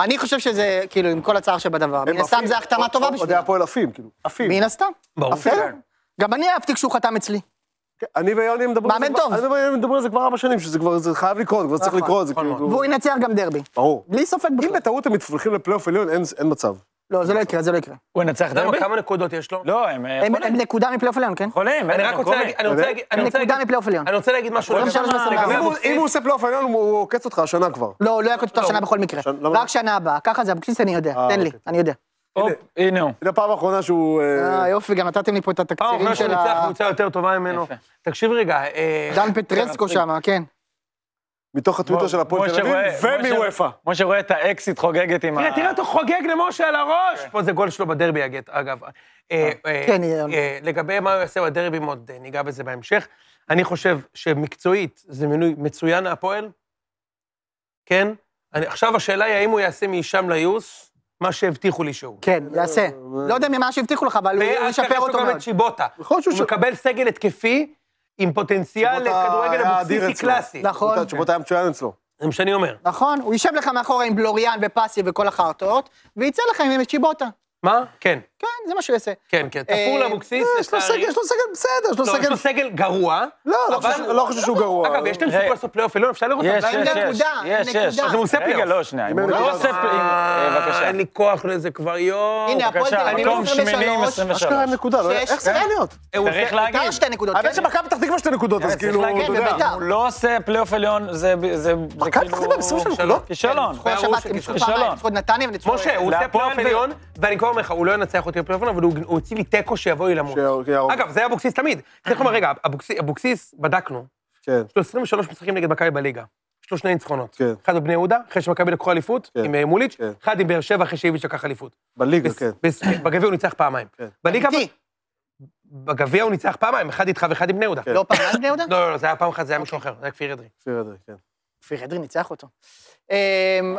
S3: אני חושב שזה, כאילו, עם כל הצער שבדבר. מן הסתם זו החתמה טובה כן.
S4: אוהדי
S3: בשבילו.
S4: הפועל עפים, כאילו. עפים.
S3: מן הסתם.
S6: ברור.
S3: בסדר. גם אני אהבתי כשהוא חתם אצלי.
S4: כן. אני ויוני מדברים... על זה
S3: מאמן
S4: כבר-
S3: טוב. נכון.
S4: אני ויוני מדברים על זה כבר ארבע שנים, שזה כבר זה חייב לקרות, כבר צריך לקרות, זה כאילו...
S3: והוא ינצח גם דרבי.
S4: ברור.
S3: בלי ספק
S4: אם
S3: בכלל.
S4: בטעות הם מתפלחים לפלייאוף עליון, אין- אין מצב.
S3: לא, זה לא יקרה, זה לא יקרה.
S5: הוא ינצח
S6: אתה יודע
S5: דרבי?
S6: מה, כמה נקודות יש לו?
S5: לא, הם אה,
S3: הם
S5: יכולים.
S3: הם נקודה מפלייאוף עליון, כן?
S5: יכולים,
S6: אני
S5: בטח,
S6: רק
S5: הם
S6: רוצה
S5: יכולים.
S6: להגיד, אני רוצה להגיד, אני רוצה
S3: נקודה לא
S6: להגיד,
S3: מפלייאוף עליון.
S6: אני רוצה להגיד משהו
S3: כל
S6: לגבי-
S3: השאר שלו
S6: לגבי
S4: אם הוא-
S6: אבוקסיס.
S4: אם הוא עושה פלייאוף עליון, הוא הוא עוקץ אותך השנה כבר.
S3: לא, הוא לא יקוט אותו השנה בכל מקרה.
S4: שנה- למה?
S3: רק שנה הבאה. ככה זה אבוקסיס, אני יודע.
S4: אה,
S3: תן לי,
S4: אוקיי.
S3: אני יודע.
S5: הופ, הנה הוא.
S4: זו הפעם האחרונה שהוא... אה,
S3: אה, יופי, גם נתתם לי פה את
S6: פעם
S3: התקצירים
S6: אחרונה שהוא
S3: של
S6: ניצח
S3: ה-
S6: קבוצה יותר טובה ממנו.
S5: יפה.
S6: תקשיב רגע, אה,
S3: דן פטרסקו שם, כן.
S4: מתוך הטוויטר של הפועל
S5: משה
S4: תל אביב,
S5: רואה- משה-
S4: ומוופא.
S5: משה רואה את האקסיט חוגגת עם ה...
S6: תראה, תראה אותו חוגג למשה על הראש! אה, כן. פה זה גול שלו בדרבי, אגב. אגב. אה, אה,
S3: כן, יהיה.
S6: אה, לגבי מה הוא יעשה בדרבי, עוד אה, ניגע בזה בהמשך. אני חושב שמקצועית זה מינוי מצוין להפועל, כן? אני- עכשיו השאלה היא האם הוא יעשה משם ליוס מה שהבטיחו לי שהוא.
S3: כן, יעשה. לא יודע ממה שהבטיחו לך, אבל כן, הוא
S6: ואז ככה
S3: ישפר
S6: יש לו
S3: אותו
S6: גם
S3: מאוד. נכון,
S6: את שיבוטה.
S4: יכול להיות
S6: הוא
S4: שהוא...
S6: מקבל סגל התקפי עם פוטנציאל
S4: שיבוטה
S6: לכדורגל
S4: היה אדיר
S6: אבוקסיסי
S4: אצלו.
S6: קלאסי.
S3: נכון.
S4: התשובות היה מצוין אצלו.
S6: זה מה שאני אומר.
S3: נכון, הוא יישב לך מאחורה עם בלוריאן ופסי וכל החרטאות, ויצא לך עם צ'יבוטה.
S6: מה? כן,
S3: כן, זה מה שהוא יעשה.
S6: כן, כן.
S3: אה,
S6: תפור לאבוקסיס,
S4: יש לו
S6: לצערי.
S4: סגל, יש לו סגל בסדר, יש לו
S6: לא, יש
S4: סגל...
S6: לו סגל גרוע.
S4: לא, לא
S6: אבל-
S4: חושב- לא חושב שהוא גרוע.
S6: אגב, יש להם
S5: רגע.
S6: סיכוי לעשות פלייאוף עליון, אפשר לראות
S5: יש,
S6: אותם.
S5: יש,
S3: עם
S5: יש.
S3: נקודה, עם
S5: יש, יש.
S3: נקודה.
S5: אז הוא עושה
S6: רגע,
S5: פלייאוף. רגע,
S6: לא,
S5: לא, שנייה.
S4: אם הוא לא עושה
S5: אה, בבקשה.
S6: אין לי כוח לזה כבר, יואו.
S3: הנה, הפועל תל
S5: בבקשה,
S3: אביב
S5: מקום שמיני,
S3: 23.
S5: 23.
S4: אשכרה עם נקודה, לא?
S3: שש
S4: איך זה
S3: עשרה?
S4: יכול להיות?
S3: כן.
S6: הוא
S5: צריך
S6: עושה-
S5: להגיד.
S3: בעיקר שתי נקודות.
S4: האמת
S3: כן.
S4: שמכבי פתח תקווה שתי נקודות, אז
S5: אה, צריך
S4: כאילו,
S5: להגיד,
S4: אתה יודע.
S3: בביתר.
S5: הוא לא עושה פלייאוף עליון, זה זה- זה
S4: מכבי פתח תקווה עם 23 נקודות?
S5: כישלון.
S3: ניצחו השבת, הם ניצחו פעמיים,
S5: כישלון.
S3: ניצחו את נתניה וניצחו...
S6: משה, הוא עושה
S5: להפועל
S6: פלייאוף
S5: ב-
S6: עליון, ואני כבר אומר לך, הוא לא ינצח אותי בפלייאוף עליון, אבל הוא הוא הוציא לי תיקו שיבוא לי למות.
S4: שיהרוג, שיהרוג.
S6: אגב, זה היה אבוקסיס תמיד. צריך לומר, רגע, אבוקסיס- אבוקסיס, בדקנו,
S4: כן.
S6: יש לו 23 משחקים נגד מכבי בליגה. יש לו שני ניצחונות.
S4: כן.
S6: אחד בבני יהודה, אחרי שמכבי לקחו אליפות,
S4: כן.
S6: עם אה, מוליץ',
S4: כן.
S6: אחד עם באר שבע, אחרי שאיביץ' לקח אליפות.
S4: בליגה,
S6: בס-
S4: כן.
S6: בס- בגביע הוא ניצח פעמיים.
S4: כן.
S6: בליגה...
S3: אמיתי.
S6: בגביע הוא ניצח פעמיים, אחד איתך ואחד עם בני יהודה.
S4: כן.
S3: לא פעמיים בני יהודה?
S6: לא, לא, לא, זה היה פעם אחת, זה היה מישהו אחר, זה היה כפיר אדרי.
S4: כפיר אדרי, כן.
S3: כפיר אדרי ניצח אותו. אמ,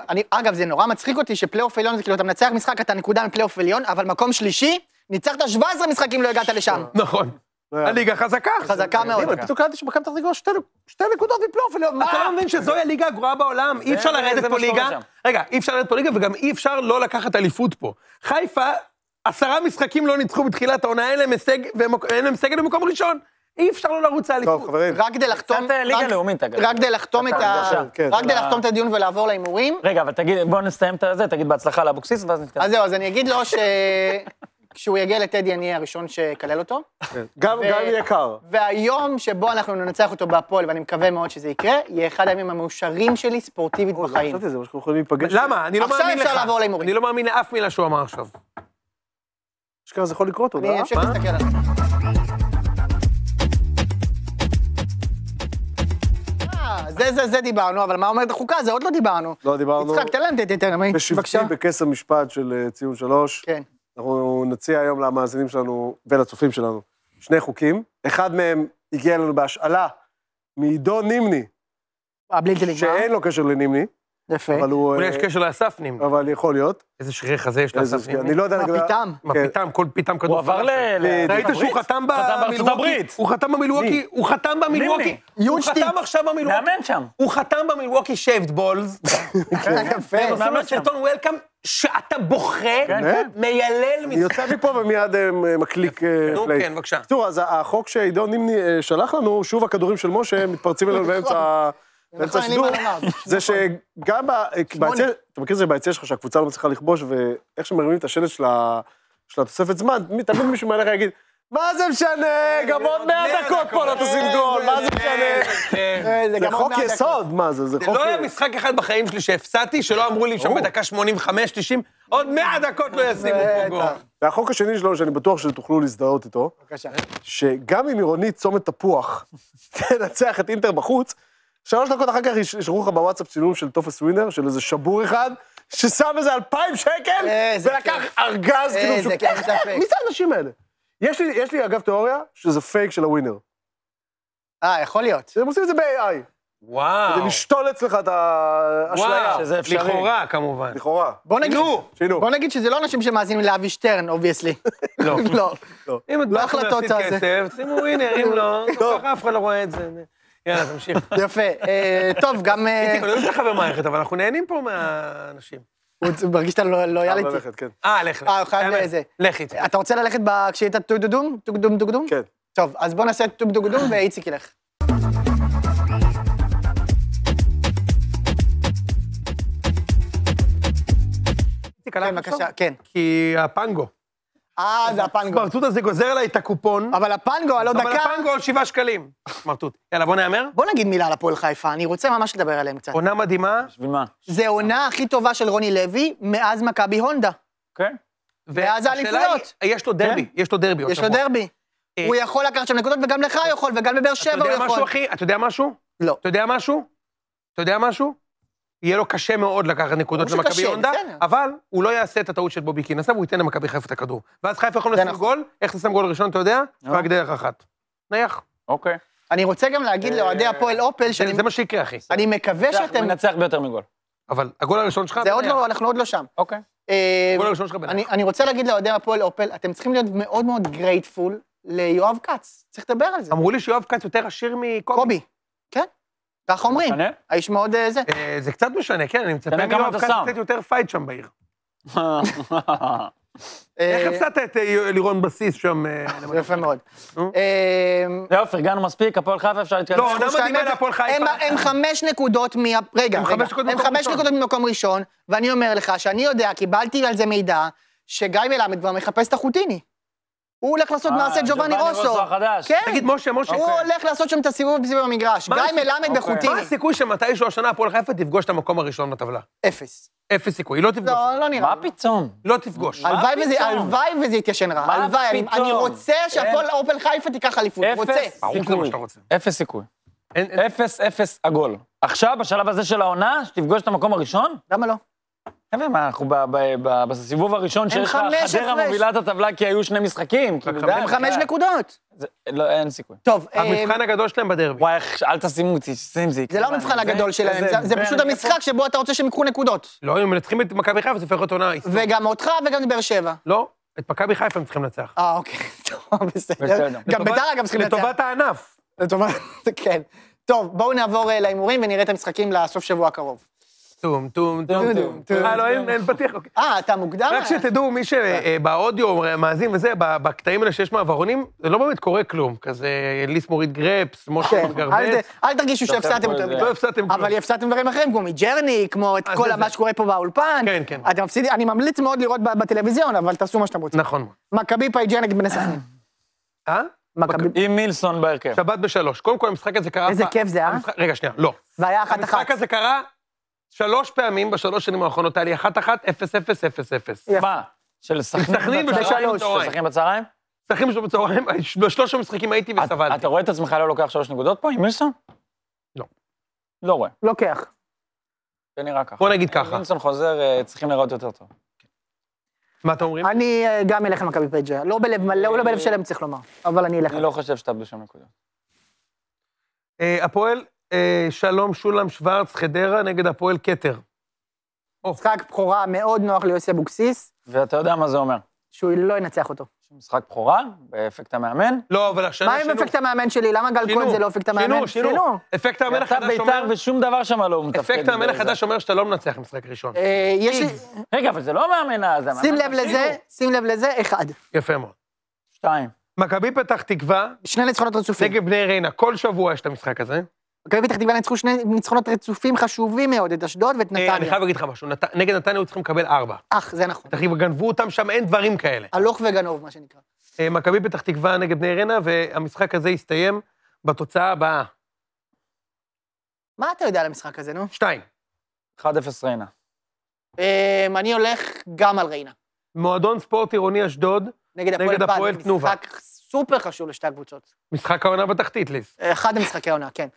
S3: אני, אגב, זה נורא מצחיק אותי שפלייאוף עליון זה כאילו, אתה מנצח משחק, אתה נקודה מפלייאוף עליון, אבל מקום שלישי, ניצחת 17 משחקים, לא הגעת לשם.
S6: נכון.
S4: לא היה-
S6: הליגה חזקה.
S3: חזקה מאוד.
S4: אבל פתאום קלטתי שמכבי פתח תקווה שתי נק- שתי נקודות מפלייאוף עליון, מה?
S6: אתה לא מבין שזוהי הליגה הגרועה בעולם, אי אפשר
S5: זה- זה
S6: לרדת
S5: מה
S6: פה
S5: שקורה
S6: ליגה.
S5: שם.
S6: רגע, אי אפשר לרדת פה ליגה וגם אי אפשר לא לקחת אליפות פה. חיפה, עשרה משחקים לא ניצחו בתחילת העונה, אין להם הישג, והם- אין להם סגל במקום ראשון. אי אפשר לא לרוץ לאליפות.
S4: טוב, חברים.
S3: רק כדי לחתום...
S5: קצת אה, ליגה
S3: רק-
S5: לאומית, אגב.
S3: רק כדי לחתום את ה...
S5: הרגשה,
S4: כן,
S3: רק כדי
S5: של ה-
S3: לחתום את הדיון ולעבור להימורים,
S5: רגע, אבל תגיד, בוא נסיים את זה, תגיד בהצלחה לאבוקסיס, ואז נתקדם.
S3: אז זהו, אז אני אגיד לו ש... כשהוא יגיע לטדי, אני אהיה הראשון שיקלל אותו.
S4: גם
S3: ו-
S4: גם יהיה קר.
S3: והיום שבו אנחנו ננצח אותו בהפועל, ואני מקווה מאוד שזה יקרה, יהיה אחד הימים המאושרים שלי ספורטיבית בחיים.
S4: חשבתי, זה מה שאנחנו יכולים להיפגש.
S6: למה? אני לא
S3: עכשיו
S6: מאמין לך.
S3: אפשר לעבור להימורים.
S6: אני לא מאמין לאף מילה שהוא אמר עכשיו.
S4: אה, אשכרה זה יכול לקרות, תודה.
S3: אני אמשיך להסתכל עליו. אה, זה, זה, זה דיברנו, אבל מה אומרת החוקה? זה עוד לא דיברנו.
S4: לא דיברנו.
S3: יצחק, תן להם את התנאמי,
S4: בשבטי
S3: בבקשה.
S4: בקסם משפט של אה, ציון שלוש.
S3: כן.
S4: אנחנו נציע היום למאזינים שלנו ולצופים שלנו שני חוקים. אחד מהם הגיע אלינו בהשאלה מעידו נימני,
S3: הבלתי נגמר.
S4: שאין לו קשר לנימני,
S3: יפה.
S4: אבל הוא...
S6: אולי
S4: אה,
S6: יש קשר לאסף נימני.
S4: אבל יכול להיות.
S6: איזה שריר חזה יש
S4: איזה-
S6: לאסף נימני.
S4: אני לא יודע
S3: מה
S4: לגבי...
S3: פתאום?
S6: מה
S4: כן.
S6: פתאום, כל פתאום כדור.
S5: הוא עבר ל...
S6: פלאפל.
S5: ל-
S6: ראית
S5: לארצות
S6: שהוא
S5: הברית?
S6: חתם
S5: חתם בארצות
S6: במילווקי?
S5: הברית.
S6: הוא חתם במילווקי, הוא חתם במילווקי. הוא
S3: יונשטיין.
S6: חתם עכשיו במילווקי.
S5: מאמן שם.
S6: הוא חתם במילווקי שייבד בולס.
S3: יפה.
S6: הם עושים לו
S5: מאמן שם.
S6: סרטון וולקאם, שאתה בוכה,
S4: כן.
S6: מיילל
S4: אני
S6: מצחוק.
S4: יוצא מפה ומיד אה, מקליק אה,
S6: נו,
S4: פליי.
S6: כן, בבקשה.
S4: בקיצור, אז החוק שעידו נימני אה, שלח לנו, שוב הכדורים של משה מתפרצים אלינו באמצע ה- באמצע
S3: נכון, אין לי מה
S4: השידור,
S3: לומר.
S4: זה שגם ב- ביציע, אתה מכיר את זה ביציע שלך, שהקבוצה לא מצליחה לכבוש, ואיך שמרימים את השלט של ה- של התוספת זמן, מי- תמיד מישהו מעליך יגיד, מה זה משנה, גם עוד 100 דקות פה לא תשים גול, מה זה
S6: כן,
S4: משנה?
S3: אה,
S4: זה
S3: גם עוד
S4: חוק
S3: מעט
S4: יסוד, מה זה, זה חוק...
S6: לא היה משחק אחד בחיים שלי שהפסדתי, שלא אמרו לי שם בדקה 85-90, עוד 100 דקות לא ישימו פה גול.
S4: והחוק השני שלו, שאני בטוח שתוכלו להזדהות איתו,
S3: בבקשה.
S4: שגם אם עירונית צומת תפוח תנצח את אינטר בחוץ, שלוש דקות אחר כך יש- ישלחו לך בוואטסאפ צילום של טופס ווינר, של איזה שבור אחד, ששם איזה אלפיים שקל,
S3: איזה
S4: ולקח ארגז, כאילו,
S3: איזה
S4: שהוא-
S3: כיף, אין ספק.
S4: מי זה האנשים האלה? יש לי, יש לי אגב תיאוריה שזה פייק של הווינר.
S3: אה, יכול להיות.
S4: הם עושים את זה ב-AI,
S6: וואו.
S4: כדי לשתול אצלך את האשליה.
S6: וואו,
S5: שזה אפשרי.
S6: לכאורה, כמובן.
S4: לכאורה.
S3: בוא נגיד,
S6: נו,
S4: שינו.
S3: בוא נגיד שזה לא אנשים שמאזינים לאבי שטרן, אובייסלי.
S6: לא.
S3: לא.
S6: אם את
S3: לא
S6: באת
S3: החלטות
S6: להפסיד
S3: הזה.
S6: כסף, שימו ווינר, אם לא, ככה אף אחד לא רואה את זה. יאללה, תמשיך.
S3: יפה. אה, טוב, גם... אה,
S6: איציק, אני לא יודע חבר מערכת, אבל אנחנו נהנים פה מהאנשים.
S3: הוא מרגיש שאתה לא-
S4: חייב
S3: לויאליטי.
S4: ללכת, כן.
S6: אה, לך. לך.
S3: אה, הוא חייב
S6: יאללה,
S3: לזה.
S6: לך איציק.
S3: אתה רוצה ללכת ב- כשהיית טו-דו-דום? טו-דום דו-דום?
S4: כן.
S3: טוב, אז בוא נעשה טו-דו-דום ואיציק ילך.
S6: איציק, הלך
S3: כן,
S6: עכשיו?
S3: בבקשה, כן.
S6: כי הפנגו.
S3: אה, זה הפנגו.
S6: סמרטוט הזה גוזר עליי את הקופון,
S3: אבל הפנגו, הלא
S6: אבל
S3: דקה.
S6: הפנגו על שבעה שקלים. סמרטוט. יאללה, בוא נהמר.
S3: בוא נגיד מילה על הפועל חיפה, אני רוצה ממש לדבר עליהם קצת.
S6: עונה מדהימה,
S5: בשביל מה?
S3: זה העונה הכי טובה של רוני לוי מאז מכבי הונדה.
S5: כן?
S3: ואז
S6: והשאלה
S3: האליפויות. כן?
S6: היא, יש לו דרבי, יש לו דרבי עוד
S3: יש לו
S6: שבוע.
S3: דרבי.
S6: לא אה,
S3: הוא יכול לקחת שם נקודות, וגם לך הוא יכול, וגם בבאר שבע
S6: אתה
S3: הוא
S6: יודע משהו,
S3: יכול.
S6: אחי? אתה יודע משהו?
S3: לא.
S6: אתה יודע משהו? אתה יודע משהו? יהיה לו קשה מאוד לקחת נקודות
S3: ברור
S6: למכבי
S3: שקשה,
S6: הונדה,
S3: בסדר.
S6: אבל הוא לא יעשה את הטעות של בובי קין עשה, והוא ייתן למכבי חיפה את הכדור. ואז חיפה יכולים
S3: זה
S6: לשים
S3: נכון.
S6: גול, איך תשים גול ראשון, אתה יודע?
S5: נו.
S6: רק דרך אחת. נייח.
S5: אוקיי.
S3: אני רוצה גם להגיד לאוהדי הפועל אופל,
S6: אה, זה
S3: שאני
S6: זה מה שיקרה, אחי.
S3: אני מקווה
S5: הוא
S3: שאתם...
S5: מנצח ביותר מגול.
S6: אבל הגול הראשון שלך,
S3: זה עוד
S6: בנייח.
S3: לא, אנחנו עוד לא שם.
S5: אוקיי.
S3: אה,
S6: הגול הראשון שלך בנייח.
S3: אני, אני רוצה להגיד לאוהדי הפועל אופל, אתם צריכים להיות מאוד מאוד גרייטפול ליואב כץ. צריך לדבר על זה.
S6: אמרו לי שיואב כץ יותר עשיר מקובי.
S3: קובי, כן? ככה אומרים.
S5: משנה?
S3: האיש מאוד אה, זה.
S6: אה, זה קצת משנה, כן, אני מצפה
S5: תראה כמה
S6: מיואב
S5: אתה
S6: כץ
S5: שם.
S6: קצת יותר פייט שם בעיר.
S3: אה,
S6: איך הפסדת את אה, לירון בסיס שם? אה,
S3: זה יפה מאוד.
S6: נו.
S3: אה,
S5: זהו, פרגנו מספיק, הפועל חיפה אפשר להתקדם. אה,
S6: לא, עונה
S3: שתיים
S6: מדהימה
S3: אפס.
S6: להפועל חיפה.
S3: הם- הם חמש נקודות מ... רגע, רגע.
S6: הם חמש נקודות
S3: הם
S6: ממקום
S3: חמש
S6: ראשון.
S3: נקודות ממקום ראשון, ואני אומר לך שאני יודע, קיבלתי על זה מידע, שגיא מלמד כבר מחפש את החוטיני. הוא הולך לעשות
S5: אה,
S3: מעשה ג'ובאני רוסו.
S5: החדש.
S3: כן.
S6: תגיד, משה, משה,
S3: הוא הולך לעשות שם את הסיבוב סביב המגרש.
S6: מה
S3: גיא
S6: הסיכוי?
S3: מלמד
S5: אוקיי.
S6: מה
S3: בחוטיני.
S6: הסיכוי שמתישהו השנה הפועל חיפה תפגוש את המקום הראשון בטבלה?
S3: אפס.
S6: אפס סיכוי, היא לא תפגוש.
S3: לא, אה, לא
S5: מה
S3: נראה לי.
S5: פתאום?
S6: לא תפגוש.
S5: מה
S3: הלוואי וזה,
S5: פתאום?
S3: הלוואי וזה יתיישן רע.
S5: מה
S3: הלוואי, אני-
S5: פתאום?
S3: אני רוצה שהפועל
S5: אין.
S3: אופל חיפה תיקח אליפות. רוצה.
S5: אפס
S6: ברור שזה מה שאתה רוצה.
S5: אפס סיכוי.
S6: אין- אין-
S5: אפס, אפס עגול. עכשיו, בשלב הזה של העונה, שתפגוש את המקום הראשון?
S3: למה לא?
S5: חבר'ה, מה, אנחנו ב- ב- ב- בסיבוב הראשון שיש לך,
S3: חמש
S5: חדרה
S3: הפרש.
S5: מובילה את הטבלה כי היו שני משחקים. כאילו, די,
S3: הם חמש
S5: בחייאת.
S3: נקודות.
S5: זה- לא, אין סיכוי.
S3: טוב, אה,
S6: המבחן הגדול שלהם בדרבי.
S5: וואי, איך- אל תשימו אותי, שים זיק.
S3: זה לא המבחן הגדול שלהם, זה- זה פשוט המשחק שבו אתה רוצה שהם יקחו נקודות.
S6: לא, אם מנצחים את מכבי חיפה, זה הופך להיות עונה. היסטורית.
S3: וגם אותך וגם את באר שבע.
S6: לא, את מכבי חיפה הם צריכים לנצח.
S3: אה, אוקיי, טוב, בסדר.
S5: בסדר.
S3: גם
S6: לטובת-
S3: ביתר אגב צריכים לנצח.
S6: לטובת הענף.
S3: לטובת... כן. טוב, בואו נעבור אה, להימורים ונראה את המשחקים לסוף שבוע הקרוב.
S6: טום, טום, טום, טום.
S3: טום.
S6: אה, לא, אין אין פתיח. אוקיי.
S3: אה, אתה מוקדם?
S6: רק שתדעו, מי שבאודיו מאזין וזה, ב- בקטעים האלה שיש מעברונים, זה לא באמת קורה כלום. כזה ליס מוריד גרפס, משה
S3: כן, אל
S6: גרבץ.
S3: ת- אל תרגישו שהפסדתם יותר
S5: לא
S3: מדי.
S6: לא הפסדתם כלום.
S3: אבל הפסדתם דברים אחרים, כמו מג'רני, כמו את
S6: אה,
S3: כל
S6: זה
S3: מה
S6: זה.
S3: שקורה פה באולפן.
S6: כן, כן.
S3: אתם מפסידים, אני ממליץ מאוד לראות ב- בטלוויזיון, אבל תעשו מה שאתם רוצים.
S6: נכון. מאוד.
S3: מכבי פייג'ה נגד בני סכנין.
S6: אה?
S3: מכבי-
S5: עם מילסון בהרכב.
S6: שבת בשלוש. קודם כל, המשחק הזה קרה...
S3: איזה
S6: פעם-
S3: כיף זה, אה?
S6: המשחק- רגע, שנייה, לא.
S3: והיה אחת אחת.
S6: המשחק הזה קרה שלוש פעמים בשלוש שנים האחרונות, היה לי אחת אחת, אפס אפס אפס אפס.
S3: יפה.
S5: מה? של סכנין
S6: סכנין
S5: בצהריים? לא
S6: בשלוש.
S5: של סכנין בצהריים?
S6: משחקים שלו בצהריים, בשלוש המשחקים הייתי
S5: אתה-
S6: וסבלתי.
S5: אתה רואה את עצמך לא לוקח שלוש נקודות פה עם מילסון?
S6: לא.
S5: לא רואה,
S3: לוקח.
S5: זה נראה ככה.
S6: בוא נגיד ככה.
S5: מילסון חוזר, אה, צריכים לראות יותר טוב.
S6: מה אתם אומרים?
S3: אני אה, גם אלך למכבי פייג'ה. לא בלב מלא, לא בלב שלם צריך לומר, אבל אני אלך.
S5: אני לא חושב שתאבדו שם נקודות.
S6: אה, הפועל אה, שלום שולם שוורץ חדרה נגד הפועל כתר.
S3: משחק בכורה מאוד נוח ליוסי אבוקסיס,
S5: ואתה יודע מה זה אומר.
S3: שהוא לא ינצח אותו.
S5: משחק בכורה, באפקט המאמן.
S6: לא, אבל השנה
S3: מה עם אפקט המאמן שלי? למה גל כהן
S6: שינו,
S3: זה לא אפקט המאמן?
S6: שינו, שינו. אפקט המאמן
S5: אתה
S6: החדש
S5: בית"ר
S6: אומר...
S5: ושום דבר שם לא מתפקד.
S6: אפקט המאמן
S5: בזה.
S6: החדש אומר שאתה לא מנצח משחק ראשון.
S3: אה, יש לי...
S5: רגע, אבל זה לא המאמן אז. המאמן
S3: שים לב
S5: השני
S3: לזה,
S5: הוא.
S3: שים לב לזה, אחד.
S6: יפה מאוד.
S5: שתיים.
S6: מכבי פתח תקווה
S3: שני ניצחונות רצופים.
S6: נגד בני ריינה, כל שבוע יש את המשחק הזה.
S3: מכבי פתח תקווה ניצחו שני ניצחונות רצופים חשובים מאוד, את אשדוד ואת
S6: אה, אני
S3: נתניה.
S6: חייב להגיד לך משהו, נת- נגד נתניה היו צריכים לקבל ארבע.
S3: אך, זה נכון.
S6: פתח תקווה גנבו אותם שם, אין דברים כאלה.
S3: הלוך וגנוב, מה שנקרא.
S6: אה, מכבי פתח תקווה נגד בני ריינה, והמשחק הזה יסתיים בתוצאה הבאה.
S3: מה אתה יודע על המשחק הזה, נו?
S6: שתיים.
S5: 1-0 ריינה.
S3: אמ, אני הולך גם על ריינה.
S6: מועדון ספורט עירוני אשדוד,
S3: נגד הפועל
S6: נגד
S3: פת.
S6: הפועל תנובה.
S3: משחק סופר חשוב לשתי הקבוצות. אה,
S6: משחק העונה בתחתית, ליס.
S3: אחד ממשחקי העונה, כן.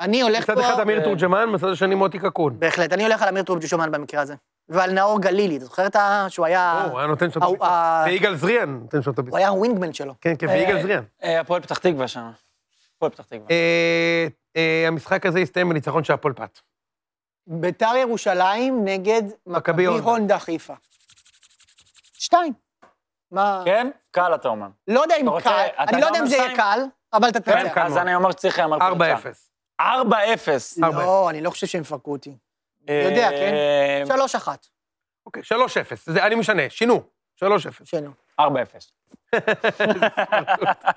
S3: אני הולך
S6: מצד
S3: פה...
S6: אחד אמיר
S5: אה.
S6: תורג'מן, מצד השני מוטי קקון.
S3: בהחלט, אני הולך על אמיר טרופג'ו שומן במקרה הזה. ועל נאור גלילי. אתה זוכר את ה... שהוא היה...
S6: או, הוא היה נותן שם את
S3: אה,
S6: הביצוע.
S3: אה,
S6: ויגאל זריאן נותן שם את
S3: הוא
S6: הביצוע.
S3: היה הווינגמן שלו.
S6: כן, כן, ויגאל
S5: אה,
S6: זריאן.
S5: אה, הפועל פתח תקווה שם. הפועל פתח תקווה.
S1: אה, אה, המשחק הזה הסתיים בניצחון של הפועל פת.
S3: ביתר ירושלים נגד מכבי
S1: הונדה.
S3: הונדה חיפה. שתיים. מה...
S5: כן? קל אתה אומר.
S3: לא יודע אם
S5: אתה רוצה-
S3: קל,
S5: אתה
S3: אני לא יודע
S5: גם
S3: אם זה יהיה
S5: שתיים?
S3: קל, אבל אתה
S1: כן,
S3: תנצח.
S1: קל.
S5: אז
S1: מאוד.
S5: אני אומר שצריך להמר
S1: 4-0.
S5: קבוצה. 4-0.
S3: לא, אני לא חושב שהם יפרקו אותי. יודע, כן?
S5: אה,
S3: שלוש אחת,
S1: אוקיי, 3-0. זה- אני משנה, שינו. 3-0.
S3: שלו.
S5: 4-0.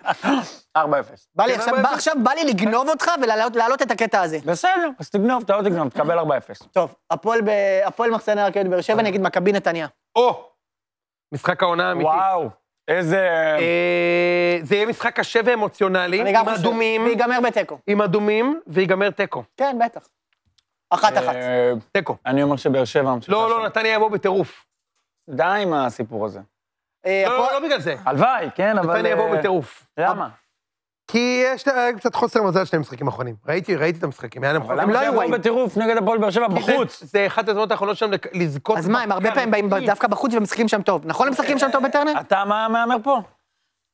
S5: 4-0.
S3: בא לי
S1: כן,
S3: עכשיו,
S1: אבל-
S3: בא- עכשיו בא לי לגנוב אותך ולהעלות את הקטע הזה.
S5: בסדר, אז תגנוב, אתה לא תגנוב, תקבל 4-0.
S3: טוב, הפועל ב- הפועל מחסני הרכבת באר שבע נגד מכבי נתניה.
S1: או! משחק העונה האמיתי.
S5: וואו, איזה...
S1: אה, זה יהיה משחק קשה ואמוציונלי,
S3: אני גם
S1: עם
S3: חושב.
S1: אדומים,
S3: וייגמר בתיקו.
S1: עם אדומים, ויגמר תיקו.
S3: כן, בטח. אחת אחת.
S5: אה,
S1: תיקו.
S5: אני אומר שבאר שבע ממשיכה.
S1: לא,
S5: שם.
S1: לא, נתניה יבוא בטירוף.
S5: די עם הסיפור הזה.
S3: אה,
S1: לא, לא,
S3: הפועל-
S1: לא בגלל זה.
S5: הלוואי, כן, אבל...
S1: נתניה יבוא
S5: אה,
S1: בטירוף.
S5: למה?
S6: כי יש לה- היה קצת חוסר מזל שני המשחקים האחרונים. ראיתי, ראיתי את המשחקים, היה להם חוסר.
S5: אבל
S6: הם
S5: למה
S6: לא
S5: זה
S6: היו רעים.
S5: יבוא בטירוף נגד הפועל באר שבע
S1: כי זה-
S5: בחוץ?
S1: זה אחת הזמנות האחרונות שלהם לק- לזכות.
S3: אז מה, הם הרבה פעמים באים ב- דווקא בחוץ ומשחקים שם טוב. נכון הם משחקים שם טוב בטרנר?
S5: אתה מה מהמר פה?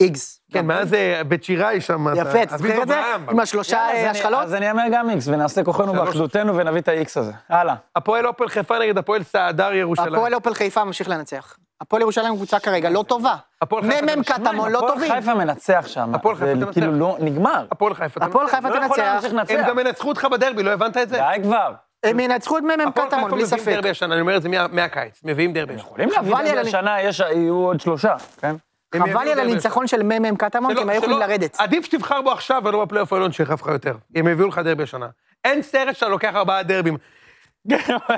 S3: איגס.
S6: כן, מאז אה, בית שיראי שם. אתה-
S3: יפה, אתה זוכר
S6: אביגדור
S3: את זה?
S6: ברעם.
S3: עם השלושה
S5: יאללה, אז
S3: אה,
S5: אני-
S3: השחלות?
S5: אז אני אאמר גם איקס, ונעשה כוחנו
S1: שלוש.
S5: באחדותנו ונביא את האיקס הזה. הלאה.
S1: הפועל הפועל חיפה נגד הפועל סעדר ירושלים.
S3: הפועל הפועל חיפה ממשיך לנצח. הפועל ירושלים קבוצה כרגע לא טובה.
S1: הפועל חיפה
S3: מ"מ
S1: אתם
S3: קטמון לא
S5: הפועל
S3: טובים.
S5: חיפה מנצח שם.
S1: הפועל
S5: זה
S1: חיפה
S5: כאילו
S1: תנצח.
S5: לא, נגמר.
S1: הפועל חיפה. אתה
S3: הפועל
S1: מנצח.
S3: חיפה
S5: לא יכולה
S3: תנצח.
S5: להמשיך
S1: הם
S5: לנצח.
S1: גם ינצחו אותך בדרבי, לא הבנת את זה?
S5: די כבר.
S3: הם ינצחו את מ"מ
S1: הפועל
S3: קטמון,
S1: חיפה
S3: בלי
S1: מביאים
S3: ספק.
S1: דרבי השנה, אני אומר את זה מה- מהקיץ, מביאים דרבי השנה.
S5: יכולים להביא
S3: חבל
S5: את
S3: לי על
S5: זה
S3: הניצ-
S5: השנה, יש- יהיו עוד שלושה, כן?
S1: הם יביאו
S3: חבל לי על
S1: דרבי
S3: הניצחון של מ"מ קטמון, כי
S1: שלא-
S3: הם היו יכולים
S1: שלא-
S3: לרדת.
S1: עדיף שתבחר בו עכשיו ולא בפלייאוף העליון שיחרף לך יותר. הם יביאו לך דרבי השנה. אין סרט שאתה לוקח ארבעה דרבים.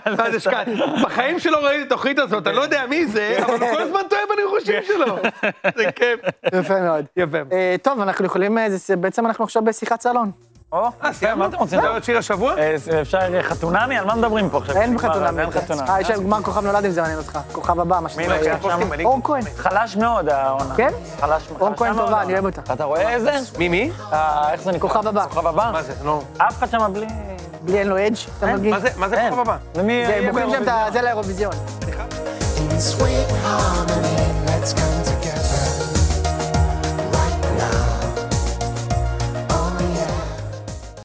S1: אז יש כאן- בחיים שלא ראיתי את התוכנית הזאת, אני לא יודע מי זה, אבל הוא כל הזמן טועה בניחושים שלו. זה כיף.
S3: יפה מאוד.
S1: יפה.
S3: אה, טוב, אנחנו יכולים, אה, זה- בעצם אנחנו עכשיו בשיחת סלון. אה,
S5: או, יפה, מה אתם רוצים?
S1: אתה עוד שיר השבוע?
S5: אה, אפשר אה, חתונמי? על מה מדברים פה עכשיו?
S3: אין
S5: נגמר,
S3: חתונה
S5: אז אין
S3: מזה.
S5: חתונמי.
S3: אה, יש להם גמר כוכב נולד אם זה מעניין אותך. כוכב הבא, מה
S5: מי לוקח
S3: שנקרא.
S5: שם?
S3: אור כהן.
S5: חלש מאוד העונה.
S3: כן?
S5: חלש מאוד.
S3: אור כהן
S1: לא,
S3: טובה, אני אוהב אותה.
S5: אתה רואה איזה?
S1: מי, מי?
S5: אה, איך זה נקרא?
S3: כוכב הבא.
S5: כוכב הבא?
S1: מה זה? נו.
S5: אף אחד שם בלי...
S3: בלי אין לו אדג' אתה מרגיש?
S1: מה זה? מה זה
S5: אין.
S1: כוכב הבא?
S5: ומי...
S3: זה,
S5: יהיה
S3: בוחרים שם את
S5: באירוויזיון?
S3: ה... זה לאירוויזיון.
S7: in sweet harmony. Oh,